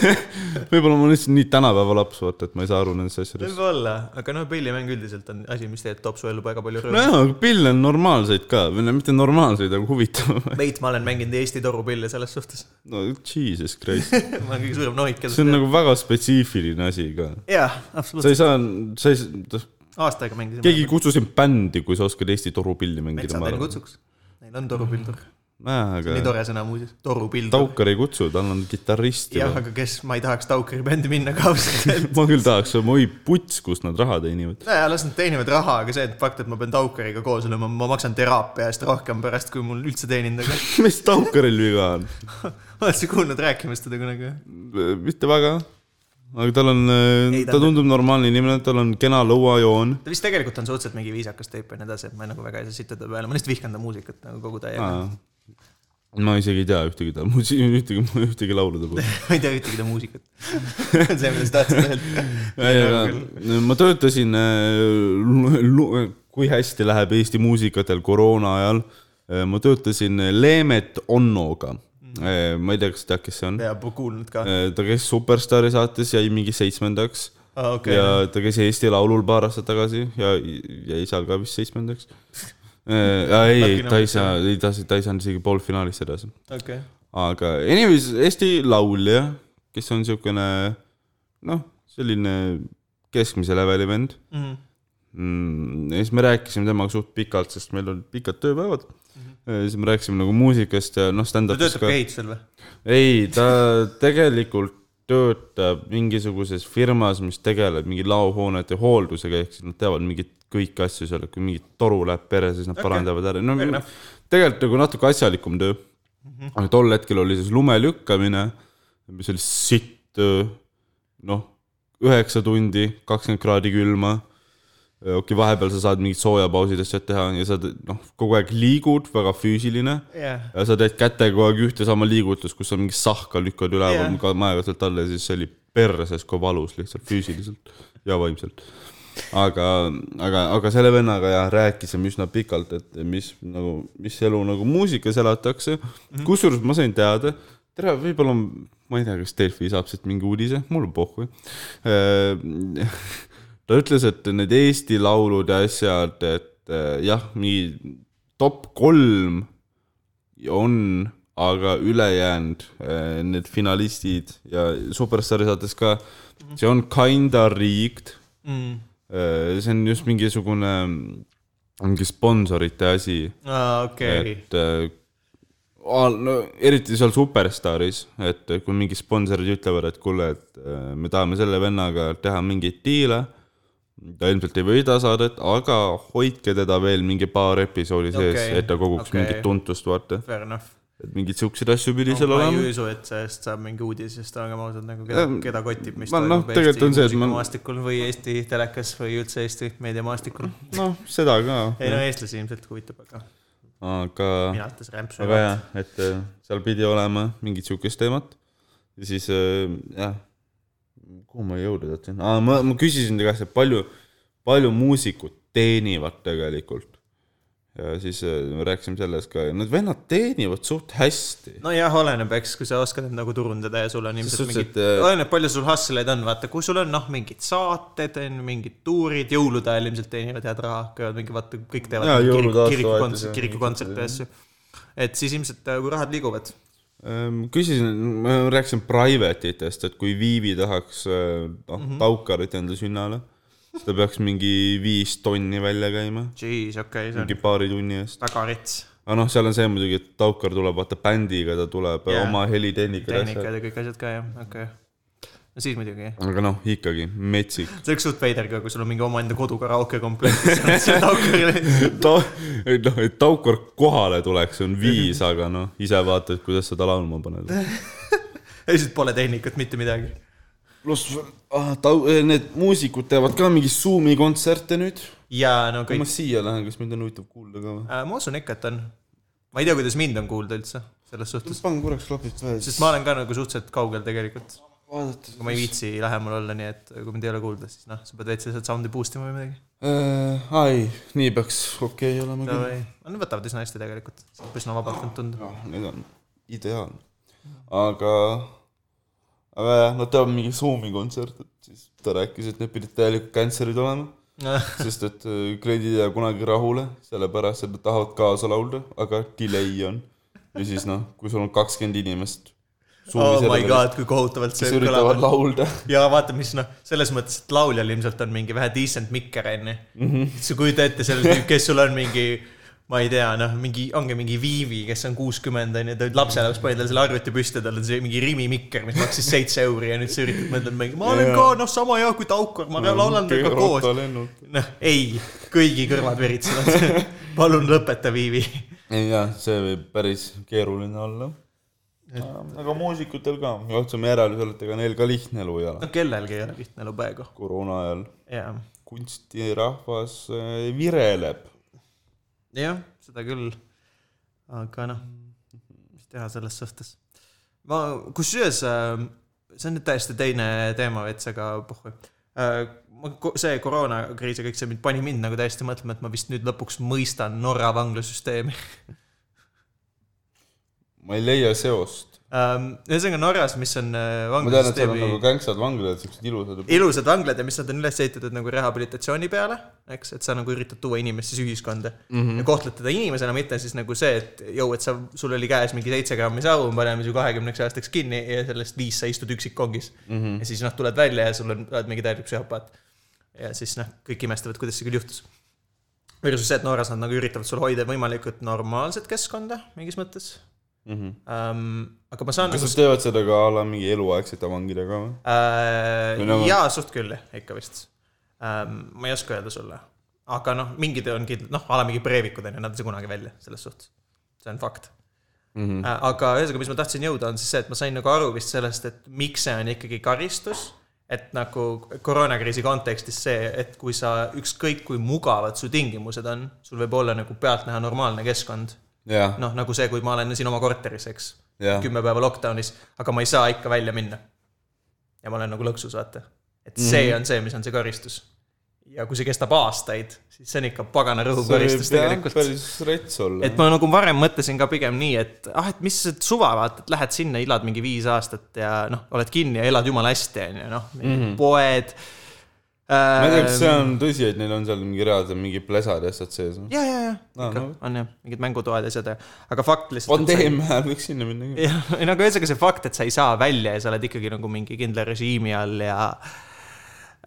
Speaker 2: [LAUGHS] võib-olla ma olen lihtsalt nii tänapäeva laps , vaata , et ma ei saa aru nendest asjadest .
Speaker 1: võib-olla , aga noh , pillimäng üldiselt on asi , mis tegelikult toob su ellu väga palju rõõmu .
Speaker 2: nojah , aga pille on normaalseid ka , või no mitte normaalseid , aga huvitavaid . [LAUGHS]
Speaker 1: veits ma olen mänginud Eesti torupille selles suhtes .
Speaker 2: no jesus christ .
Speaker 1: [LAUGHS] ma olen kõige suurem nohik , kes
Speaker 2: see on nagu väga spetsiifiline asi ka .
Speaker 1: jaa , absoluutselt .
Speaker 2: sa ei saa , sa ei saa ,
Speaker 1: aasta aega mängisime .
Speaker 2: keegi ei kutsu sind bändi , kui sa oskad Eesti torupilli mängida ,
Speaker 1: metsa
Speaker 2: ma
Speaker 1: teil
Speaker 2: arvan .
Speaker 1: kutsuks . Neil on torupildur .
Speaker 2: nojah ,
Speaker 1: nii
Speaker 2: aga
Speaker 1: tore sõna muuseas , torupildur .
Speaker 2: Taukar ei kutsu , tal on kitarrist
Speaker 1: jah ,
Speaker 2: juba .
Speaker 1: aga kes , ma ei tahaks Taukri bändi minna ka ausalt [LAUGHS] öeldes .
Speaker 2: ma küll tahaks , oi puts , kust nad raha teenivad . [LAUGHS]
Speaker 1: nojah , las nad teenivad raha , aga see fakt , et ma pean Taukariga koos olema , ma maksan teraapia eest rohkem pärast , kui mul üldse teeninud , [LAUGHS] aga
Speaker 2: mis Taukaril viga on ?
Speaker 1: oled sa kuulnud rääkimas teda kunagi ?
Speaker 2: mitte väga . aga tal on ,
Speaker 1: Ei, ta
Speaker 2: ta
Speaker 1: on-
Speaker 2: tundub normaalne inimene , tal on kena lõuajoon .
Speaker 1: ta vist tegelikult on suhteliselt mingi viisakas tüüp ja nii edasi , et ma nagu väga ei saa sitta ta peale , ma lihtsalt vihkan ta muusikat nagu kogu täiega .
Speaker 2: Ah. ma isegi ei tea ühtegi ta , [LAUGHS] ühtegi , ühtegi laulude
Speaker 1: [LAUGHS]
Speaker 2: puhul .
Speaker 1: [LAUGHS] ma ei tea ühtegi ta muusikat . [LAUGHS] see on see , mida sa tahtsid öelda .
Speaker 2: ei , aga ma töötasin , kui hästi läheb Eesti muusikatel koroona ajal , ma töötasin äh, Leemet Onnoga .
Speaker 1: Mm.
Speaker 2: ma ei tea , kas tead , kes see on ? Äh,
Speaker 1: ja kuulnud ka .
Speaker 2: ta käis Superstaari saates , jäi mingi seitsmendaks .
Speaker 1: aa , Ah, okei
Speaker 2: ja . ta käis Eesti Laulul paar aastat tagasi ja jäi seal ka vist seitsmendaks . ei , ei ta ei saa , ei ta , ta ei saanud isegi poolfinaalist edasi .
Speaker 1: okei .
Speaker 2: aga anyways , Eesti laulja , kes on siukene noh , selline keskmise leveli vend mm, . ja siis me rääkisime temaga suht pikalt , sest meil olid pikad tööpäevad mm . -hmm. siis me rääkisime nagu muusikast ja noh ,
Speaker 1: ta Mhm.
Speaker 2: stand-up'ist
Speaker 1: töötab
Speaker 2: ka
Speaker 1: ka . ehitusel või ?
Speaker 2: ei , ta tegelikult töötab mingisuguses firmas , mis tegeleb mingi laohoonete hooldusega , ehk siis nad teavad mingit kõiki asju seal , kui mingi toru läheb perre , siis nad okay. parandavad ära , no
Speaker 1: Fair enough.
Speaker 2: tegelikult nagu natuke asjalikum töö mm . -hmm. aga tol hetkel oli siis lume lükkamine , mis oli sitt töö , noh , üheksa tundi , kakskümmend kraadi külma okei okay, , vahepeal sa saad mingid soojapausid asjad teha ja sa te- noh , kogu aeg liigud , väga füüsiline
Speaker 1: jah .
Speaker 2: ja sa teed kätega kogu aeg ühte sama liigutust , kus sa mingi sahka lükkad üleval
Speaker 1: Jah.
Speaker 2: yeah. majaga sealt alla ja siis see oli perses kui valus lihtsalt füüsiliselt ja vaimselt . aga , aga , aga selle vennaga jah , rääkisime üsna pikalt , et mis nagu , mis elu nagu muusikas elatakse mm
Speaker 1: Mhm.
Speaker 2: -hmm. . kusjuures ma sain teada , tere , võib-olla m- ma ei tea , kas Delfi saab siit mingi uudise , mul on pohhu . ta ütles , et need Eesti laulud ja asjad , et eh, jah , mingi top kolm on , aga ülejäänud eh, need finalistid ja Superstaari saates ka , see on kinda rigged ,
Speaker 1: Mhm.
Speaker 2: see on just mingisugune , mingi sponsorite asi ,
Speaker 1: aa , Ah, okei .
Speaker 2: et eh, al- no, eriti seal Superstaaris , et kui mingid sponsorid ütlevad , et kuule , et eh, me tahame selle vennaga teha mingeid diile , ta ilmselt ei võida saadet , aga hoidke teda veel mingi paar episoodi sees
Speaker 1: Okei,
Speaker 2: okay. , et ta
Speaker 1: okei.
Speaker 2: koguks okay. mingit tuntust , vaata .
Speaker 1: Fair enough .
Speaker 2: et mingeid siukseid asju pidi seal
Speaker 1: ma ei
Speaker 2: olema .
Speaker 1: usu , et sellest saab mingi uudis , sest olgem ausad , nagu keda
Speaker 2: Ähm, ,
Speaker 1: keda kotib , mis
Speaker 2: ma- noh,
Speaker 1: toimub
Speaker 2: tegelikult
Speaker 1: Eesti
Speaker 2: on see, et ma-
Speaker 1: muusikamaastikul või Eesti telekas või üldse Eesti meediamaastikul .
Speaker 2: noh , seda ka ,
Speaker 1: ei no eestlasi ilmselt huvitab , aga
Speaker 2: aga ,
Speaker 1: mina ütles rämpsu .
Speaker 2: Ah. aga jah , et äh, seal pidi olema mingit siukest teemat . ja siis äh, jah , kuhu ma jõudnud tahtsin , aa , ma , ma küsisin ta käest , et palju , palju muusikud teenivad tegelikult . ja siis äh, me rääkisime sellest ka , need vennad teenivad suht hästi .
Speaker 1: nojah , oleneb , eks , kui sa oskad end nagu turundada ja sul on ilmselt
Speaker 2: suhtes,
Speaker 1: mingid ,
Speaker 2: et, äh,
Speaker 1: oleneb , palju sul hustle'id on , vaata , kui sul on noh , mingid saated , mingid tuurid , jõulude ajal ilmselt teenivad head raha , käivad mingi , vaata , kõik teevad
Speaker 2: Jaa,
Speaker 1: mingi
Speaker 2: jõulude
Speaker 1: kiriku-
Speaker 2: aastavahetus
Speaker 1: kirikukontserte ,
Speaker 2: ja
Speaker 1: kirikukontserte ja asju . et siis ilmselt , kui rahad liiguvad ,
Speaker 2: Ähm, küsisin , ma rääkisin private itest , et kui Viivi tahaks äh, noh mm -hmm. taukarit enda sünnale , siis ta peaks mingi viis tonni välja käima ,
Speaker 1: jeez , okei okay, , see on
Speaker 2: mingi paari tunni eest .
Speaker 1: väga rits .
Speaker 2: aga noh , seal on see muidugi , et taukar tuleb vaata bändiga , ta tuleb
Speaker 1: Jaa.
Speaker 2: yeah. oma helitehnikaga asjad ,
Speaker 1: tehnikad ja kõik asjad ka jah , okei okay. . no siis muidugi , jah .
Speaker 2: aga noh , ikkagi metsik . [LAUGHS]
Speaker 1: see oleks suht veider ka , kui sul on mingi omaenda kodukaraoke komplekt , siis on [LAUGHS] see taukarile .
Speaker 2: ta , noh , et taukar kohale tuleks , on viis , aga noh , ise vaatad , kuidas seda laulma paned .
Speaker 1: ja siis pole tehnikat mitte midagi .
Speaker 2: pluss ah, tau- , need muusikud teevad ka mingi Zoomi kontserte nüüd .
Speaker 1: jaa , no
Speaker 2: kui
Speaker 1: kõik
Speaker 2: ma siia lähen , kas mind on huvitav kuulda ka või ?
Speaker 1: Äh, ma usun ikka , et on . ma ei tea , kuidas mind on kuulda üldse selles suhtes ,
Speaker 2: panen korraks klapid välja ,
Speaker 1: sest ma olen ka nagu suhteliselt kaugel tegelikult .
Speaker 2: vaadata
Speaker 1: ma ei viitsi lähemal olla , nii et kui mind ei ole kuulda , siis noh , sa pead täitsa sealt sound'i boost ima või midagi .
Speaker 2: äh, . ai , nii peaks okei okay, olema küll .
Speaker 1: Davai , nad võtavad üsna hästi tegelikult , üsna vabalt on tunda .
Speaker 2: noh , nüüd on ideaalne . aga , aga jah , nad teevad mingi Zoomi kontsert , et siis ta rääkis , et need pidid täielikult cancer'id olema , sest et äh, kliendid ei jää kunagi rahule , sellepärast et nad tahavad kaasa laulda , aga delay on . ja siis noh , kui sul on kakskümmend inimest .
Speaker 1: oh my god , kui kohutavalt see
Speaker 2: kes üritavad
Speaker 1: kõlab .
Speaker 2: laulda .
Speaker 1: ja vaata , mis noh , selles mõttes , et lauljal ilmselt on mingi vähe decent mikker , onju . sa kujuta ette sellele , kes sul on mingi , ma ei tea , noh , mingi , ongi mingi Viivi , kes on kuuskümmend , onju , ta lapselaps pani talle selle arvuti püsti , tal on see mingi Rimi mikker , mis maksis seitse euri ja nüüd sa üritad mõelda , et mingi, ma olen
Speaker 2: Jaa.
Speaker 1: ka , noh , sama hea kui Taukar , ma laulan temaga koos . noh , ei , kõigi kõrvad veritsevad . palun lõpeta , Viivi .
Speaker 2: jah , see võib päris keeruline olla . aga muusikutel ka , jõudsime järeldusele , et ega neil ka lihtne elu ei ole .
Speaker 1: no kellelgi ei ole lihtne elu praegu ,
Speaker 2: koroona ajal
Speaker 1: jaa
Speaker 2: kunstirahvas äh, vireleb .
Speaker 1: jah , seda küll . aga noh , mis teha selles suhtes . ma , kusjuures äh, see on nüüd täiesti teine teema veits , aga puhh . Äh, ma , see koroonakriis ja kõik see mind pani mind nagu täiesti mõtlema , et ma vist nüüd lõpuks mõistan Norra vanglasüsteemi .
Speaker 2: ma ei leia seost .
Speaker 1: Äh, ühesõnaga Norras , mis on äh,
Speaker 2: ma tean , et seal on
Speaker 1: vanglasüsteemi
Speaker 2: nagu gänksad vanglad , siuksed ilusad .
Speaker 1: ilusad vanglad ja mis nad on üles ehitatud nagu rehabilitatsiooni peale , eks , et sa nagu üritad tuua inimest siis ühiskonda mm -hmm. ja kohtled teda inimesena , mitte siis nagu see , et jõu , et sa , sul oli käes mingi seitse grammi sau , me paneme su kahekümneks aastaks kinni ja sellest viis sa istud üksikkongis mm . -hmm. ja siis noh , tuled välja ja sul on , oled mingi täielik psühhopaat . ja siis noh , kõik imestavad , kuidas see küll juhtus . Versus see , et Norras nad nagu üritavad sul hoida võimalikult normaalset keskkonda mingis mõttes mm . -hmm. Um, aga ma saan
Speaker 2: kas nad teevad seda ka a la mingi eluaegsete vangidega või ? Või
Speaker 1: äh,
Speaker 2: nagu- .
Speaker 1: jaa , suht küll jah , ikka vist ähm, . ma ei oska öelda sulle , aga noh , mingid on kindlalt , noh , ala mingi preevikud on ju , nad ei saa kunagi välja selles suhtes . see on fakt mm . -hmm. Äh, aga ühesõnaga , mis ma tahtsin jõuda , on siis see , et ma sain nagu aru vist sellest , et miks see on ikkagi karistus . et nagu koroonakriisi kontekstis see , et kui sa ükskõik kui mugavad su tingimused on , sul võib olla nagu pealtnäha normaalne keskkond
Speaker 2: jah ,
Speaker 1: noh , nagu see , kui ma olen siin oma korteris , eks
Speaker 2: Jah. .
Speaker 1: kümme päeva lockdownis , aga ma ei saa ikka välja minna . ja ma olen nagu lõksus , vaata . et see
Speaker 2: Mhm.
Speaker 1: mm -hmm. on see , mis on see karistus . ja kui see kestab aastaid , siis see on ikka pagana rõhukaristus tegelikult .
Speaker 2: päris rets olla
Speaker 1: et . ma nagu varem mõtlesin ka pigem nii , et ah , et mis see suva , vaata , et lähed sinna , elad mingi viis aastat ja noh , oled kinni ja elad jumala hästi , on ju , noh , poed .
Speaker 2: Mhm.
Speaker 1: ähm,
Speaker 2: ma ei tea , kas see on tõsi , et neil on seal mingi reaalselt mingi plesad ja asjad sees või ?
Speaker 1: ja , ja , ja , ikka
Speaker 2: Ah, no.
Speaker 1: on jah , mingid mängutoad ja asjad , aga fakt lihtsalt .
Speaker 2: pandeemia ajal [LAUGHS] võiks sinna minna küll .
Speaker 1: jah , ei no aga ühesõnaga see fakt , et sa ei saa välja ja sa oled ikkagi nagu mingi kindla režiimi all ja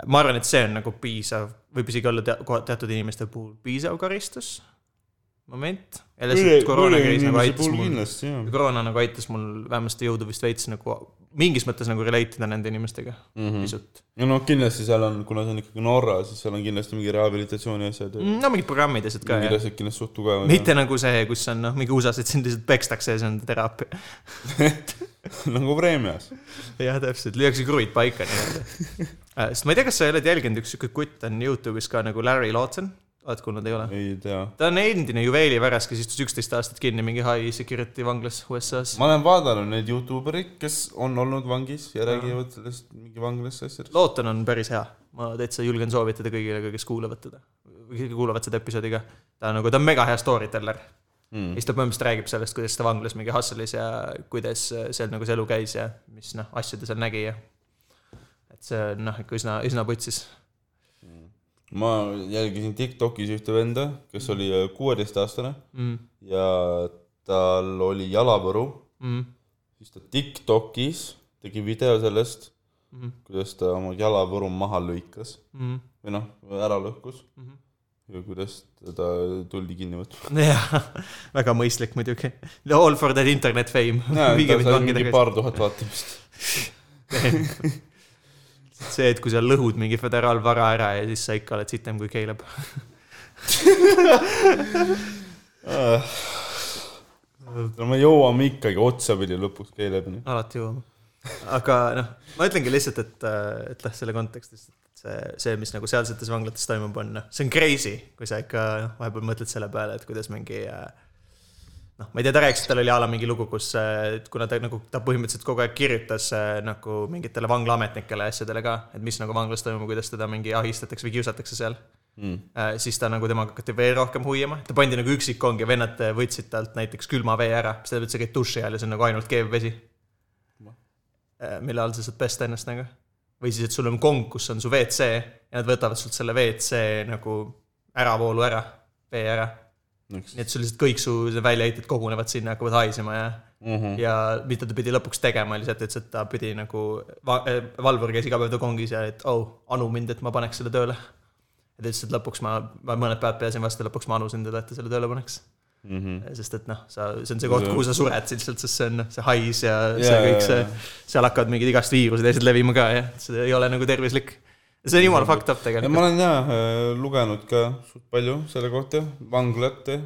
Speaker 1: ma arvan , et see on nagu piisav , võib isegi olla te ko- teatud inimeste puhul piisav karistus , moment . ja lihtsalt koroonakriis nagu aitas mul ,
Speaker 2: kindlasti jah .
Speaker 1: koroona nagu aitas mul vähemasti jõudu vist veits nagu mingis mõttes nagu relate ida nende inimestega mm -hmm. pisut .
Speaker 2: ja noh , kindlasti seal on , kuna see on ikkagi Norra , siis seal on kindlasti mingi rehabilitatsiooni asjad ja
Speaker 1: no mingid programmid ja asjad ka
Speaker 2: mingid
Speaker 1: ja
Speaker 2: asjad kindlasti suht tugevad .
Speaker 1: Mm, mitte nagu see , kus on noh , mingi USA-s , et sind lihtsalt pekstakse ja see on teraapia .
Speaker 2: [LAUGHS] nagu preemias .
Speaker 1: jah , täpselt , lüüakse kruvid paika nii-öelda . sest ma ei tea , kas sa oled jälginud , üks sihuke kutt on Youtube'is ka nagu Larry Lawson , oled kuulnud , ei ole ?
Speaker 2: ei tea .
Speaker 1: ta on endine juveeli väras , kes istus üksteist aastat kinni mingi high security vanglas USA-s .
Speaker 2: ma olen vaadanud neid Youtube erid , kes on olnud vangis ja räägivad sellest mingi vanglasse asjadest .
Speaker 1: Lawton on päris hea , ma täitsa julgen soovitada kõigile , kes kuulavad teda , kes kuulavad seda episoodi ka . ta on nagu , ta on mega hea storyteller mm. . siis ta põhimõtteliselt räägib sellest , kuidas ta vanglas mingi hustle'is ja kuidas seal nagu see elu käis ja mis noh , asju ta seal nägi ja . et see on noh , ikka üsna , üsna putsis .
Speaker 2: ma jälgisin Tiktokis ühte venda , kes oli kuueteistaastane
Speaker 1: Mm.
Speaker 2: ja tal oli jalavõru ,
Speaker 1: Mm.
Speaker 2: siis ta Tiktokis tegi video sellest
Speaker 1: Mhm. ,
Speaker 2: kuidas ta oma jalavõru maha lõikas
Speaker 1: Mm.
Speaker 2: või noh , ära lõhkus
Speaker 1: mhm.
Speaker 2: ja kuidas teda tuldi kinni võtma .
Speaker 1: jah , [LAUGHS] väga mõistlik muidugi . All for that internet fame . viige mind vangide käest .
Speaker 2: paar tuhat vaatamist .
Speaker 1: [LAUGHS] see , et kui sa lõhud mingi föderaalvara ära ja siis sa ikka oled sitem kui Caleb .
Speaker 2: Äh, no me jõuame ikkagi otsapidi lõpuks keeleni .
Speaker 1: alati jõuame . aga noh , ma ütlengi lihtsalt , et , et noh , selle kontekstis , et see , see , mis nagu sealsetes vanglates toimub , on noh , see on crazy , kui sa ikka noh, vahepeal mõtled selle peale , et kuidas mingi äh, noh , ma ei tea , ta rääkis , et tal oli a la mingi lugu , kus , kuna ta nagu , ta põhimõtteliselt kogu aeg kirjutas äh, nagu mingitele vanglaametnikele ja asjadele ka , et mis nagu vanglas toimub , kuidas teda mingi ahistatakse või kiusatakse seal mm. . siis ta nagu , temaga hakati veel rohkem hoiama , ta pandi nagu üksikkongi , vennad äh, võtsid talt näiteks külma vee ära , siis ta ütles , et sa käid duši all ja see on nagu ainult keevvesi . mille all sa saad pesta ennast nagu . või siis , et sul on kong , kus on su WC ja nad võtavad sult selle WC nagu äravoolu ära , vee ära nii et sul lihtsalt kõik su väljaheited kogunevad sinna , hakkavad haisema ja mm ,
Speaker 2: Mhm,
Speaker 1: -hmm. ja mida ta pidi lõpuks tegema , oli see , et ta ütles , et ta pidi nagu va , äh, valvur käis iga päev ta kongis ja et oh , anu mind , et ma paneks selle tööle . ja ta ütles , et lõpuks ma , ma mõned päevad peasin vastu , lõpuks ma anusin teda , et ta selle tööle paneks mm .
Speaker 2: mhm.
Speaker 1: -hmm. sest et noh , sa , see on see koht , kuhu sa sured lihtsalt , sest see on noh, see hais ja see
Speaker 2: Jaa,
Speaker 1: kõik
Speaker 2: jaa,
Speaker 1: see , seal hakkavad mingid igast viirused ja asjad levima ka ja see ei ole nagu tervislik . see on jumala fucked up
Speaker 2: ja ma
Speaker 1: tegelikult .
Speaker 2: olen jaa äh, lugenud ka suht palju selle kohta , vanglate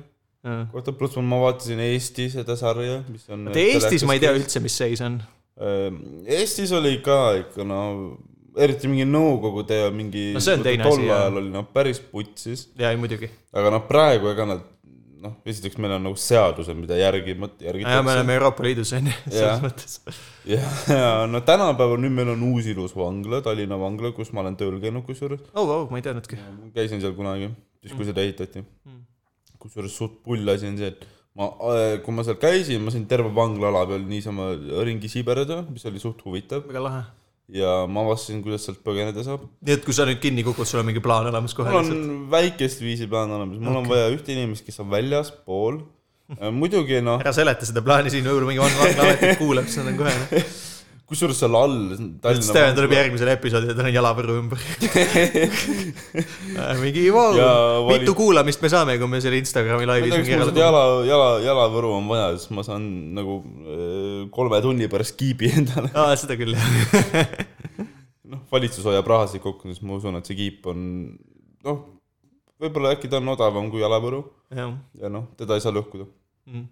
Speaker 2: kohta , pluss ma vaatasin Eesti seda sarja , mis on .
Speaker 1: Eestis ma ei tea . üldse , mis seis on .
Speaker 2: Eestis oli ka ikka no , eriti mingi Nõukogude ja mingi .
Speaker 1: No see on teine asi,
Speaker 2: tol
Speaker 1: jah.
Speaker 2: ajal oli noh , päris putsis ,
Speaker 1: jaa , ei muidugi .
Speaker 2: aga noh , praegu ega nad noh , esiteks meil on nagu seadused , mida järgima ,
Speaker 1: jah , me
Speaker 2: järgitakse .
Speaker 1: oleme Euroopa Liidus , on ju , selles
Speaker 2: Jah.
Speaker 1: mõttes .
Speaker 2: ja , ja no tänapäeval nüüd meil on uus ilus vangla , Tallinna vangla , kus ma olen tööl käinud kusjuures .
Speaker 1: oh , oh , ma ei teadnudki .
Speaker 2: Ma käisin seal kunagi , siis kui seda ehitati . kusjuures suht pull asi on see , et ma , kui ma seal käisin , ma sain terve vangla-ala peal niisama ringi sibereda , mis oli suht huvitav
Speaker 1: väga lahe .
Speaker 2: ja ma avastasin , kuidas sealt põgeneda saab .
Speaker 1: nii et kui sa nüüd kinni kukud , sul on mingi plaan olemas kohe
Speaker 2: mul
Speaker 1: lihtsalt .
Speaker 2: on väikest viisi plaan olemas , mul okay. on vaja ühte inimest , kes on väljaspool . muidugi noh ,
Speaker 1: ära seleta seda plaani siin , võib-olla mingi vanglaametnik kuuleb , siis nad on
Speaker 2: [LAUGHS]
Speaker 1: kohe .
Speaker 2: kusjuures seal all .
Speaker 1: Steven tuleb järgmisel episoodil ja tal on jalavõrru
Speaker 2: [LAUGHS]
Speaker 1: ümber . mingi vau
Speaker 2: Ja , vali-
Speaker 1: mitu kuulamist me saame , kui me selle Instagrami
Speaker 2: ma ei
Speaker 1: laivis
Speaker 2: tea , kas
Speaker 1: mingi
Speaker 2: mul
Speaker 1: ära
Speaker 2: seda jala , jala , jalavõru on vaja , siis ma saan nagu äh, kolme tunni pärast kiibi [LAUGHS] endale .
Speaker 1: aa , seda küll jah .
Speaker 2: noh , valitsus hoiab rahasid kokku , siis ma usun , et see kiip on noh , võib-olla äkki ta on odavam kui jalavõru
Speaker 1: jah ,
Speaker 2: ja noh , teda ei saa lõhkuda .
Speaker 1: Mm.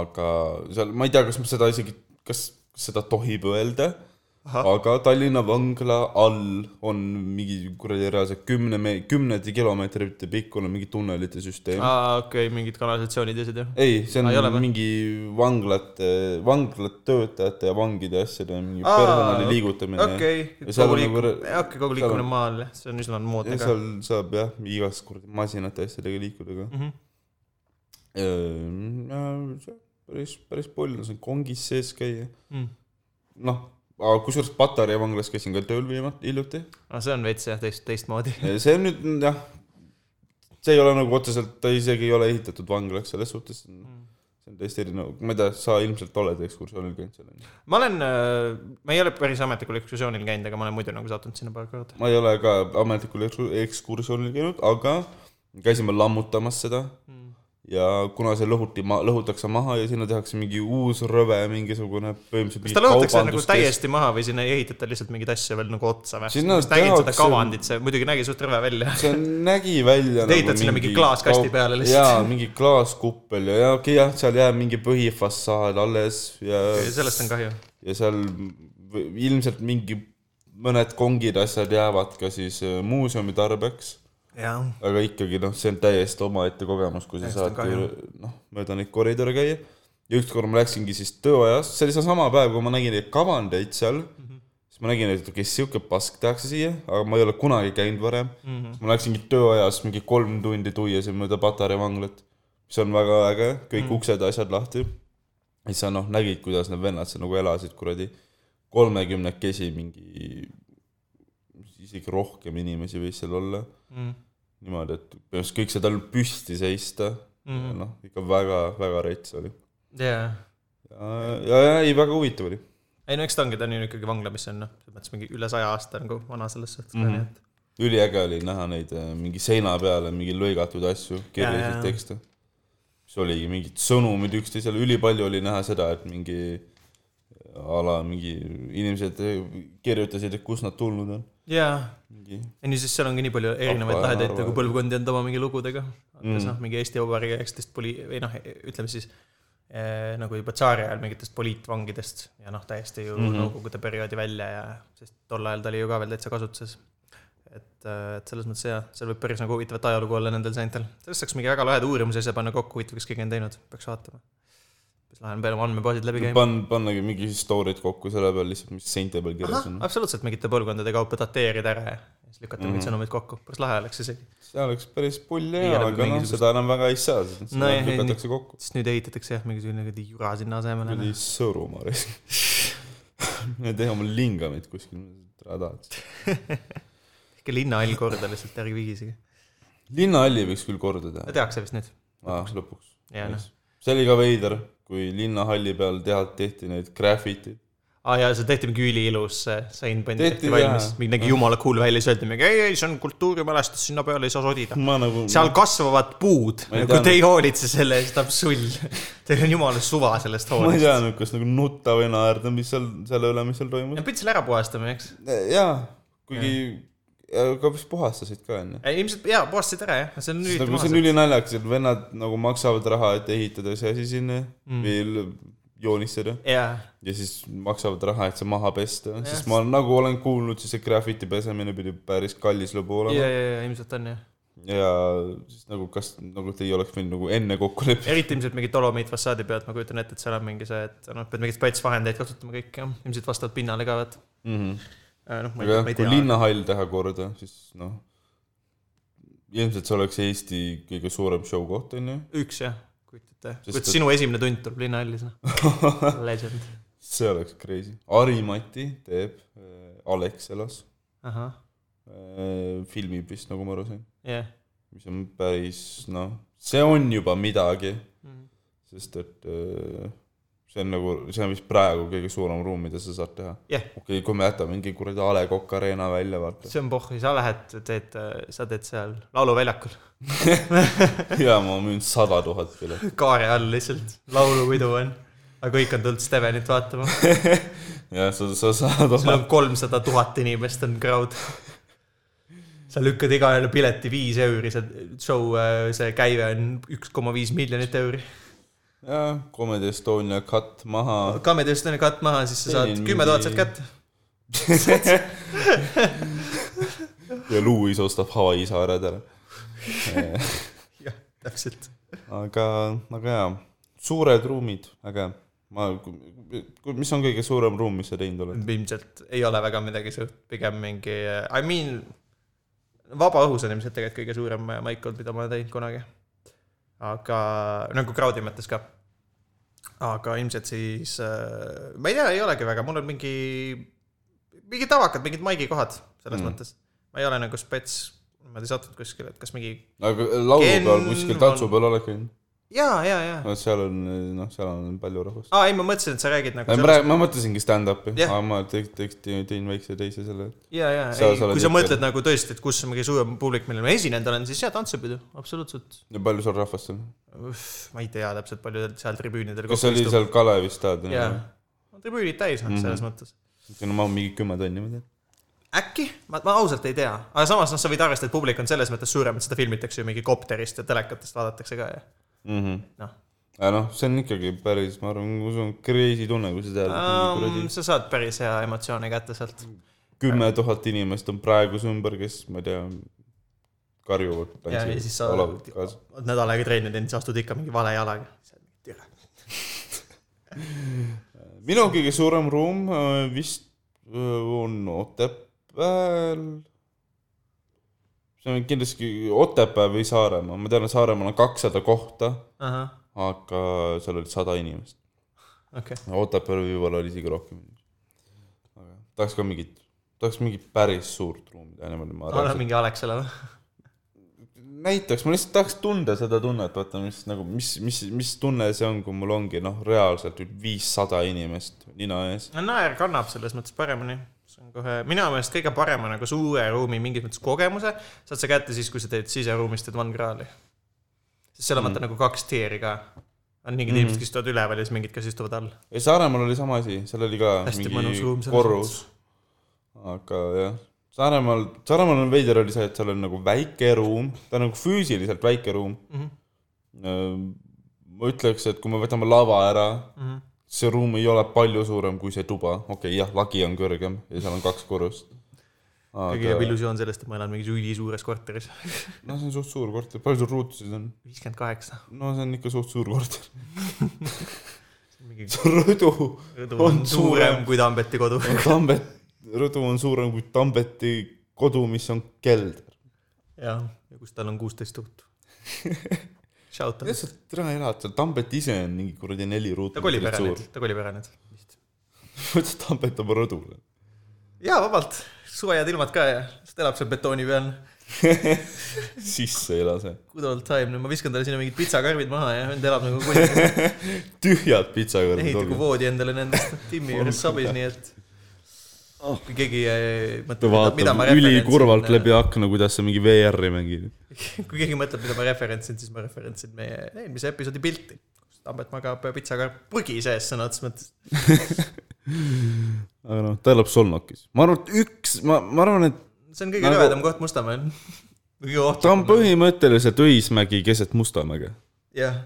Speaker 2: aga seal , ma ei tea , kas ma seda isegi , kas kas seda tohib öelda ,
Speaker 1: Ahah.
Speaker 2: aga Tallinna vangla all on mingi kuradi reaalselt kümne , kümnete kilomeetrite pikkune mingi tunnelite süsteem .
Speaker 1: aa okei , mingid kanalisatsioonid ja asjad jah .
Speaker 2: ei , see on
Speaker 1: Aa, Ah, ei ole või?
Speaker 2: mingi vanglate , vanglat töötajate ja vangide asjade mingi
Speaker 1: Aa,
Speaker 2: personali
Speaker 1: ok-
Speaker 2: liigutamine .
Speaker 1: okei ,
Speaker 2: Ja seal
Speaker 1: kogu
Speaker 2: on nagu
Speaker 1: liikumine ,
Speaker 2: re-
Speaker 1: okei , kogu
Speaker 2: seal
Speaker 1: liikumine
Speaker 2: on-
Speaker 1: maal , see on üsna moodne
Speaker 2: ja
Speaker 1: ka .
Speaker 2: seal saab jah , igast kuradi masinate asjadega liikuda ka
Speaker 1: Mhm.
Speaker 2: mm . -hmm. päris , päris palju , saan kongis sees käia .
Speaker 1: Mm.
Speaker 2: noh , aga kusjuures Patarei vanglas käisin ka tööl viimati , hiljuti .
Speaker 1: aga see on veits jah , teist , teistmoodi . [LAUGHS]
Speaker 2: see on nüüd jah , see ei ole nagu otseselt , ta isegi ei ole ehitatud vanglaks selles suhtes .
Speaker 1: Mm.
Speaker 2: see on täiesti erinev , ma ei tea , sa ilmselt oled ekskursioonil käinud seal on ju ?
Speaker 1: ma olen , ma ei ole päris ametlikul ekskursioonil käinud , aga ma olen muidu nagu sattunud sinna paar korda .
Speaker 2: ma ei ole ka ametlikul eks- ekskursioonil käinud , aga käisime lammutamas seda
Speaker 1: Hmm.
Speaker 2: mm. . ja kuna see lõhuti ma- , lõhutakse maha ja sinna tehakse mingi uus rõve , mingisugune põhimõtteliselt
Speaker 1: kas ta lõhutakse nagu täiesti maha või sinna ei ehitata lihtsalt mingeid asju veel nagu otsa või ?
Speaker 2: Sinna
Speaker 1: ma just nägin seda
Speaker 2: tehakse-
Speaker 1: kavandit , see muidugi nägi suht rõve välja .
Speaker 2: see nägi välja nagu
Speaker 1: Te ehitad sinna mingi klaaskasti peale lihtsalt.
Speaker 2: jaa , mingi klaaskuppel ja , ja okei okay, jah , seal jääb mingi põhifassaad alles ja ,
Speaker 1: sellest on kahju .
Speaker 2: ja seal v- ilmselt mingi mõned kongid , asjad jäävad ka siis äh, muuseumi tarbeks
Speaker 1: jah ,
Speaker 2: aga ikkagi noh , see on täiesti omaette kogemus , kui sa
Speaker 1: Täiesti
Speaker 2: saad
Speaker 1: kahju.
Speaker 2: ju- noh , mööda neid koridore käia . ja ükskord ma läksingi siis tööajast , see oli seesama päev , kui ma nägin neid kavandeid seal mm ,
Speaker 1: Mhm.
Speaker 2: -hmm. siis ma nägin , et okei , sihuke pask tehakse siia , aga ma ei ole kunagi käinud varem mm .
Speaker 1: Mhm.
Speaker 2: -hmm. ma läksingi tööajas mingi kolm tundi tuiasin mööda Patarei vanglat , mis on väga äge , kõik mm
Speaker 1: Mhm.
Speaker 2: -hmm. uksed , asjad lahti . ja siis sa noh , nägid , kuidas need vennad seal nagu elasid , kuradi , kolmekümnekesi mingi , isegi rohkem inimesi võis seal olla
Speaker 1: Mm,
Speaker 2: niimoodi , et peaks kõik seal tal püsti seista mm. . noh , ikka väga-väga rets oli .
Speaker 1: jaa .
Speaker 2: ja , ja , ja ei , väga huvitav oli .
Speaker 1: ei no eks ta ongi , ta on ju ikkagi vangla , mis on noh , selles mõttes mingi üle saja aasta nagu vana selles suhtes ka , nii et .
Speaker 2: üliäge oli näha neid äh, mingi seina peale mingi lõigatud asju ,
Speaker 1: Jaa, jaa.
Speaker 2: kirjasid tekste . siis oligi mingid sõnumid üksteisele , ülipalju oli näha seda , et mingi a la mingi inimesed äh, kirjutasid , et kust nad tulnud on .
Speaker 1: jaa
Speaker 2: mingi
Speaker 1: ja niisiis , seal ongi nii palju erinevaid
Speaker 2: Rahva-
Speaker 1: lahedaid
Speaker 2: rahva-
Speaker 1: nagu põlvkondi olnud oma mingi lugudega mm. . noh , mingi Eesti Vabariigi üheksateist poli- , või noh , ütleme siis eh, nagu juba tsaari ajal mingitest poliitvangidest ja noh , täiesti ju mm -hmm. Nõukogude perioodi välja ja , sest tol ajal ta oli ju ka veel täitsa kasutuses . et , et selles mõttes jah , seal võib päris nagu huvitavat ajalugu olla nendel seintel . sellest saaks mingi väga laheda uurimise asja panna kokku , huvitav , kas keegi on teinud , peaks vaatama . siis lähen veel oma andmebaasid läbi käima .
Speaker 2: pan- , pannagi mingi story'd kokku selle peal lihtsalt , mis seinte peal kirjas on .
Speaker 1: absoluutselt mingite põlvkondade kaupa dateerida ära ja siis lükata mm -hmm. mingid sõnumid kokku , päris lahe oleks isegi .
Speaker 2: see oleks päris pull
Speaker 1: Ei
Speaker 2: ja ,
Speaker 1: ole
Speaker 2: aga noh ,
Speaker 1: mingisugust-
Speaker 2: seda enam väga ei saa , sest
Speaker 1: No
Speaker 2: no,
Speaker 1: jah, ei,
Speaker 2: lükatakse kokku .
Speaker 1: sest nüüd ehitatakse jah , mingisugune kuradi jura sinna asemele . noh.
Speaker 2: kuradi Sõõrumaa reis . [LAUGHS] me teeme oma lingamit kuskil , ära tahad .
Speaker 1: ikka linnahall korda lihtsalt , ärge vigisige .
Speaker 2: linnahalli võiks küll korda teha .
Speaker 1: tehakse vist nüüd ?
Speaker 2: aa , lõpuks .
Speaker 1: Jaa, noh.
Speaker 2: see oli ka veider , kui linnahalli peal teha , tehti neid graffitid .
Speaker 1: aa ah, jaa , see tehti mingi üliilus see sein pandi
Speaker 2: Tehti,
Speaker 1: tehti valmis
Speaker 2: jaa. ,
Speaker 1: mingi nägi jumala cool välja , siis öeldi mingi ei , ei see on kultuurimälestus , sinna peale ei saa sodida .
Speaker 2: ma nagu ,
Speaker 1: seal kasvavad puud ,
Speaker 2: Ma ei
Speaker 1: kui
Speaker 2: tea, noh.
Speaker 1: te ei hoolitse selle eest , ta on sull . Teil on jumala suva sellest
Speaker 2: ma ei
Speaker 1: hoolitseda .
Speaker 2: tea nüüd , kas nagu nutta või naerda , mis seal , selle üle , mis seal toimus .
Speaker 1: pidid selle ära puhastama , eks ?
Speaker 2: jaa , kuigi , aga vist puhastasid ka , onju .
Speaker 1: ilmselt jaa , puhastasid ära jah , see on
Speaker 2: see nagu see
Speaker 1: ülitamaaselt .
Speaker 2: on ülinaljakas , et vennad nagu maksavad raha , et ehitada see asi sinna mm. või joonistada .
Speaker 1: jaa ,
Speaker 2: ja siis maksavad raha , et see maha pesta , sest ma nagu olen kuulnud , siis see graffiti pesemine pidi päris kallis lõbu
Speaker 1: jaa ,
Speaker 2: olema
Speaker 1: jaa , jaa , ilmselt on jah .
Speaker 2: ja siis nagu kas nagu te ei oleks võinud nagu enne kokku leppida .
Speaker 1: eriti ilmselt mingi dolomiitfassaadi pealt , ma kujutan ette , et seal on mingi see , et noh , pead mingeid spetsvahendeid kasutama kõik jah , ilmselt vastavalt pinnale ka , et Äh, noh , ma ei
Speaker 2: Mhm.
Speaker 1: tea ,
Speaker 2: aga jah
Speaker 1: ma , ei
Speaker 2: kui
Speaker 1: tea .
Speaker 2: linnahall teha korda , siis noh , ilmselt see oleks Eesti kõige suurem show koht onju .
Speaker 1: üks jah , kujutad ette ,
Speaker 2: Sest
Speaker 1: kuidas
Speaker 2: et-
Speaker 1: sinu esimene tund tuleb linnahallis , noh . Legend .
Speaker 2: [LAUGHS] see oleks crazy . Harimati teeb äh, Alexelas
Speaker 1: ahah ,
Speaker 2: äh, , filmib vist , nagu ma aru sain ,
Speaker 1: jah .
Speaker 2: mis on päris noh , see on juba midagi , sest et äh, see on nagu , see on vist praegu kõige suurem ruum , mida sa saad teha .
Speaker 1: jah ,
Speaker 2: okei okay, , kui me jätame mingi kuradi A Le Coq Arena välja , vaata .
Speaker 1: see on pohhu , sa lähed , teed , sa teed seal lauluväljakul ,
Speaker 2: ja ma müün sada tuhat piletit .
Speaker 1: kaare all lihtsalt , laulupidu on . aga kõik on tulnud Stevenit vaatama ,
Speaker 2: ja sa , sa saad
Speaker 1: seal
Speaker 2: oma
Speaker 1: on kolmsada tuhat inimest on crowd . sa lükkad igaühele pileti viis euri , see show , see käive on üks koma viis miljonit euri .
Speaker 2: jah , Comedy Estonia cut maha .
Speaker 1: Comedy Estonia katt maha , siis sa saad
Speaker 2: Teenin
Speaker 1: kümme tuhat sealt
Speaker 2: mingi-
Speaker 1: kätte .
Speaker 2: ja Louis ostab Hawaii saared ära .
Speaker 1: jah , täpselt .
Speaker 2: aga , aga jaa , suured ruumid , aga ma , mis on kõige suurem ruum , mis sa teinud oled ?
Speaker 1: ilmselt ei ole väga midagi suurt , pigem mingi , I mean , vabaõhus on ilmselt tegelikult kõige suurem äh, maik olnud , mida ma olen teinud kunagi . aga nagu crowd'i mõttes ka . aga ilmselt siis , ma ei tea , ei olegi väga , mul on mingi , mingid tavakad , mingid maigikohad selles mm.
Speaker 2: Mm.
Speaker 1: mõttes . ma ei ole nagu spets , niimoodi sattunud kuskile , et kas mingi
Speaker 2: aga laulupeol
Speaker 1: Ken
Speaker 2: kuskil
Speaker 1: on-
Speaker 2: tantsu peal oled käinud ?
Speaker 1: ja , ja , ja .
Speaker 2: no seal on , noh , seal on palju rahvast .
Speaker 1: aa , ei , ma mõtlesin , et sa räägid nagu
Speaker 2: ma
Speaker 1: sellest ,
Speaker 2: praegu , ma mõtlesingi stand-up'i
Speaker 1: Jah.
Speaker 2: yeah. , aga ma teg- , teg- , tegin väikse teise selle .
Speaker 1: ja , ja ,
Speaker 2: sa-
Speaker 1: ei
Speaker 2: sa , oled
Speaker 1: kui sa
Speaker 2: ikka-
Speaker 1: mõtled nagu tõesti , et kus on kõige suurem publik , millel ma esinenud olen , siis jaa , tantsupidu , absoluutselt
Speaker 2: ja palju seal rahvast on ?
Speaker 1: Üff, ma ei tea täpselt , palju teil seal tribüünidel
Speaker 2: kas see oli ? seal Mm-hmm. Mhm. Kalevi staadionil
Speaker 1: jaa
Speaker 2: või ?,
Speaker 1: tribüünid täis noh , selles mõttes .
Speaker 2: no ma mingi kümme tonni , ma tean .
Speaker 1: äkki , ma , ma ausalt ei tea , aga samas noh , sa võid arvestada , et publik on selles mõttes suurem , et seda filmitakse ju mingi kopterist ja telekatest vaadatakse ka ja noh
Speaker 2: Mhm. aga noh , see on ikkagi päris , ma arvan , ma usun , crazy tunne , kui sa tead , et mingi
Speaker 1: um, .
Speaker 2: kuradi
Speaker 1: sa saad päris hea emotsiooni kätte sealt .
Speaker 2: kümme tuhat inimest on praegu su ümber , kes , ma ei tea , karjuvad ,
Speaker 1: ja , ja siis sa
Speaker 2: olevad kaasa .
Speaker 1: oled nädal aega trenni teinud , siis astud ikka mingi vale jalaga .
Speaker 2: minu kõige suurem ruum äh, vist äh, on Otepääl . see on kindlasti Otepää või Saaremaa , ma tean , et Saaremaal on kakssada kohta ,
Speaker 1: ahah ,
Speaker 2: aga seal oli sada inimest .
Speaker 1: okei okay. ,
Speaker 2: Otepääl võib-olla oli isegi rohkem . aga tahaks ka mingit , tahaks mingit päris suurt ruumi teha niimoodi , ma
Speaker 1: ole
Speaker 2: arvan .
Speaker 1: mingi noh. Alexela või ?
Speaker 2: näiteks ma lihtsalt tahaks tunda seda tunnet , vaata mis nagu , mis , mis , mis tunne see on , kui mul ongi noh , reaalselt viissada inimest nina ees .
Speaker 1: no naer kannab selles mõttes paremini , see on kohe minu meelest kõige parema nagu suure ruumi mingis mõttes kogemuse saad sa kätte siis , kui sa teed siseruumis teed One Graali . sest seal on vaata mm. nagu kaks tiiri ka . on mingid mm. inimesed , kes istuvad üleval ja siis mingid , kes istuvad all .
Speaker 2: ei , Saaremaal oli sama asi , seal oli ka
Speaker 1: hästi
Speaker 2: mingi
Speaker 1: mõnus ruum selles
Speaker 2: korrus , aga jah . Saaremaal , Saaremaal on veider oli see , et seal on nagu väike ruum , ta on nagu füüsiliselt väike ruum Äh,
Speaker 1: Mhm. .
Speaker 2: ma ütleks , et kui me võtame lava ära ,
Speaker 1: mõttes .
Speaker 2: see ruum ei ole palju suurem kui see tuba , okei okay, , jah , lagi on kõrgem ja seal on kaks korrust .
Speaker 1: kõige jääb
Speaker 2: aga
Speaker 1: illusioon sellest , et ma elan mingis ülisuures korteris .
Speaker 2: noh , see on suht suur korter , palju sul ruutusid on ?
Speaker 1: [LAUGHS] viiskümmend kaheksa .
Speaker 2: no see on ikka suht
Speaker 1: [LAUGHS]
Speaker 2: suur [LAUGHS] korter .
Speaker 1: mingi
Speaker 2: rõdu
Speaker 1: rõdu on
Speaker 2: On suurem.
Speaker 1: suurem kui Tambeti kodu . [LAUGHS]
Speaker 2: Tambet , rõdu on suurem kui Tambeti kodu , mis on kelder .
Speaker 1: jah , ja kus tal on kuusteist tuhat . Shout out .
Speaker 2: kuidas sa täna elad seal , Tambet ise on mingi kuradi neli ruutu .
Speaker 1: ta kolib ära nüüd , ta kolib ära nüüd .
Speaker 2: kuidas Tambet oma rõdule ?
Speaker 1: jaa , vabalt , soojad ilmad ka ja , sest elab seal betooni peal
Speaker 2: sisse ei lase .
Speaker 1: good old time , nüüd ma viskan talle sinna mingid pitsakarvid maha ja nüüd elab nagu
Speaker 2: [LAUGHS]
Speaker 1: kunagi ,
Speaker 2: tühjad pitsakarjad
Speaker 1: ehitagu
Speaker 2: olid .
Speaker 1: voodi endale
Speaker 2: [LAUGHS]
Speaker 1: nendest timmi juures sabis , nii et kui keegi äh,
Speaker 2: ta
Speaker 1: mõtleb , mida ma
Speaker 2: vaatab Oh. ülikurvalt läbi
Speaker 1: referentsin , äh,
Speaker 2: akna , kuidas sa mingi VR-i mängid .
Speaker 1: [LAUGHS] kui keegi mõtleb , mida ma referentsin , siis ma referentsin meie eelmise episoodi pilti , kus Tambet magab pitsakarv prügi sees sõna otseses mõttes .
Speaker 2: aga noh , ta elab Solnokis . ma arvan , et üks , ma , ma arvan , et
Speaker 1: see on kõige
Speaker 2: Nagu-
Speaker 1: rõvedam koht Mustamäel . [LAUGHS] kõige
Speaker 2: ta on
Speaker 1: ohtlikum .
Speaker 2: põhimõtteliselt Õismägi keset Mustamäge .
Speaker 1: jah ,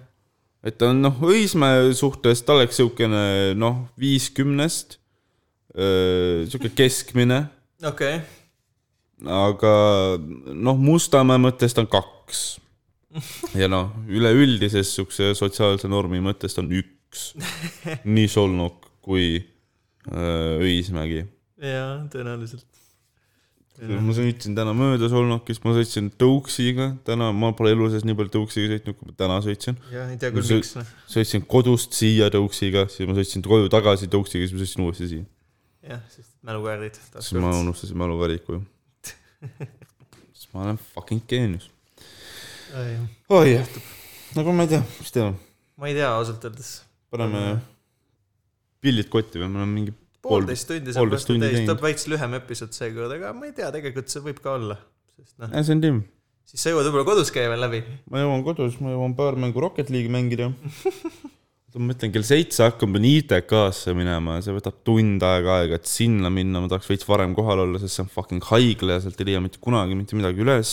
Speaker 2: et ta on noh , Õismäe suhtes ta oleks siukene noh , viiskümnest , siuke keskmine
Speaker 1: okei ,
Speaker 2: aga noh , Mustamäe mõttes ta on kaks . ja noh , üleüldises siukse sotsiaalse normi mõttes ta on üks . nii Solnok kui öö, Õismägi .
Speaker 1: jaa , tõenäoliselt .
Speaker 2: ma sõitsin täna mööda Solnokist , ma sõitsin tõuksiga , täna ma pole elu sees nii palju tõuksiga sõitnud , kui ma täna sõitsin .
Speaker 1: jah , ei tea
Speaker 2: No
Speaker 1: küll ,
Speaker 2: see-
Speaker 1: miks , noh .
Speaker 2: sõitsin kodust siia tõuksiga , siis ma sõitsin koju tagasi tõuksiga , siis ma sõitsin uuesti siia .
Speaker 1: jah , sest mälukaardid
Speaker 2: siis ma . unustasin mäluvaliku ju . siis ma olen fucking geenius . oi jah , nagu ma ei tea , mis teha ,
Speaker 1: ma ei tea ausalt öeldes .
Speaker 2: paneme pillid kotti või , me oleme mingi
Speaker 1: poolteist tundi saab
Speaker 2: poolteist
Speaker 1: vastu
Speaker 2: tundi
Speaker 1: täis ,
Speaker 2: teinud.
Speaker 1: tuleb veits lühem episood seekord , aga ma ei tea , tegelikult see võib ka olla . sest noh ,
Speaker 2: äh, , see on Tim .
Speaker 1: siis sa jõuad võib-olla kodus käia veel läbi .
Speaker 2: ma jõuan kodus , ma jõuan paar mängu Rocket League'i mängida . [LAUGHS] ma mõtlen , kell seitse hakkan pean ITK-sse minema ja see võtab tund aega aega , et sinna minna , ma tahaks veits varem kohal olla , sest see on fucking haigla ja sealt ei leia mitte kunagi mitte midagi üles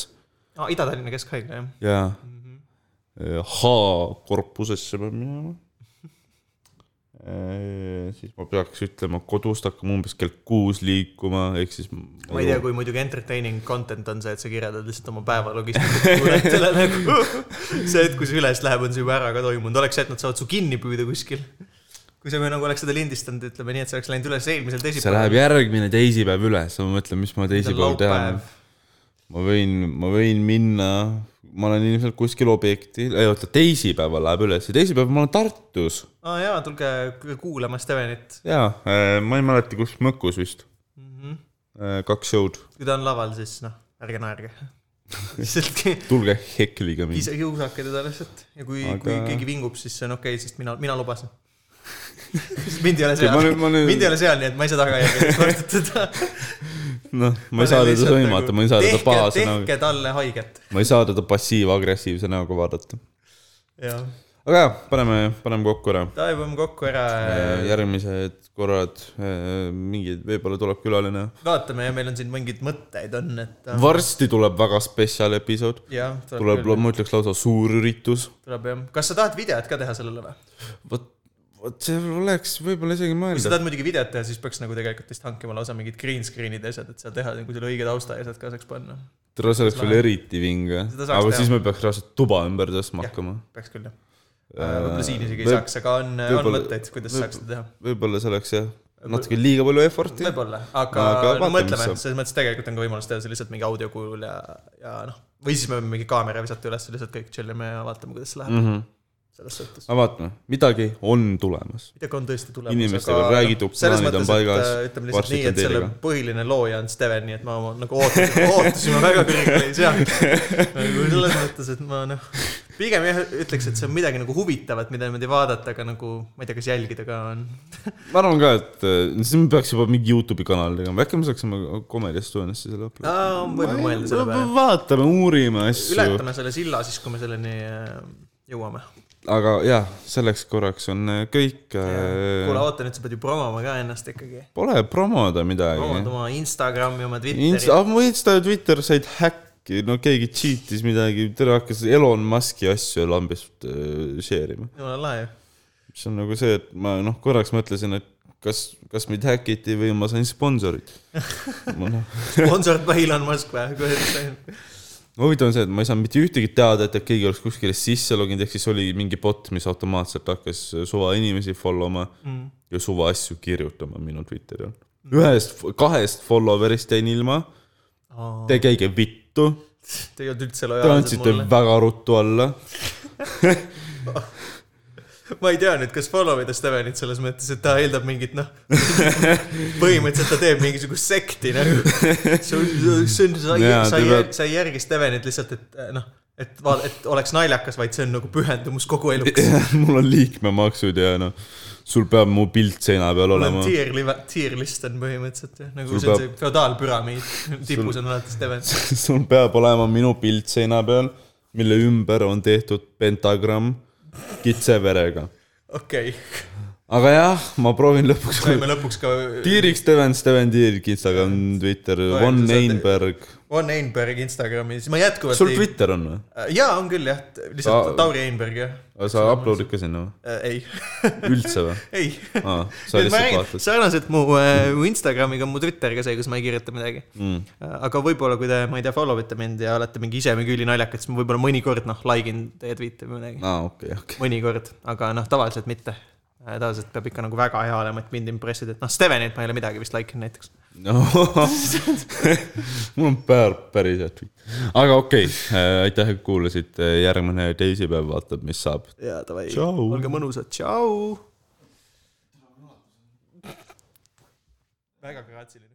Speaker 1: aa , Ah, Ida-Tallinna Keskhaigla , jah .
Speaker 2: ja H-korpusesse peab minema . [LAUGHS] siis ma peaks ütlema , kodust hakkama umbes kell kuus liikuma , ehk siis .
Speaker 1: ma ei tea ,. kui muidugi entertaining content on see , et sa kirjeldad lihtsalt oma päeva
Speaker 2: [LAUGHS]
Speaker 1: logistikat nagu . see hetk , kui see üles läheb , on see juba ära ka toimunud , oleks see , et nad saavad su kinni püüda kuskil . kui sa nagu oleks seda lindistanud , ütleme nii , et see oleks läinud üles eelmisel
Speaker 2: see läheb
Speaker 1: teisipäeval .
Speaker 2: järgmine teisipäev üle , siis ma mõtlen , mis ma teisipäeval tean . ma võin , ma võin minna , ma olen ilmselt kuskil objektil , ei oota , teisipäeval läheb üles ja teisipäeval ma olen Tartus
Speaker 1: aa Ah, jaa , tulge kuulama Stevenit ,
Speaker 2: ja äh, ma ei mäleta , kus Mõkus vist mm . -hmm. kaks show'd ,
Speaker 1: Mhm. kui ta on laval , siis noh , ärge naerge . [LAUGHS] lihtsalt
Speaker 2: tulge Hekliga mind .
Speaker 1: ise kiusake teda lihtsalt ja kui
Speaker 2: Aga-
Speaker 1: Aga... , kui keegi vingub , siis see on okei okay, , sest mina , mina lubasin . mind ei ole
Speaker 2: ma
Speaker 1: seal
Speaker 2: nüüd- , ma nüüd-
Speaker 1: mind ei ole seal , nii et ma ei saa tagajärgi vastutada
Speaker 2: noh , [LAUGHS] ma ei saa teda sõimata , ma ei saa teda pahase nagu- näoga ,
Speaker 1: nagu tehke talle haiget .
Speaker 2: ma ei saa teda passiivagressiivse näoga vaadata .
Speaker 1: jah .
Speaker 2: aga jah , paneme , paneme kokku ära .
Speaker 1: taevame kokku ära ,
Speaker 2: järgmised korrad äh, mingid , võib-olla tuleb külaline .
Speaker 1: vaatame ja meil on siin mingeid mõtteid on , et .
Speaker 2: varsti tuleb väga spetsial episood ,
Speaker 1: jah , tuleb
Speaker 2: tuleb ,
Speaker 1: küll ,
Speaker 2: ma ütleks lausa suur üritus .
Speaker 1: tuleb jah . kas sa tahad videot ka teha sellele või ?
Speaker 2: vot , vot see oleks võib-olla isegi
Speaker 1: kui sa
Speaker 2: mõeldav .
Speaker 1: tahad muidugi videot teha , siis peaks nagu tegelikult vist hankima lausa mingid green screen'id ja asjad , et seal teha nagu selle õige tausta ja asjad ka saaks panna .
Speaker 2: tule , see oleks veel eriti vinge .
Speaker 1: Seda saaks
Speaker 2: aga
Speaker 1: teha.
Speaker 2: siis me peaks reaalselt tuba ümber tõstma
Speaker 1: Jah.
Speaker 2: hakkama .
Speaker 1: peaks küll jah . võib-olla siin isegi ei
Speaker 2: Äh, võib-
Speaker 1: saaks , aga on , on
Speaker 2: võib-olla-
Speaker 1: mõtteid , kuidas
Speaker 2: võib-
Speaker 1: saaks seda teha .
Speaker 2: võib-olla see oleks jah , natuke liiga palju effort'i .
Speaker 1: võib-olla , aga,
Speaker 2: Aga
Speaker 1: aga no,
Speaker 2: vaatame, mis
Speaker 1: mõtleme ,
Speaker 2: saab.
Speaker 1: selles mõttes tegelikult on ka võimalus teha see lihtsalt mingi audio kujul ja , ja noh , või siis me võime mingi kaamera visata üles , lihtsalt kõik chill ime ja vaatame , kuidas see läheb mm -hmm. selles suhtes .
Speaker 2: Mhm. aga vaatame , midagi on tulemas .
Speaker 1: midagi on tõesti tulemas . noh,
Speaker 2: Inimestega räägitud, plaanid on paigas,
Speaker 1: äh, ütleme lihtsalt
Speaker 2: varsti
Speaker 1: nii ,
Speaker 2: ütlen
Speaker 1: et selle
Speaker 2: teile ka.
Speaker 1: põhiline looja on Steven , nii et ma oma, nagu ootasin , ootasime väga kõrgeis ja nagu selles mõttes , et ma noh , pigem jah , ütleks , et see on midagi nagu huvitavat , mida niimoodi vaadata , aga nagu ma ei tea , kas jälgida ka on .
Speaker 2: ma arvan ka , et äh, siis me peaks juba mingi Youtube'i kanali tegema , äkki me saaksime Comedy Estoniasse selle upload'i .
Speaker 1: võime mõelda selle peale .
Speaker 2: vaatame , uurime asju ,
Speaker 1: ületame selle silla siis , kui me selleni äh, jõuame .
Speaker 2: aga jah , selleks korraks on äh, kõik .
Speaker 1: kuule , oota nüüd , sa pead ju promoma ka ennast ikkagi .
Speaker 2: Pole promoda midagi
Speaker 1: promod . oma Instagrami , oma Twitteri
Speaker 2: Insta , mu Insta ja Twitter said häkki , no keegi cheat'is midagi , tere hakkas Elon Musk'i asju lambist äh, share ima .
Speaker 1: jumala lahe ju .
Speaker 2: mis on nagu see , et ma noh , korraks mõtlesin , et kas , kas mind häkiti või ma sain sponsorit . ma noh ,
Speaker 1: sponsored by Elon Musk või , kui üldse .
Speaker 2: huvitav on see , et ma ei saanud mitte ühtegi teadet , et keegi oleks kuskile sisse loginud , ehk siis oli mingi bot , mis automaatselt hakkas suva inimesi follow ma mm. ja suva asju kirjutama minu Twitteri all .
Speaker 1: Mm.
Speaker 2: ühest , kahest follower'ist jäin ilma , te käige vittu
Speaker 1: Te ei olnud üldse
Speaker 2: Te
Speaker 1: lojaalsed
Speaker 2: andsite
Speaker 1: mulle .
Speaker 2: väga ruttu alla . [LAUGHS]
Speaker 1: ma ei tea nüüd , kas follow ida Stevenit selles mõttes , et ta eeldab mingit noh , [LAUGHS] põhimõtteliselt ta teeb mingisugust sekti nagu . see on , see on , sa ei
Speaker 2: Jaa, ,
Speaker 1: sa
Speaker 2: ta
Speaker 1: ei
Speaker 2: peab- ,
Speaker 1: sa ei järgi Stevenit lihtsalt , et äh, noh , et , et oleks naljakas , vaid see on nagu pühendumus kogu eluks .
Speaker 2: mul on liikmemaksud ja noh , sul peab mu pilt seina peal
Speaker 1: mul on
Speaker 2: olema .
Speaker 1: tier live , tier list on põhimõtteliselt jah , nagu
Speaker 2: Sul
Speaker 1: see on see
Speaker 2: peab-
Speaker 1: feodaalpüramiid , tipus on alati Steven .
Speaker 2: [LAUGHS] sul peab olema minu pilt seina peal , mille ümber on tehtud pentagramm kitseverega .
Speaker 1: okei okay. ,
Speaker 2: aga jah , ma proovin lõpuks .
Speaker 1: saime lõpuks ka
Speaker 2: Tiirik Steven , Steven Tiirik , Instagram , Twitter , Von
Speaker 1: sa-
Speaker 2: Einberg .
Speaker 1: Von Einberg Instagramis , ma jätkuvalt Äh,
Speaker 2: sul Twitter on või ?
Speaker 1: jaa , on küll jah , lihtsalt
Speaker 2: Sa-
Speaker 1: Tauri Einberg jah ,
Speaker 2: sa upload'id ka sinna või ?
Speaker 1: ei , [LAUGHS]
Speaker 2: üldse või ?
Speaker 1: ei .
Speaker 2: aa , sa
Speaker 1: nüüd ma
Speaker 2: lihtsalt
Speaker 1: räägin ,
Speaker 2: vaatad .
Speaker 1: sarnaselt mu äh, mu Instagramiga on mu Twitter ka see , kus ma ei kirjuta midagi mm. . aga võib-olla , kui te , ma ei tea , follow ite mind ja olete mingi ise mingi ülinaljakad , siis ma võib-olla mõnikord noh , like in teie tweet'e või midagi .
Speaker 2: aa , okei , okei . [LAUGHS]
Speaker 1: mõnikord , aga noh , Äh, tavaliselt mitte . tavaliselt peab ikka nagu väga hea olema , et mind impress ida , et noh , Stevenit ma ei ole midagi vist like inud näiteks .
Speaker 2: mul on päär päris hea tweet . aga okei okay. , aitäh , et kuulasite , järgmine teisipäev vaatab , mis saab .
Speaker 1: ja davai ,
Speaker 2: Tšau.
Speaker 1: olge mõnusad , tšau . väga kratsiline .